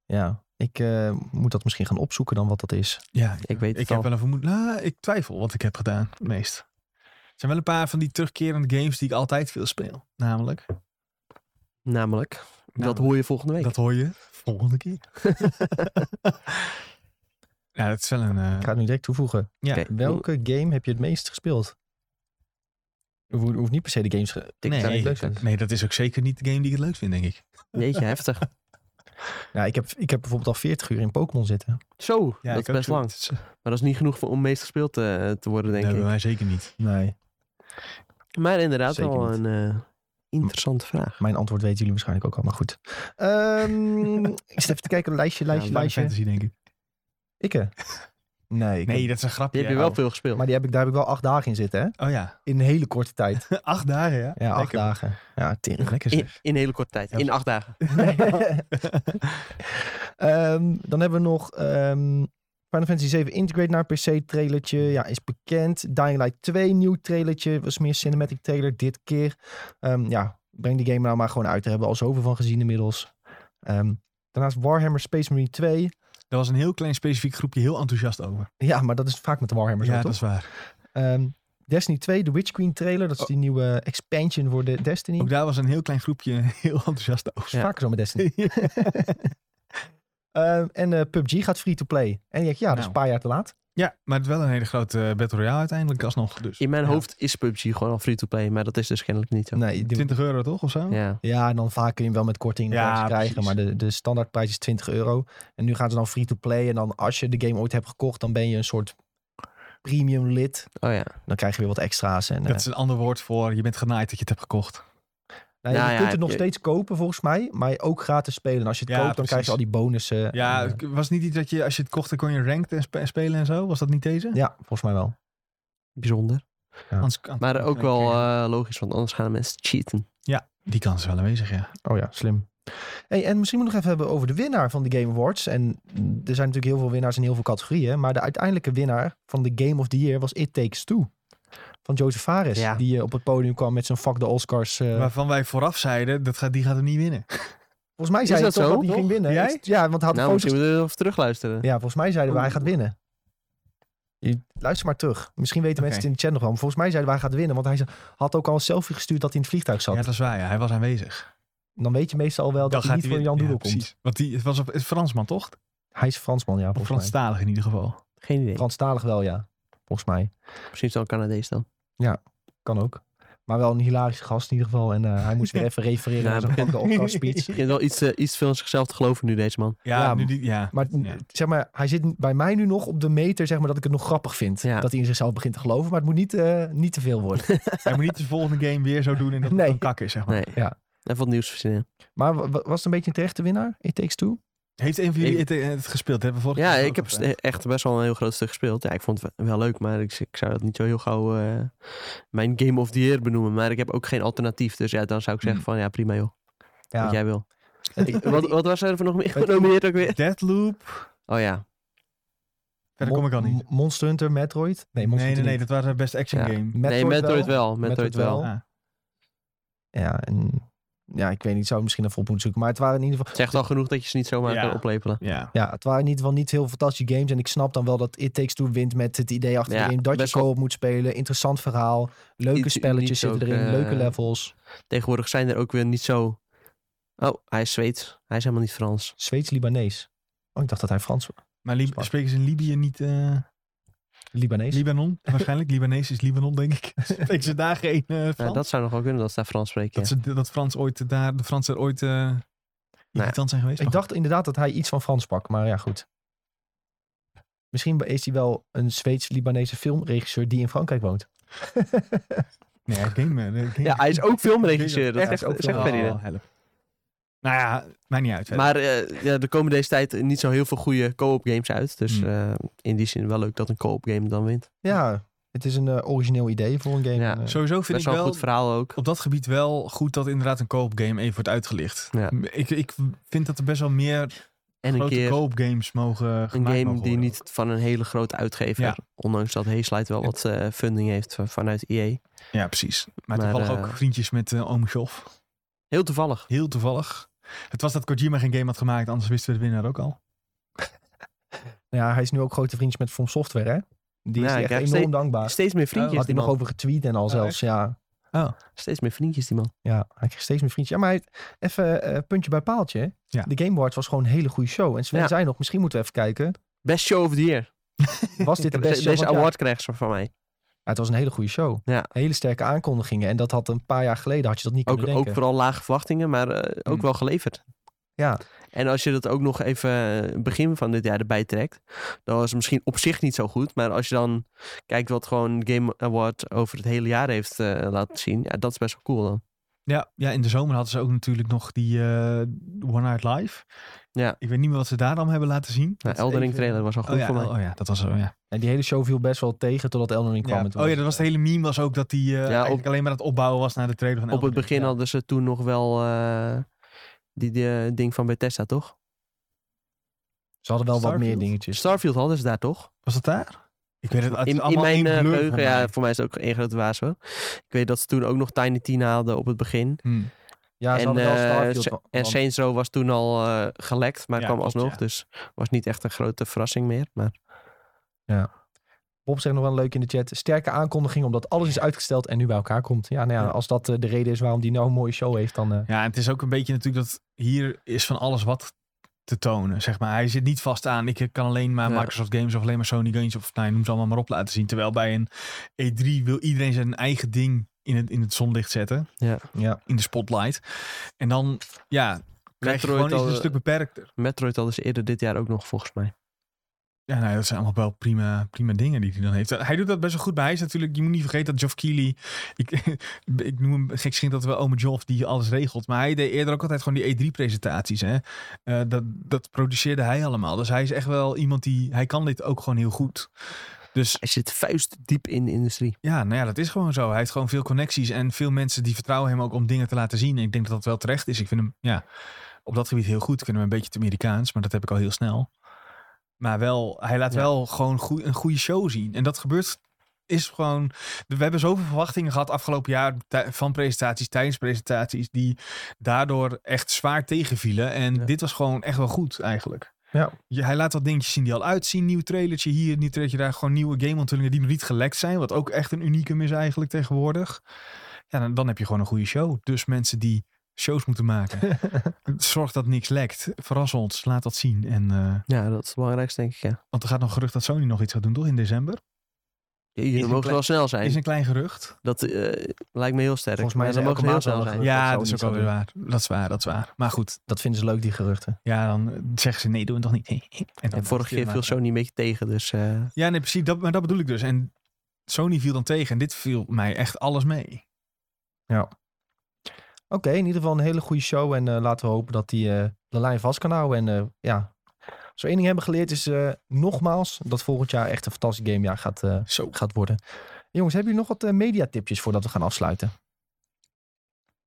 S1: Ja, ik eh, moet dat misschien gaan opzoeken dan wat dat is.
S2: Ja,
S3: Ik weet het
S2: Ik heb
S3: al.
S2: wel een vermoeden. Nou, ik twijfel wat ik heb gedaan, het meest. Er zijn wel een paar van die terugkerende games die ik altijd veel speel. Namelijk,
S3: Namelijk, dat
S2: Namelijk.
S3: hoor je volgende week.
S2: Nou, dat hoor je volgende keer. ja, dat is wel een... eh,
S1: Ik ga het nu direct toevoegen.
S2: ja.
S3: Oké.
S1: Welke game heb je het meest gespeeld? Je hoeft, hoeft niet per se de games... ge-
S3: Ik zou
S2: nee,
S3: het leuk
S2: nee,
S1: vinden.
S2: nee, dat is ook zeker niet de game die ik het leuk vind, denk ik.
S3: Jeetje, heftig.
S1: Nou, ik heb, ik heb bijvoorbeeld al 40 uur in Pokémon zitten.
S3: Zo,
S2: Ja,
S3: dat is best lang.
S2: eh,
S3: Maar dat is niet genoeg voor, om meest gespeeld eh, te
S2: Dat
S3: worden, denk
S2: hebben
S3: ik.
S2: wij zeker niet.
S1: Nee.
S3: Maar inderdaad
S1: Zeker
S3: wel
S1: niet.
S3: een eh, interessante vraag.
S1: Mijn antwoord weten jullie waarschijnlijk ook al, maar goed. Ehm, ik zit even te kijken, lijstje,
S2: Ja,
S1: lijstje,
S2: Final
S1: lijstje.
S2: Fantasy, denk ik.
S1: Ik hè? Nee, ik
S2: Nee,
S1: heb-
S2: dat is een grapje.
S3: Die heb je
S2: ja.
S3: wel veel gespeeld.
S1: maar die heb ik, daar heb ik wel acht dagen in zitten, hè?
S2: Oh ja,
S1: In een hele korte tijd.
S2: acht dagen, ja.
S1: Ja, acht
S2: Lekker.
S1: dagen. Ja, tering.
S2: Lekker
S3: in,
S2: zeg.
S3: in hele korte tijd.
S2: Ja.
S3: In acht dagen.
S1: Ehm, dan hebben we nog ehm Final Fantasy 7 Integrate naar PC trailertje. Ja, is bekend. Dying Light 2 nieuw trailertje. Was meer cinematic trailer dit keer. Ehm, ja, breng die game nou maar gewoon uit. Daar hebben we al zoveel van gezien inmiddels. Ehm, daarnaast Warhammer Space Marine 2.
S2: Daar was een heel klein specifiek groepje heel enthousiast over.
S1: Ja, maar dat is vaak met de Warhammer zo,
S2: ja,
S1: toch?
S2: dat is waar.
S1: Ehm, Destiny 2, de Witch Queen trailer. Dat is die nieuwe expansion voor de Destiny.
S2: Ook daar was een heel klein groepje heel enthousiast over.
S1: Vaker zo met Destiny. Ehm, en eh, PUBG gaat free-to-play. En je denkt, ja, dat is een
S2: Nou.
S1: paar jaar te laat.
S2: Ja, maar het is wel een hele grote eh, Battle Royale uiteindelijk alsnog. Dus
S3: In mijn
S2: Ja.
S3: hoofd is PUBG gewoon al free-to-play, maar dat is dus kennelijk niet zo.
S1: Nee, die-
S2: 20 euro toch of zo?
S3: Ja. nou
S1: Ja, en dan vaak kun je hem wel met korting
S2: Ja,
S1: ergens krijgen.
S2: precies.
S1: Maar de, de standaardprijs is 20 euro. En nu gaan ze dan free-to-play. En dan als je de game ooit hebt gekocht, dan ben je een soort premium lid.
S3: Oh ja.
S1: Dan krijg je weer wat extra's. En, eh,
S2: Dat is een ander woord voor je bent genaaid dat je het hebt gekocht.
S1: nou,
S3: Nou
S1: je
S3: ja,
S1: kunt het nog
S3: je-
S1: steeds kopen volgens mij. Maar ook gratis spelen. En als je het
S2: Ja,
S1: koopt, dan
S2: precies.
S1: krijg je al die bonussen.
S2: Ja,
S1: En, eh,
S2: het was niet iets dat je als je het kocht dan kon je ranked en spe- spelen en zo? Was dat niet deze?
S1: ja, volgens mij wel.
S3: Bijzonder.
S2: Anders- anders-
S3: Maar ook wel
S2: Ja,
S3: eh, logisch, want anders gaan de mensen cheaten.
S2: die kans is wel aanwezig, ja.
S1: Oh ja, slim. Hey, en misschien moeten we nog even hebben over de winnaar van de Game Awards. En mm, er zijn natuurlijk heel veel winnaars in heel veel categorieën. Maar de uiteindelijke winnaar van de Game of the Year was It Takes Two. Van Joseph Fares.
S3: Ja.
S1: Die eh, op het podium kwam met zijn Fuck the Oscars. eh,
S2: Waarvan wij vooraf zeiden, dat gaat, die gaat hem niet winnen.
S1: volgens mij
S3: Is
S1: zei hij
S3: dat
S1: toch
S3: zo?
S1: dat hij ging winnen.
S2: Jij?
S1: Ik- Ja, want hij had
S3: nou,
S1: een
S3: misschien
S1: foto...
S3: moeten we even terugluisteren.
S1: Ja, volgens mij zeiden we hij gaat winnen. Je- Luister maar terug. Misschien weten
S2: Oké.
S1: mensen het in de chat nog wel. Maar volgens mij zeiden we hij gaat winnen. Want hij ze- had ook al een selfie gestuurd dat hij in het vliegtuig
S2: Ja,
S1: zat.
S2: dat is waar, ja. Hij was aanwezig.
S1: Dan weet je meestal al wel dat hij niet voor Jan Doedel
S2: Doedel
S1: komt.
S2: Want die, het was op, het Fransman, toch?
S1: Hij is Fransman, ja,
S2: Of
S1: volgens mij.
S2: Franstalig in ieder geval.
S3: Geen idee.
S1: Franstalig wel, ja. Volgens mij.
S3: Misschien is het wel een Canadees dan.
S1: Kan ook. Maar wel een hilarische gast in ieder geval. En eh, hij moest weer even refereren
S3: Ja,
S1: aan zijn
S3: hij
S1: fuck the Oscars speech.
S3: Begint wel iets, eh, iets veel in zichzelf te geloven nu, deze man.
S2: Ja,
S1: Ja,
S2: nu die, ja.
S1: Maar mm,
S2: Ja.
S1: zeg maar, hij zit bij mij nu nog op de meter zeg maar, dat ik het nog grappig vind.
S3: Ja.
S1: Dat hij in zichzelf begint te geloven. Maar het moet niet, eh, niet te veel worden.
S2: Hij moet niet de volgende game weer zo doen en dat
S1: Nee.
S2: het een kak is, zeg maar.
S3: Nee.
S1: Ja.
S3: Even wat nieuws verzinnen.
S1: maar wa- wa- was het een beetje een terechte winnaar? It Takes Two?
S2: Heeft een van jullie
S3: Ik-
S2: het, eh, het gespeeld? Hebben we vorige
S3: Ja,
S2: keer
S3: ik
S2: ook
S3: heb
S2: over.
S3: st- echt best wel een heel groot stuk gespeeld. Ja, ik vond het wel leuk, maar ik, ik zou dat niet zo heel gauw eh, mijn Game of the Year benoemen. Maar ik heb ook geen alternatief. Dus ja, dan zou ik zeggen van ja, prima joh. Wat jij wil. Ik- wat, wat was er voor nog meer genomineerd ook weer?
S2: Deadloop.
S3: Oh ja.
S2: Verder kom ik al niet.
S1: Mon- Monster Hunter, Metroid? Nee, Monster
S2: Nee, nee, nee.
S1: Hunter
S2: Dat waren best action
S3: Ja.
S2: game.
S1: niet.
S3: nee, Metroid wel. Metroid,
S1: Metroid
S3: wel.
S1: wel.
S2: Ah.
S1: wel. Ja, en, ja, ik weet niet. Zou ik misschien even op moeten zoeken. Maar het waren in ieder geval...
S3: Het is echt al genoeg dat je ze niet zomaar
S2: Ja.
S3: kan oplepelen.
S2: Ja.
S1: Ja, het waren in ieder geval niet heel fantastische games. En ik snap dan wel dat It Takes Two wint met het idee achter
S3: Ja,
S1: de game dat je
S3: best wel-
S1: co-op moet spelen. Interessant verhaal. Leuke
S3: Iets
S1: spelletjes
S3: unieks
S1: zitten
S3: ook,
S1: erin.
S3: eh,
S1: leuke levels.
S3: Tegenwoordig zijn er ook weer niet zo... Oh, hij is Zweeds. Hij is helemaal niet Frans.
S1: Zweeds-Libanees. Oh, ik dacht dat hij Frans was.
S2: Maar Lib-
S1: Spar-
S2: spreken ze in Libië niet... eh,
S1: Libanees.
S2: Libanon, waarschijnlijk. Libanees is Libanon, denk ik. Spreken ze daar geen eh, Frans?
S3: Ja, dat zou nog wel kunnen dat ze daar Frans spreken.
S2: dat,
S3: ja. Nou
S2: ze, dat Frans ooit daar, de Fransen er ooit eh irritant zijn geweest.
S1: ik
S2: Maar
S1: dacht inderdaad dat hij iets van Frans sprak. Maar ja, goed. Misschien is hij wel een Zweeds-Libanese filmregisseur die in Frankrijk woont.
S2: goed. Nee, game, eh, game-
S3: Ja, hij is ook filmregisseur. Dat
S2: Echt?
S3: zegt,
S1: ook
S3: zegt
S1: wel.
S3: Ferdinand.
S2: Oh, help. Nou ja, maakt niet uit. verder.
S3: Maar eh, ja, er komen deze tijd niet zo heel veel goede co-op games uit. Dus
S2: Hmm.
S3: eh, in die zin wel leuk dat een co-op game dan wint.
S1: Ja, het is een eh, origineel idee voor een game.
S3: Ja.
S1: En, eh,
S2: Sowieso vind
S3: Best
S2: ik
S3: wel een
S2: wel
S3: goed verhaal ook.
S2: op dat gebied wel goed dat inderdaad een co-op game even wordt uitgelicht.
S3: Ja.
S2: Ik, ik vind dat er best wel meer
S3: En een
S2: grote
S3: keer
S2: co-op games mogen gemaakt
S3: een
S2: mogen
S3: game die
S2: worden
S3: niet
S2: ook.
S3: van een hele grote uitgever.
S2: Ja.
S3: Ondanks dat Hayslide wel wat eh, funding heeft van- vanuit E EA.
S2: Ja, precies. Maar,
S3: Maar,
S2: toevallig
S3: eh,
S2: ook vriendjes met eh Oom Joff.
S3: Heel toevallig.
S2: Heel toevallig. Het was dat Kojima geen game had gemaakt, anders wisten we de winnaar ook al.
S1: ja, hij is nu ook grote vriendjes met From Software, hè? Die
S3: Ja,
S1: is
S3: ik
S1: die echt
S3: krijg
S1: enorm
S3: steeds-
S1: dankbaar.
S3: Steeds meer
S2: Eh,
S3: vriendjes.
S1: Had hij
S3: die
S1: nog
S3: man.
S1: over getweet en al zelfs. Ja,
S3: Steeds meer vriendjes die man.
S1: Ja, hij kreeg steeds meer vriendjes. Ja, maar hij- even eh, puntje bij paaltje. hè.
S2: Ja.
S1: De Game Awards was gewoon een hele goede show. En Sven
S3: Ja.
S1: zei nog, misschien moeten we even kijken.
S3: Best show of the year.
S1: Was dit de beste
S3: Deze-
S1: show?
S3: Deze
S1: Want ja,
S3: award krijgt ze van mij.
S1: ja, het was een hele goede show.
S3: Ja.
S1: Hele sterke aankondigingen. En dat had een paar jaar geleden, had je dat niet
S3: Ook,
S1: kunnen
S3: ook
S1: denken.
S3: vooral lage verwachtingen, maar eh, ook
S2: Hmm.
S3: wel geleverd.
S1: Ja.
S3: En als je dat ook nog even eh, begin van dit jaar erbij trekt, dan was het misschien op zich niet zo goed. Maar als je dan kijkt wat gewoon Game Award over het hele jaar heeft eh, laten zien, ja, dat is best wel cool dan.
S2: Ja, ja, in de zomer hadden ze ook natuurlijk nog die eh, One Night Live.
S3: Ja.
S2: Ik weet niet meer wat ze daar dan hebben laten zien.
S3: Nou,
S2: Dat is
S3: Eldering
S2: even-
S3: trailer was al goed
S2: Oh ja,
S3: voor mij.
S2: oh ja, dat was zo, ja.
S1: En die hele show viel best wel tegen totdat Elden Ring kwam.
S2: Ja.
S1: En toen
S2: Oh ja, dat was de hele meme was ook dat die eh, eigenlijk
S3: op-
S2: alleen maar aan het opbouwen was naar de trailer van
S3: Op het
S2: Eldering.
S3: begin hadden ze toen nog wel eh, die, die eh, ding van Bethesda, toch?
S1: Ze hadden wel wat
S2: Starfield?
S1: meer dingetjes.
S3: Starfield hadden ze daar toch?
S2: Was dat daar? Ik weet het, het is
S3: In, in
S2: allemaal
S3: mijn
S2: één
S3: eh,
S2: blur
S3: geheugen,
S2: voor mij.
S3: ja, voor mij is het ook één grote waas hoor. Ik weet dat ze toen ook nog Tiny Tina hadden op het begin.
S2: Hm.
S1: Ja, ze
S3: en
S1: hadden wel
S3: eh,
S1: Starfield.
S3: Sa-
S1: want-
S3: en Saints Row was toen al eh, gelekt, maar
S2: Ja,
S3: kwam
S2: klopt,
S3: alsnog.
S2: ja.
S3: Dus was niet echt een grote verrassing meer. Maar
S1: Bob zegt nog wel leuk in de chat. Sterke aankondiging omdat alles is uitgesteld en nu bij elkaar komt. Ja, nou ja,
S2: Ja.
S1: als dat eh, de reden is waarom die nou een mooie show heeft, dan... eh,
S2: Ja, en het is ook een beetje natuurlijk dat hier is van alles wat te tonen, zeg maar. Hij zit niet vast aan, ik kan alleen maar
S3: Ja.
S2: Microsoft Games of alleen maar Sony Games of nee, noem ze allemaal maar op laten zien. Terwijl bij een E3 wil iedereen zijn eigen ding in het, in het zonlicht zetten,
S1: ja.
S2: in de spotlight. En dan, ja, krijg je
S3: Metroid
S2: gewoon iets
S3: al-
S2: een stuk beperkter.
S3: Metroid hadden ze eerder dit jaar ook nog volgens mij.
S2: Ja, nou, dat zijn allemaal wel prima, prima dingen die hij dan heeft. Hij doet dat best wel goed bij. Hij is natuurlijk, je moet niet vergeten dat Geoff Keighley, ik, ik noem hem gekschind dat we ome Geoff die alles regelt. Maar hij deed eerder ook altijd gewoon die E3-presentaties. hè Eh, dat, dat produceerde hij allemaal. Dus hij is echt wel iemand die, hij kan dit ook gewoon heel goed. Dus
S3: Hij zit vuistdiep in de industrie.
S2: ja, nou ja, dat is gewoon zo. Hij heeft gewoon veel connecties en veel mensen die vertrouwen hem ook om dingen te laten zien. En ik denk dat dat wel terecht is. Ik vind hem, ja, op dat gebied heel goed. Ik vind hem een beetje te Amerikaans, maar dat heb ik al heel snel. Maar wel, hij laat
S3: Ja.
S2: wel gewoon goe- een goede show zien. En dat gebeurt, is gewoon... We hebben zoveel verwachtingen gehad afgelopen jaar tij- van presentaties, tijdens presentaties, die daardoor echt zwaar tegenvielen. En
S3: Ja.
S2: dit was gewoon echt wel goed eigenlijk.
S1: Ja.
S2: Je- hij laat wat dingetjes zien die al uitzien. Nieuw trailertje hier, nieuw trailertje daar. Gewoon nieuwe gameonthullingen die nog niet gelekt zijn. Wat ook echt een unicum is eigenlijk tegenwoordig. Ja, dan, dan heb je gewoon een goede show. Dus mensen die shows moeten maken. Zorg dat niks lekt. Verras ons. Laat dat zien. En, eh,
S3: Ja, dat is het belangrijkste denk ik. Ja.
S2: want er gaat nog gerucht dat Sony nog iets gaat doen, toch? In december.
S3: Jullie
S2: een
S3: mogen
S2: klein-
S3: wel snel zijn.
S2: Is een klein gerucht.
S3: Dat eh, lijkt me heel sterk.
S1: Volgens mij
S3: Maar
S1: is
S3: ze
S1: er elke
S3: mogen heel
S1: maand
S3: snel
S1: wel een
S3: zijn.
S1: gerucht.
S2: Ja,
S1: dat
S2: dat is ook
S1: Sony
S2: alweer waar. Dat is waar, dat is waar. Maar goed,
S1: Dat vinden ze leuk, die geruchten.
S2: ja, dan eh, zeggen ze nee, doen we toch niet. En dan-
S3: En vorig jaar viel Sony een beetje tegen, dus eh,
S2: Ja, nee, precies. Dat, maar dat bedoel ik dus. En Sony viel dan tegen. En dit viel mij echt alles mee.
S1: Oké, in ieder geval een hele goede show. En eh, laten we hopen dat die eh, de lijn vast kan houden. En eh, ja, als we één ding hebben geleerd is eh, nogmaals dat volgend jaar echt een fantastisch gamejaar gaat, eh,
S2: Zo.
S1: gaat worden. Jongens, hebben jullie nog wat eh, mediatipjes voordat we gaan afsluiten?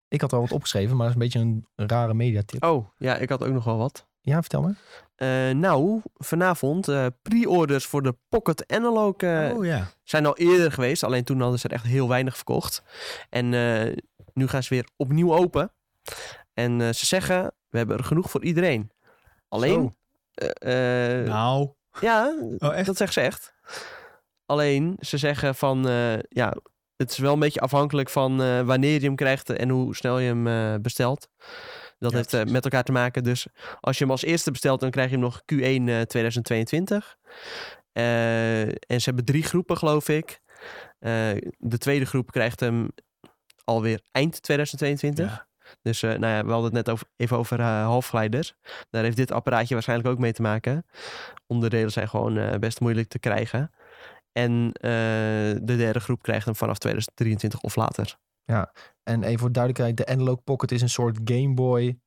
S1: Ik had al wat opgeschreven, maar dat is een beetje een rare mediatip.
S3: Oh, ja, ik had ook nog wel wat.
S1: Ja, vertel me.
S3: Eh, nou, vanavond eh, pre-orders voor de Pocket Analog eh,
S2: oh ja.
S3: zijn al eerder geweest. Alleen toen hadden ze er echt heel weinig verkocht. En eh, nu gaan ze weer opnieuw open. En eh, ze zeggen, we hebben er genoeg voor iedereen. Alleen, eh, eh,
S2: Nou.
S3: ja,
S2: Oh, echt?
S3: dat zeggen ze echt. Alleen, ze zeggen van, eh, ja, het is wel een beetje afhankelijk van eh, wanneer je hem krijgt en hoe snel je hem eh, bestelt. Dat
S2: Ja,
S3: heeft eh,
S2: precies.
S3: met elkaar te maken. Dus als je hem als eerste bestelt, dan krijg je hem nog Q1 eh, 2022. Eh, en ze hebben drie groepen, geloof ik. Eh, de tweede groep krijgt hem alweer eind 2022.
S2: Ja.
S3: Dus eh, nou ja, we hadden het net over, even over eh, halfgeleiders. Daar heeft dit apparaatje waarschijnlijk ook mee te maken. Onderdelen zijn gewoon eh, best moeilijk te krijgen. En eh, de derde groep krijgt hem vanaf 2023 of later.
S1: En even voor duidelijkheid, de Analog Pocket is een soort Game Boy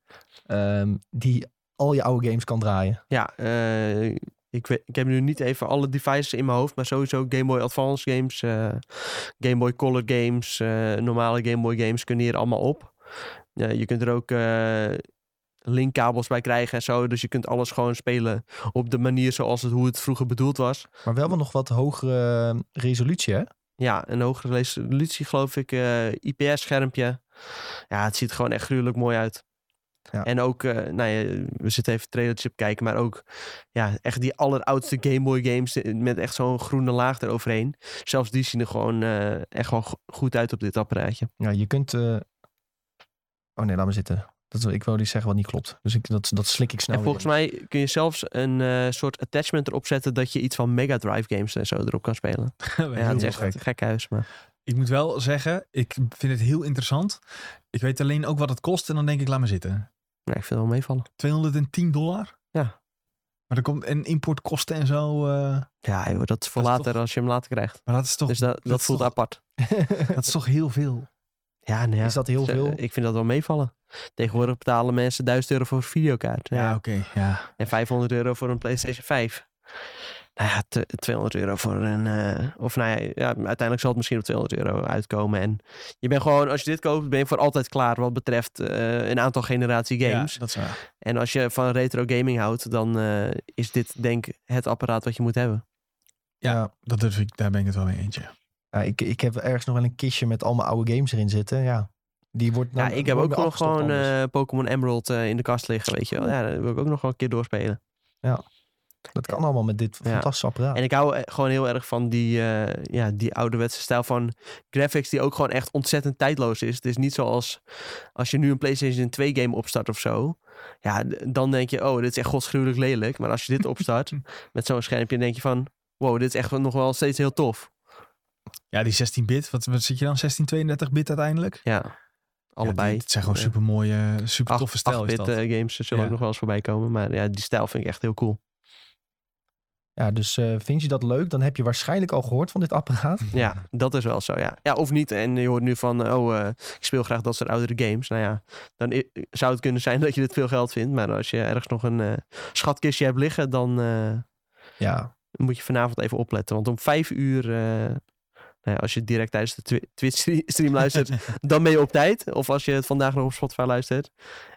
S1: ehm, die al je oude games kan draaien.
S3: Ja, eh, ik, weet, ik heb nu niet even alle devices in mijn hoofd, maar sowieso Game Boy Advance games, eh, Game Boy Color games, eh, normale Game Boy games kunnen hier allemaal op. Ja, je kunt er ook eh, linkkabels bij krijgen en zo, dus je kunt alles gewoon spelen op de manier zoals het, hoe het vroeger bedoeld was.
S1: Maar wel wel nog wat hogere eh, resolutie, hè?
S3: Ja, een hogere resolutie geloof ik. eh, IPS-schermpje. Ja, het ziet er gewoon echt gruwelijk mooi uit.
S1: Ja.
S3: En ook, eh, nou ja, we zitten even trailertje op kijken, maar ook ja, echt die alleroudste Game Boy games eh, met echt zo'n groene laag eroverheen. Zelfs die zien er gewoon eh, echt wel go- goed uit op dit apparaatje.
S1: Ja, je kunt... eh, Oh nee, laat me zitten. Dat, wil- ik wou iets zeggen wat niet klopt. Dus ik, dat, dat slik ik snel
S3: en
S1: weer
S3: volgens mij kun je zelfs een eh, soort attachment erop zetten dat je iets van Mega Drive games en zo erop kan spelen. Ja,
S2: Heel
S3: het is
S2: veel
S3: echt gek. gek huis, maar
S2: Ik moet wel zeggen, ik vind het heel interessant. Ik weet alleen ook wat het kost en dan denk ik, laat maar zitten.
S3: nee, ik vind het wel meevallen.
S2: 210 dollar?
S3: Ja.
S2: Maar er komt en importkosten en zo. eh,
S3: Ja, joh, dat is voor
S2: Dat is
S3: later als je hem later krijgt.
S2: maar dat is, toch,
S3: Dus dat, dat
S2: dat is
S3: voelt
S2: toch-
S3: apart.
S2: dat is toch heel veel.
S3: Ja, nou ja.
S1: Is dat heel
S3: Ze-
S1: veel?
S3: Ik vind dat wel meevallen. Tegenwoordig betalen mensen 1000 euro voor een videokaart. Ja.
S2: Ja, oké. ja.
S3: En 500 euro voor een PlayStation 5. Nou ja, te- 200 euro voor een. eh, of nou ja, ja, uiteindelijk zal het misschien op 200 euro uitkomen. En je bent gewoon, als je dit koopt, ben je voor altijd klaar wat betreft eh, een aantal generatie games.
S2: Ja, dat is waar.
S3: En als je van retro gaming houdt, dan eh, is dit denk ik het apparaat wat je moet hebben.
S2: Ja, dat durf ik, daar ben ik het wel mee eentje.
S1: Ja, ik, ik heb ergens nog wel een kistje met allemaal oude games erin zitten. Ja, die wordt
S3: Ja,
S1: nou
S3: ik heb ook
S1: worden
S3: nog
S1: afgestopt
S3: gewoon
S1: anders.
S3: eh, Pokémon Emerald eh, in de kast liggen, weet je wel. Ja, dat wil ik ook nog wel een keer doorspelen.
S1: dat kan allemaal met dit
S3: ja.
S1: fantastische apparaat.
S3: En ik hou eh, gewoon heel erg van die, eh, ja, die ouderwetse stijl van graphics die ook gewoon echt ontzettend tijdloos is. Het is niet zoals als je nu een PlayStation 2 game opstart of zo. Ja, d- dan denk je, oh, dit is echt godsgruwelijk lelijk. Maar als je dit opstart met zo'n schermpje, denk je van, wow, dit is echt nog wel steeds heel tof.
S2: Ja, die 16-bit, wat, wat zit je dan? 1632-bit uiteindelijk?
S3: Ja,
S2: Ja,
S3: allebei. Eh,
S2: die- het zijn gewoon
S3: Ja.
S2: super mooie, super toffe stijl. Is
S3: 8-bit
S2: dat.
S3: games
S2: Ja.
S3: zullen ook nog wel eens voorbij komen. Maar ja, die stijl vind ik echt heel cool.
S1: Ja, dus eh, vind je dat leuk? Dan heb je waarschijnlijk al gehoord van dit apparaat.
S3: Ja, dat is wel zo, ja. Ja, of niet. En je hoort nu van, oh, eh, ik speel graag dat soort oudere games. Nou ja, dan i- zou het kunnen zijn dat je dit veel geld vindt. Maar als je ergens nog een eh, schatkistje hebt liggen, dan eh,
S1: Ja,
S3: moet je vanavond even opletten. Want om vijf uur, eh, nou ja, als je direct tijdens de twi- Twitch-stream luistert, dan ben je op tijd. Of als je het vandaag nog op Spotify luistert.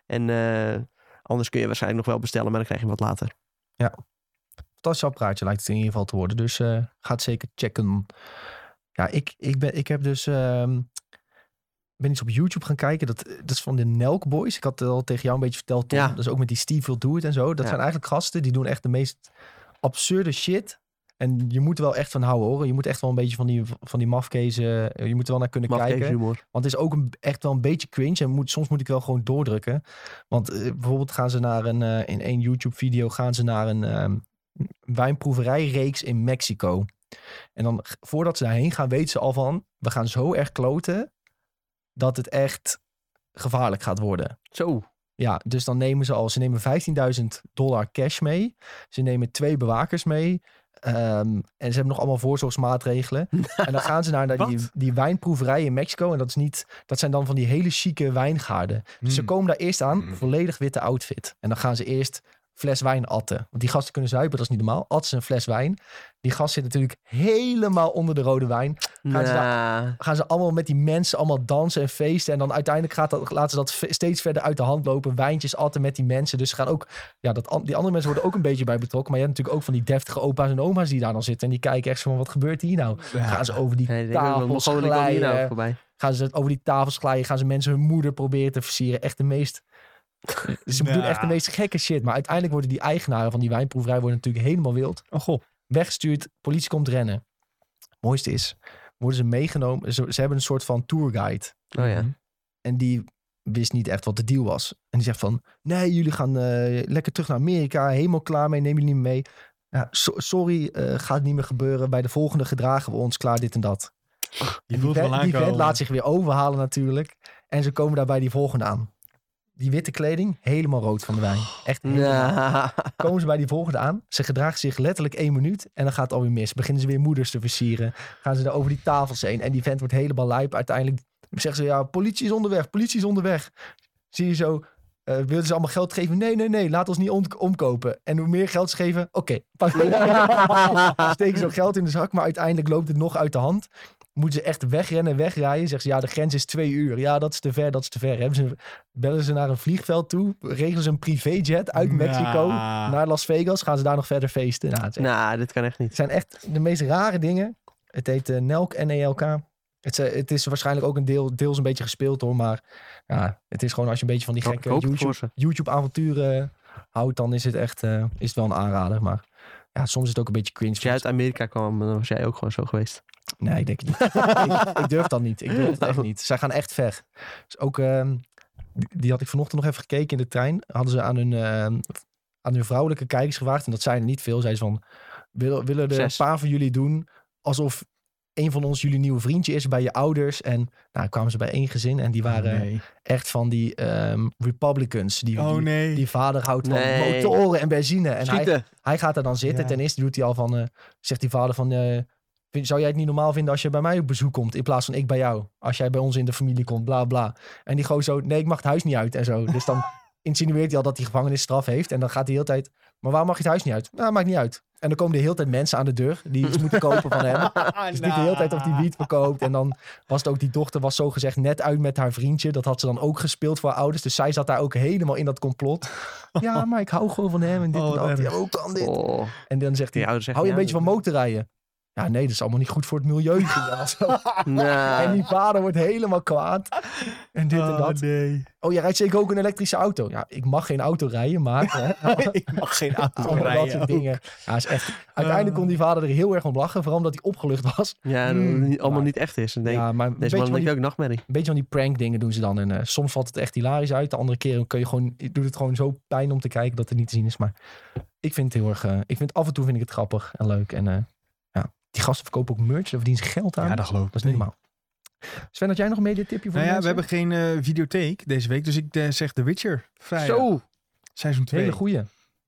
S3: En eh, anders kun je waarschijnlijk nog wel bestellen, maar dan krijg je hem wat later.
S1: fantastisch apparaatje lijkt het in ieder geval te worden. Dus eh ga het zeker checken. Ja, ik, ik, ben, ik heb dus... ehm, ben iets op YouTube gaan kijken. Dat, eh, dat is van de Nelk Boys. Ik had het al tegen jou een beetje verteld. Tom.
S3: Ja.
S1: Dat is ook met die Steve Will Do It en zo. Dat
S3: Ja.
S1: zijn eigenlijk gasten die doen echt de meest absurde shit. En je moet er wel echt van houden hoor. Je moet echt wel een beetje van die, van die mafkezen... eh, Je moet er wel naar kunnen
S3: Mag
S1: kijken.
S3: even humor.
S1: Want het is ook een, echt wel een beetje cringe. En moet, soms moet ik wel gewoon doordrukken. Want eh, bijvoorbeeld gaan ze naar een... eh, in één YouTube-video gaan ze naar een ehm, wijnproeverijreeks in Mexico. En dan, g- voordat ze daarheen gaan, weten ze al van... We gaan zo erg kloten dat het echt gevaarlijk gaat worden.
S3: Zo.
S1: Ja, dus dan nemen ze al... Ze nemen 15.000 dollar cash mee. Ze nemen twee bewakers mee. Ehm, en ze hebben nog allemaal voorzorgsmaatregelen. En dan gaan ze naar, naar die,
S2: Wat?
S1: die wijnproeverij in Mexico. En dat, is niet, dat zijn dan van die hele chique wijngaarden. Dus ze
S2: Hmm.
S1: komen daar eerst aan,
S2: Hmm.
S1: volledig witte outfit. En dan gaan ze eerst fles wijn atten. Want die gasten kunnen zuipen, dat is niet normaal. Atten ze een fles wijn. Die gast zit natuurlijk helemaal onder de rode wijn. Gaan ze
S3: Nou,
S1: Gaan ze allemaal met die mensen allemaal dansen en feesten. En dan uiteindelijk gaat dat, laten ze dat ve- steeds verder uit de hand lopen. Wijntjes atten met die mensen. Dus ze gaan ook, ja, dat, an- die andere mensen worden ook een beetje bij betrokken. Maar je hebt natuurlijk ook van die deftige opa's en oma's die daar dan zitten. En die kijken echt zo van, wat gebeurt hier nou?
S2: Ja.
S1: Gaan ze over die
S3: nee, ik denk dat we
S1: tafels
S3: Mongolen komen hier nou
S1: glijden.
S3: voorbij.
S1: Gaan ze over die tafels glijden. Gaan ze mensen hun moeder proberen te versieren. Echt de meest... Ze
S2: Ja.
S1: doen echt de meest gekke shit. Maar uiteindelijk worden die eigenaren van die wijnproeverij worden natuurlijk helemaal wild.
S2: Oh god.
S1: Weggestuurd, politie komt rennen. Het mooiste is, worden ze meegenomen. Ze, ze hebben een soort van tourguide.
S3: Oh ja.
S1: En die wist niet echt wat de deal was. En die zegt van, nee, jullie gaan eh, lekker terug naar Amerika. Helemaal klaar mee, neem jullie niet mee. Ja, so- sorry, eh, gaat niet meer gebeuren. Bij de volgende gedragen we ons klaar dit en dat.
S2: Je
S1: En die
S2: voelt wel
S1: vent- die vent
S2: aankomen.
S1: laat zich weer overhalen natuurlijk. En ze komen daarbij die volgende aan. Die witte kleding, helemaal rood van de wijn. Echt helemaal.
S3: Nou.
S1: Komen ze bij die volgende aan. Ze gedragen zich letterlijk één minuut. En dan gaat het alweer mis. Beginnen ze weer moeders te versieren. Gaan ze daar over die tafels heen. En die vent wordt helemaal lijp. Uiteindelijk zeggen ze, ja, politie is onderweg. Politie is onderweg. Zie je zo... eh wilden ze allemaal geld geven? Nee, nee, nee. Laat ons niet ont- omkopen. En hoe meer geld ze geven, oké. pak Steken ze ook geld in de zak. Maar uiteindelijk loopt het nog uit de hand. Moeten ze echt wegrennen, wegrijden. Zeggen ze, ja, de grens is twee uur. Ja, dat is te ver, dat is te ver. Hebben ze, bellen ze naar een vliegveld toe. Regelen ze een privéjet uit Mexico
S2: Nou.
S1: naar Las Vegas. Gaan ze daar nog verder feesten. Ah. Nou, het, is echt-
S3: Nou, dit kan echt
S1: het
S3: niet.
S1: zijn echt de meest rare dingen. Het heet eh, NELK, N-E-L-K. Het, is, eh, het is waarschijnlijk ook een deel, deels een beetje gespeeld hoor. Maar ja, het is gewoon als je een beetje van die
S3: Ik
S1: gekke
S3: hoop het voor
S1: YouTube-
S3: ze.
S1: YouTube-avonturen houdt. Dan is het echt eh, is het wel een aanrader. Maar ja, soms is het ook een beetje cringe.
S3: Als jij uit Amerika kwam, dan was jij ook gewoon zo geweest.
S1: Nee, ik denk het niet. ik, ik durf dat niet. Ik durf dat
S3: Nou.
S1: echt niet. Zij gaan echt ver. Dus ook, ehm, die- die had ik vanochtend nog even gekeken in de trein. Hadden ze aan hun, ehm, aan hun vrouwelijke kijkers gevraagd. En dat zijn er niet veel. Zeiden ze van, willen, willen er
S3: Zes.
S1: een paar van jullie doen alsof een van ons jullie nieuwe vriendje is bij je ouders. En nou kwamen ze bij één gezin en die waren
S2: Oh, nee.
S1: echt van die ehm, Republicans. Die,
S2: Oh
S1: die,
S2: nee.
S1: die vader houdt van
S3: Nee.
S1: motoren en benzine. En hij,
S3: Schieten!
S1: hij gaat er dan zitten.
S2: Ja.
S1: Ten eerste doet hij al van, eh, zegt die vader van, eh, Vind- zou jij het niet normaal vinden als je bij mij op bezoek komt in plaats van ik bij jou? Als jij bij ons in de familie komt, bla bla. En die gewoon zo, nee, ik mag het huis niet uit en zo. Dus dan insinueert hij al dat hij gevangenisstraf heeft. En dan gaat hij de hele tijd, maar waarom mag je het huis niet uit? Nou, maakt niet uit. En dan komen de hele tijd mensen aan de deur die iets moeten kopen van hem.
S2: Ah,
S1: Dus die de hele tijd of die
S2: Nou.
S1: wiet verkoopt. En dan was het ook, die dochter was zogezegd net uit met haar vriendje. Dat had ze dan ook gespeeld voor haar ouders. Dus zij zat daar ook helemaal in dat complot. Ja, maar ik hou gewoon van hem en dit
S2: Oh,
S1: en
S2: wat
S1: dat. Ja,
S2: erg.
S1: hoe kan dit?
S3: Oh,
S1: En dan zegt hij,
S3: die ouders zeggen
S1: Hou je een
S3: ja,
S1: beetje van
S3: dit-
S1: motorrijden? Ja, nee, dat is allemaal niet goed voor het milieu. ging dat zo.
S3: Nou,
S1: en die vader wordt helemaal kwaad. En dit en
S2: Oh,
S1: dat.
S2: nee.
S1: Oh, jij rijdt zeker ook een elektrische auto. Ja, ik mag geen auto rijden, maar... Hè,
S2: ik mag geen auto
S1: allemaal dat soort
S2: rijden.
S1: dingen. Ja, is echt... Uiteindelijk kon die vader er heel erg om lachen. Vooral omdat hij opgelucht was.
S3: ja, dat
S1: Mm.
S3: het niet- allemaal
S1: Maar-
S3: niet echt is. Dan denk ik,
S1: Ja, maar een
S3: Deze
S1: beetje,
S3: man
S1: van
S3: denk
S1: die,
S3: ik ook nachtmerrie.
S1: een beetje van die prank dingen doen ze dan. En eh, soms valt het echt hilarisch uit. De andere keer kun je gewoon, doet het gewoon zo pijn om te kijken dat het niet te zien is. Maar ik vind het heel erg... eh, ik vind, af en toe vind ik het grappig en leuk. En eh, ja, die gasten verkopen ook merch. Daar verdienen ze geld aan.
S2: Ja, dat geloof ik.
S1: Dat is niet normaal. Sven, had jij nog een mediatipje voor
S2: Nou
S1: de
S2: ja, we
S1: mensen?
S2: hebben geen eh, videotheek deze week, dus ik eh, zeg The Witcher vrijdag.
S3: Zo!
S2: Seizoen 2.
S1: Hele goeie.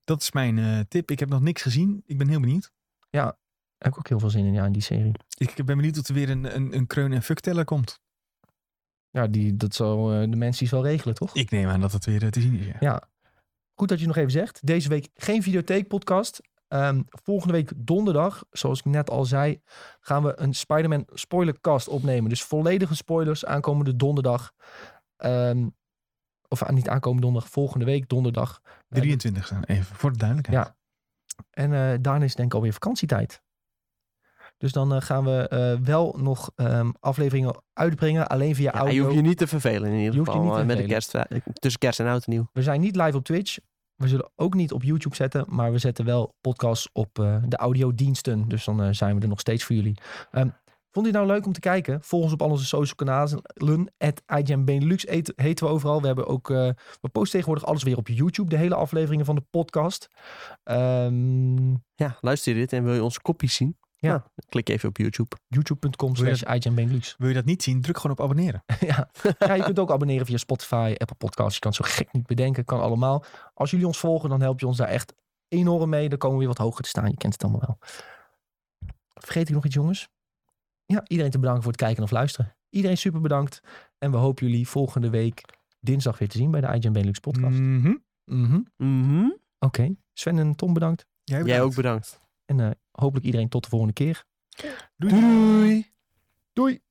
S2: Dat is mijn eh, tip. Ik heb nog niks gezien. Ik ben heel benieuwd.
S1: Heb ik ook heel veel zin in, ja, in die serie.
S2: Ik ben benieuwd of er weer een, een, een kreun- en fuckteller komt.
S1: Ja, die, dat zal eh, de mensen die zal regelen, toch?
S2: Ik neem aan dat het weer eh, te zien is. Ja.
S1: Ja. Goed dat je het nog even zegt. Deze week geen videotheekpodcast. Ehm, volgende week donderdag, zoals ik net al zei, gaan we een Spider-Man spoilercast opnemen. Dus volledige spoilers aankomende donderdag. Ehm, of ah, niet aankomende donderdag, volgende week donderdag.
S2: 23 e even voor de duidelijkheid.
S1: Ja. En eh, daarna is denk ik alweer vakantietijd. Dus dan eh, gaan we eh, wel nog ehm, afleveringen uitbrengen. Alleen via
S3: Ja, je
S1: audio.
S3: hoeft je niet te vervelen in
S1: Je
S3: ieder
S1: hoeft je
S3: geval.
S1: niet te
S3: eh, met de
S1: vervelen.
S3: kerst, eh, tussen kerst en oud en nieuw.
S1: We zijn niet live op Twitch. We zullen ook niet op YouTube zetten. Maar we zetten wel podcasts op eh, de audiodiensten. Dus dan eh, zijn we er nog steeds voor jullie. Ehm, vond je het nou leuk om te kijken? Volg ons op al onze social kanalen. At IGN Benelux heet- heten we overal. We, hebben ook, eh, we posten tegenwoordig alles weer op YouTube. De hele afleveringen van de podcast. Ehm,
S3: Ja, luister je dit en wil je onze kopies zien?
S1: Ja.
S3: Nou, klik even op YouTube.
S1: YouTube.com slash IGN Benelux.
S2: Wil je dat niet zien? Druk gewoon op abonneren.
S1: Ja. ja, je kunt ook abonneren via Spotify, Apple Podcasts. Je kan het zo gek niet bedenken, kan allemaal. Als jullie ons volgen, dan help je ons daar echt enorm mee. Dan komen we weer wat hoger te staan. Je kent het allemaal wel. Vergeet ik nog iets, jongens? Ja, iedereen te bedanken voor het kijken of luisteren. Iedereen super bedankt. En we hopen jullie volgende week dinsdag weer te zien bij de IGN Benelux podcast.
S2: Mhm.
S1: Mhm. Oké.
S3: Mhm.
S1: Sven en Tom bedankt.
S2: Jij,
S3: Jij
S2: bedankt.
S3: ook bedankt.
S1: En eh, hopelijk iedereen tot de volgende keer.
S2: Doei.
S3: Doei.
S1: Doei!